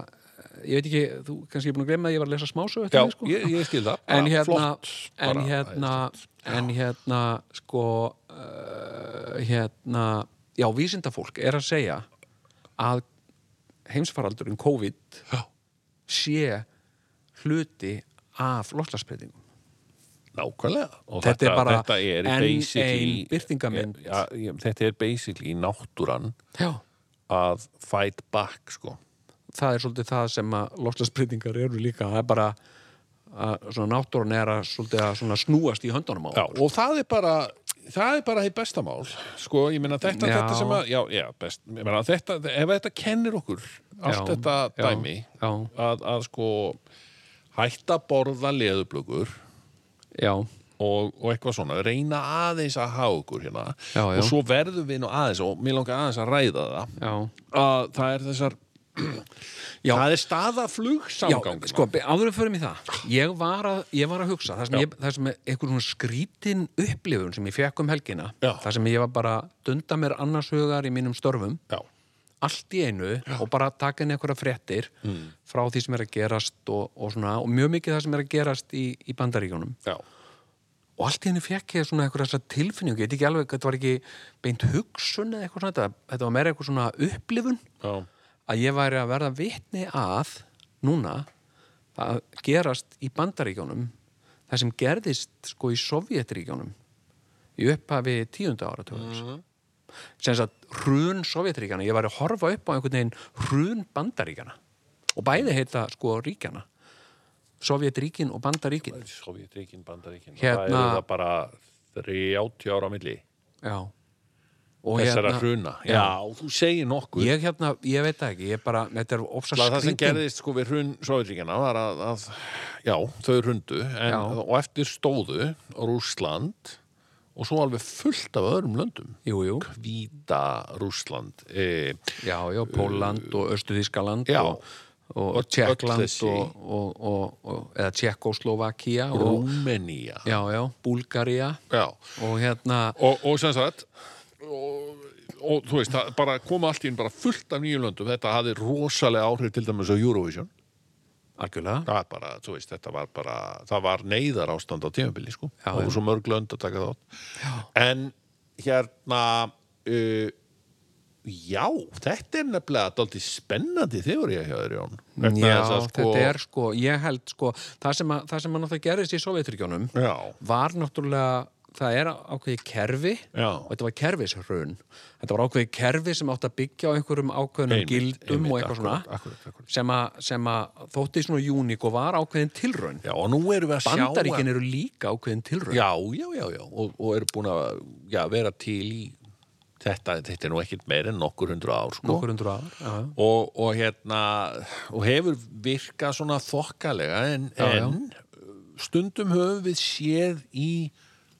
ég veit ekki, þú kannski er búin að gleyma að ég var að lesa smásög eftir
Já,
þig, sko.
ég, ég skil það
en
bara
hérna,
flott,
en
bara,
hérna en hérna sko uh, hérna já, vísindafólk er að segja að heimsfaraldurinn COVID
Já.
sé hluti af loftlagsbreytingum
Nákvæmlega og
Þetta er bara
þetta er
enn
basically-
ein birtingarmynd.
ja, ég- Þetta er basically náttúran
já,
að fight back sko.
það er svolítið það sem að loftlagsbreytingar eru líka það er bara að svona náttúrun er að svolítið að svona snúast í höndunum á
já,
okkur.
og það er bara það er bara því bestamál sko, ég meina þetta,
Já.
þetta sem að já, já, best, ég meina, þetta, ef þetta kennir okkur allt
Já,
þetta
já,
dæmi
já.
Að, að sko hætta að borða leðublökur
já,
og, og eitthvað svona, reyna aðeins að hafa okkur hérna
Já, já.
og svo verðum við nú aðeins og mér langar aðeins að ræða það
já
að það er þessar
Já.
það er staða
Já,
flugsamgang
sko, be- áður en við förum í það ég var að, ég var að hugsa það sem, ég, það sem er einhver svona skrítin upplifun sem ég fekk um helgina
Já.
það sem ég var bara að dunda mér annars hugar í mínum störfum
Já.
allt í einu og bara taka inn einhverja fréttir frá því sem er að gerast og, og svona, og mjög mikið það sem er að gerast í, í bandaríkjónum
Já.
og allt í henni fekk ég svona eitthvað þessa tilfinningu, ég veit ekki alveg, þetta var ekki beint hugsun eða eitthvað svona, þetta, þetta var meira eitthvað svona upplifun
Já.
að ég væri að verða vitni að núna að gerast í bandaríkjónum það sem gerðist sko í Sovjetríkjónum í upphafi tíunda áratöfums sem sagt hrun Sovjetríkjana ég var að horfa upp á einhvern veginn hrun Bandaríkjana og bæði heita sko ríkjana Sovjetríkin og Bandaríkin
Sovjetríkin, Bandaríkin
Hérna-
það eru það bara 30 ára á milli
já og hérna,
þessara hruna já, þú segir nokkuð
ég hérna, ég veit það ekki, ég bara þetta er ofsa
Það það sem
skrítin
gerðist sko við hrun Sovjetríkjana var að, að já, þau hrundu en,
Já.
og eftir stóðu Rússland og svo alveg fullt af öðrum löndum
jú, jú,
Hvíta Rússland e,
já, já, Póland og Östuðískaland
Já.
og,
Öll-
og
öll
Tjekkland
þessi.
og, og, og, og eða Tjekkoslovakia og,
Rúmenía
já, já, Búlgaria
Já.
og hérna
Og, og sem sagt og, og þú veist, það bara kom allt í einu bara fullt af nýjum löndum þetta hafði rosalega áhrif til dæmis á Eurovision
algjörlega,
það er bara, þú veist, þetta var bara það var neyðar ástand á tímabili sko
Já,
það voru
já.
svo mörg lönd að taka þátt já. en hérna uh, já, þetta er nefnilega dálítið spennandi þeoría hjá þér Jón Vegna
já,
þess að,
þetta er sko ég held sko, það sem að, það sem að náttúrulega gerðist í Sovjetryggjónum
já,
var náttúrulega, það er ákveðið kerfi
Já.
og þetta var kerfishrun þetta var ákveðið kerfi sem átt að byggja á einhverjum ákveðnum
Einmitt,
gildum
einmitt,
og eitthvað
akkurat,
svona
akkurat, akkurat.
sem að- sem að þótti svona júník og var ákveðin tilraun
já, og nú erum við að sjá að-
Bandaríkin eru líka ákveðin tilraun
já, já, já, já, og, og eru búin að já, vera til í þetta, þetta er nú ekkert meir en nokkur hundru ár sko.
nokkur undur ár já, já.
og, og hérna og hefur virkað svona þokkalega en,
Já, já.
en uh, stundum höfum við séð í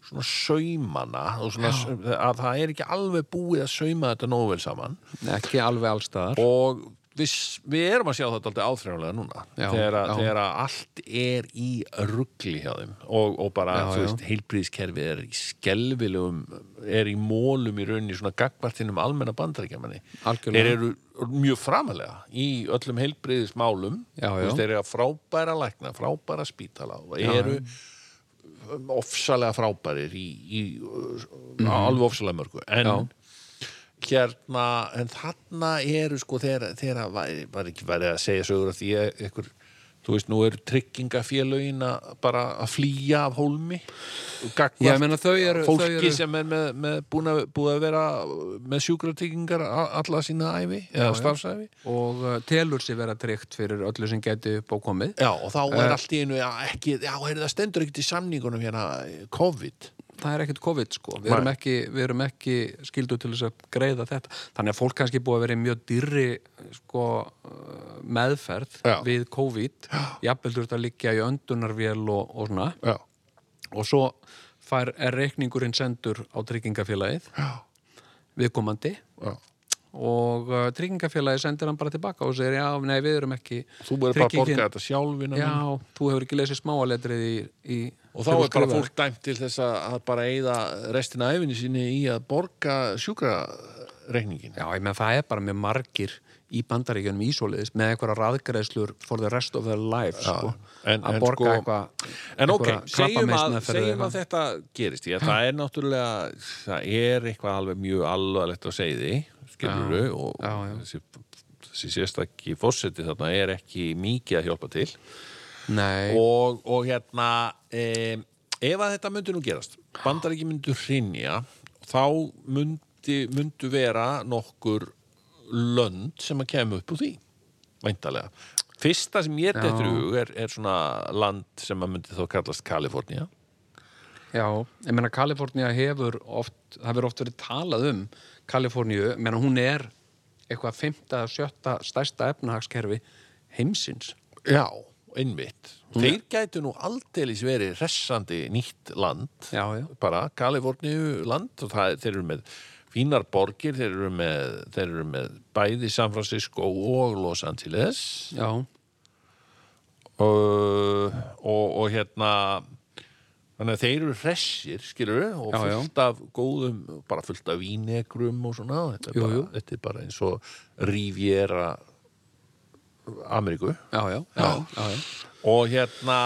svona saumana og svona, að það er ekki alveg búið að sauma þetta nógu vel saman
ekki alveg allstaðar
og við, við erum að sjá þetta alltaf áþrjálega núna
Já,
þegar, að-
já.
þegar að allt er í ruggli hjá þeim og, og bara,
Já,
þú
já.
veist, heilbríðiskerfi er í skelfilegum, er í mólum í rauninni svona gagbartinum almenna bandarækjamanni þeir
Algjörlega.
eru mjög framalega í öllum heilbríðismálum
Já,
Þú
já.
veist, þeir eru að frábæra lækna, frábæra spítala og eru um, ofsalega frábærir í, í uh, alveg ofsalega mörgu en
Mhm. Já.
hérna, en þarna eru sko þegar, þegar að væri, var ekki verið að segja sögur af því að ykkur þú veist, nú eru tryggingafélögin að bara að flýja af hólmi gagnvart
Já, ég meina, þau eru-
fólki
þau eru-
sem er með, með búin að, búið að vera með sjúkratryggingar a- alla sína æfi eða starfsæfi
og uh, telur sér vera tryggt fyrir öllu sem geti upp á komið
Já, og þá er allt í einu já, ekki, já, heyrðu, það stendur ekkert í samningunum hérna COVID
það er ekkert COVID sko, við erum,
Nei.
ekki, við erum ekki skildu til þess að greiða þetta þannig að fólk kannski búið að vera í mjög dyrri sko, uh, meðferð
Já.
við COVID jafnvel þurft að liggja í öndunarvél og, og svona
Já,
og svo fær, er reikningurinn sendur á tryggingafélagið
Já.
viðkomandi
já
og uh, tryggingafélagið sendir hann bara tilbaka og segir já, nei, við erum ekki
Þú verður bara að borga
tryggingin-
þetta sjálfina
Já, þú hefur ekki lesið smáaletrið í, í
Og þá
þegar þú
er bara
skrifaðir.
fólk dæmt til þess að að bara eigða restina æfinni sinni í að borga sjúkrareikningin.
Já, ég meðan það er bara með margir í bandaríkjunum ísóliðis með einhverja raðgreðslur for the rest of their life sko,
en-
að
en
borga
sko-
eitthvað
En ok,
einhverja
segjum að,
krabbameinsmeðferð eða
segjum að
eitthvað.
þetta gerist ég, það er náttúrulega, það er eitthvað alveg mjög alvarlegt á segði skilur við og
já, já.
þessi, þessi sérstakki fórseti þarna er ekki mikið að hjálpa til
Nei,
og, og hérna e, ef að þetta myndi nú gerast bandaríki myndu hrinja þá myndi, myndu vera nokkur lönd sem að kemur upp úr því væntalega. Fyrsta sem ég dettur í hug er, er svona land sem að myndi þá kallast Kalifornía
já, ég meina Kalifornía hefur oft, það hefur oft verið talað um Kaliforníu, meina hún er eitthvað fymta, sjötta stærsta efnahagskerfi heimsins
Já, einmitt. Þeir gætu nú aldeilis verið hressandi nýtt land,
Já, já.
bara Kaliforníu land og það, er- þeir eru með fínar borgir, þeir eru með, þeir eru með bæði San Francisco og Los Angeles
Já,
og, og, og hérna þannig að þeir eru hressir, skilur við, og
Já, já.
fullt af góðum, bara fullt af vínegrum og svona, þetta er,
Jú,
bara,
jú.
Þetta er bara eins og Riviera Ameríku
já, já, já, já, já.
og hérna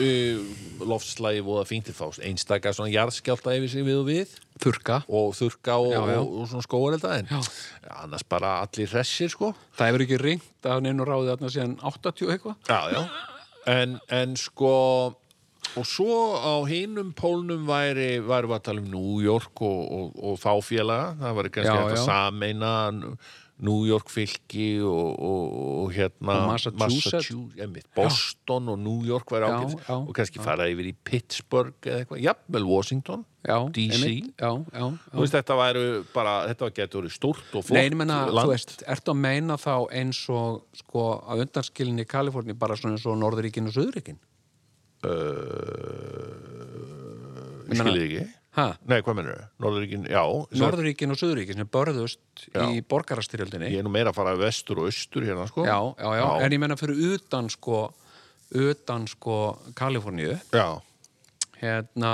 uh, loftslægi voða fínt til fást einstaka svona jarðskjálta yfir sig við og við
Þurka
og þurka og,
Já, já.
og, og svona skóarelda en
Já.
annars bara allir hressir sko
Það hefur ekki ringt af neinu ráðið þarna síðan 80 eitthvað
já, já en, en sko Og svo á hinum pólnum væri, væri við að tala um New York og, og, og þá félaga. Það var kannski
Já,
hægt að
já.
sameina New York fylki og, og, og hérna
Og Massachusetts.
einmitt, Boston og New York væri
Já,
ágætt
já,
og kannski fara yfir í Pittsburgh eða eitthvað, jafnvel Washington
já,
DC.
einmitt, já, já, já.
Þú veist, þetta væru bara, þetta getur verið stórt og flott
Nei, ég meina,
land.
þú veist, ertu að meina þá eins og sko að undanskilinni í Kaliforni bara svona eins og Norðuríkin og Suðuríkin?
uh, Ég skilði ekki.
Ha?
Nei, hvað mennur þau? Norðuríkin, já. Norður...
Norðuríkin og Suðuríkin sem börðust
Já.
í borgarastyrjöldinni.
Ég er nú meira að fara vestur og austur hérna, sko.
Já, já, já, en ég meina fyrir utan sko, utan sko Kaliforníu,
Já,
hérna,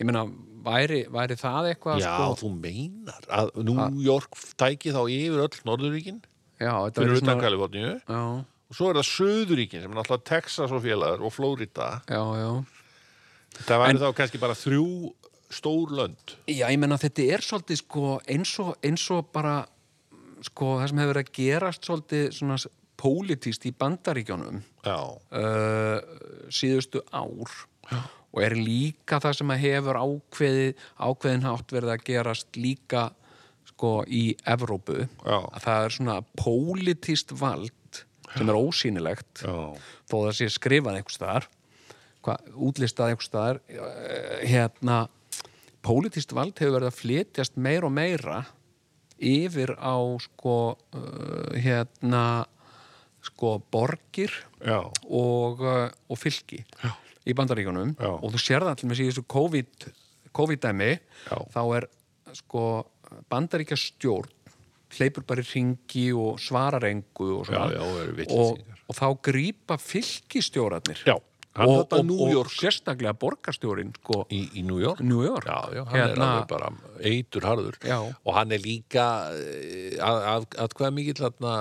ég meina, væri, væri það eitthvað
já
sko?
þú meinar að New York tæki þá yfir öll Norðuríkin
Já, þetta
fyrir
verður
utan
svona...
Kaliforníu
Já,
og svo er það Suðuríkin sem er náttúrulega Texas og félagar og Florida.
já, já.
Það væri þá kannski bara þrjú stór lönd.
Já, ég menna þetta er svolítið sko eins og, eins og bara sko það sem hefur verið að gerast svolítið svona s- pólitískt í bandaríkjónum
Já,
uh, síðustu ár og er líka það sem að hefur ákveði, ákveðin hátt verið að gerast líka sko í Evrópu
Já.
að það er svona pólitískt vald sem er ósýnilegt
já,
þó það sé skrifað einhvers staðar hva, útlistað einhvers staðar eh, hérna pólitískt vald hefur verið að flytjast meira og meira yfir á sko uh, hérna sko borgir
já,
og, eh, og fylki Já. í bandaríkunum
Já.
og þú sér það allir með síðustu COVID, COVID-dæmi
Já.
þá er sko bandaríkja stjórn hleypur bara í ringi og svarar engu og, svona.
Já, já, og eru
og,
vitleysingar.
og þá grípa fylkistjórarnir
já. Hann
og,
þetta
og,
New
og
York
sérstaklega borgarstjórin sko,
í, í New York.
New York Hérna-
Já, já, hann er alveg bara eitur harður
Já.
og hann er líka eh, að, að, að hvað mikill hérna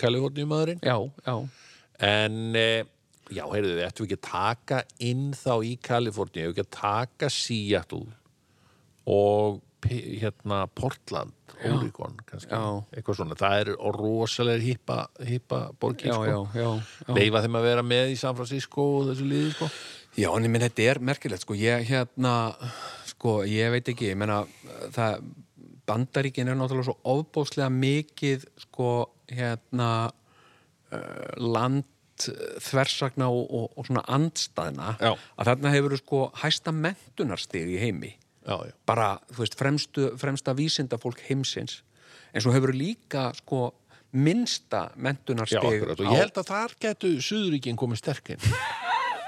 Kaliforniumadurinn
já, já,
en eh, já, heyrðu, ættum við ekki að taka inn þá í Kaliforníu, ef við ekki að taka Seattle og P- hérna Portland, Oregon kannski,
Já.
eitthvað svona það eru og rosalega hippa, hippa borgir,
já, já,
sko,
já, já.
leifa þeim að vera með í San Francisco og þessu liði, sko
Já, en ég minn, þetta er merkilegt, sko, ég hérna, sko, ég veit ekki, ég meina, það, bandaríkin er náttúrulega svo ofbóðslega mikið, sko, hérna, uh, land, eh, þversagna og, og, og svona andstæðna,
Já.
að þarna hefur, sko, hæsta mentunarstig í heimi,
já, já,
bara, þú veist, fremstu, fremsta vísindafólk heimsins, en svo hefur líka, sko, minnsta
já,
mentunarstig
akkurat og ég held að þar getu Suðuríkin komið sterkinn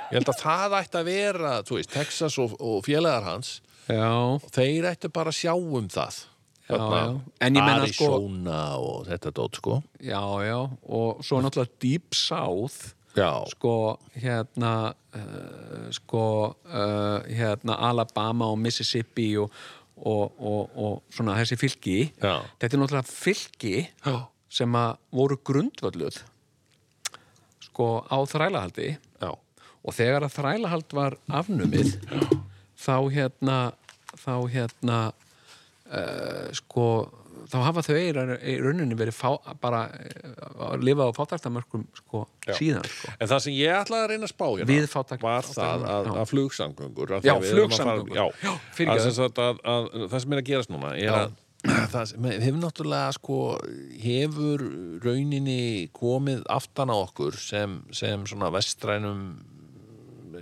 ég held að það ætti að vera, þú veist, Texas og, og félagar hans
Já,
þeir ættu bara að sjá um það
Já, já. En ég meina, sko-
Arizona og þetta dót sko
Já, já, og svo náttúrulega Deep South
já,
sko, hérna uh, sko, uh, hérna Alabama og Mississippi og, og, og, og svona þessi fylki
Já.
þetta er náttúrulega fylki
Já.
sem að voru grundvölluð sko á þrælahaldi
já,
og þegar að þrælahald var afnumið þá hérna þá hérna uh, sko þá hafa þau í raun- í rauninni verið fá, bara uh, að lifa á fátartamörkum sko, síðan sko.
en það sem ég ætlaði að reyna að spá hérna
Við fátæk-
var það að,
já.
að flugsamgöngur að
Já,
því að við erum að
flugsamgöngur.
fara,
Já,
já,
fyrirgefðu.
að, sem sagt að, að, það sem er að gerast núna er að það sem hefur náttúrulega sko hefur rauninni komið aftan á okkur sem, sem svona vestrænum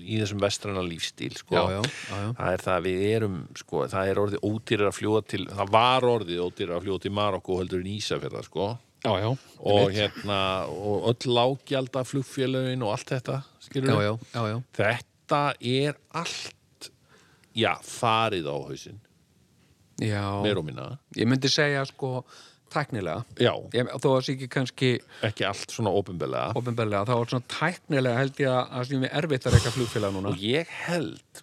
í þessum vestræna lífstíl sko.
Já, já, já, já.
það er það að við erum sko, það er orðið ódýrar að fljúa til það var orðið ódýrar að fljúa til Marokko heldur en Ísafjörða sko.
Já, já,
og hérna og öll lággjald af flugfélögin og allt þetta skilur
já, já, já, já.
þetta er allt já, farið á hausinn meir um.
já.
og minna
Ég myndi segja sko tæknilega
já,
ég, þó að það sé ekki kannski
ekki allt svona ofinbelega
ofinbeglega, þá er svona tæknilega held ég að það sé mér erfitt að reyka flugfélag núna
og ég held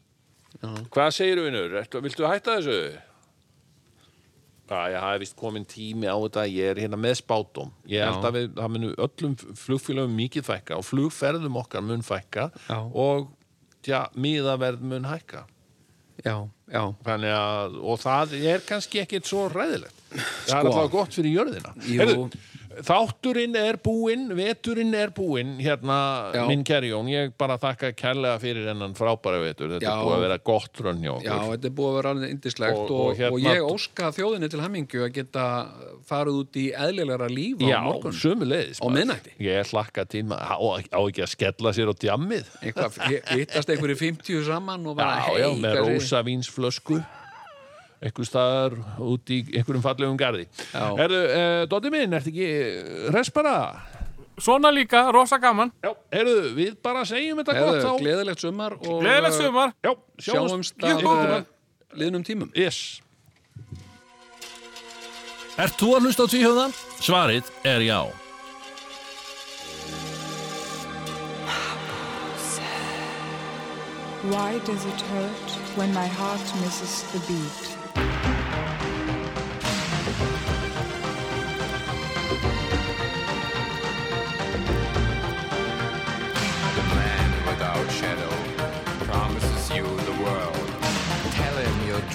hvað segir vinur, Ertu, viltu hætta þessu? Já, ég hafi vist komin tími á þetta ég er hérna með spátum ég held
Já.
að við, það munu öllum flugfélögum mikið fækka og flugferðum okkar mun fækka
Já.
og já, miðaverð mun hækka
Já, já,
Þannig að, og það er kannski ekkit svo ræðilegt. Það er
Sko.
alltaf gott fyrir jörðina.
Jú.
Heyrðu, Þátturinn er búinn, veturinn er búinn hérna,
Já.
minn kæri Jón ég bara þakka kærlega fyrir hennan frábæra vetur, þetta
Já.
er búið að vera gott rönn hjá
Já,
okkur
þetta er búið að vera alveg indislegt
Og-
og,
og
og,
hérna-
ég óska þjóðinni til hamingju að geta farið út í eðlilegra líf á morgun.
sömu leiðis
Á miðnætti.
Ég hlakka tíma, á, á ekki að skella sér á djammið
Eitthvað, hi- hittast einhverju 50 saman og bara,
Já,
hei,
já, með
hvað er-
rosa vínsflösku einhver staðar út í einhverjum fallegum garði
Já.
Erðu, uh, Dóti minn, ertu ekki res bara?
Svona líka, rosa gaman
Já, erðu, við bara segjum þetta
Heyrðu,
gott þá
Gleðilegt sumar og uh,
Gleðilegt sumar
Já,
Sjáumst að
Jú.
eh, liðnum tímum.
Yes
Ert þú að hlusta á tvíhjóðan? Svarið er já.
Why does it hurt when my heart misses the beat?
man without shadow promises you the world. Tell him your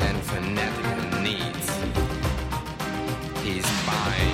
and fanatical needs. He's mine.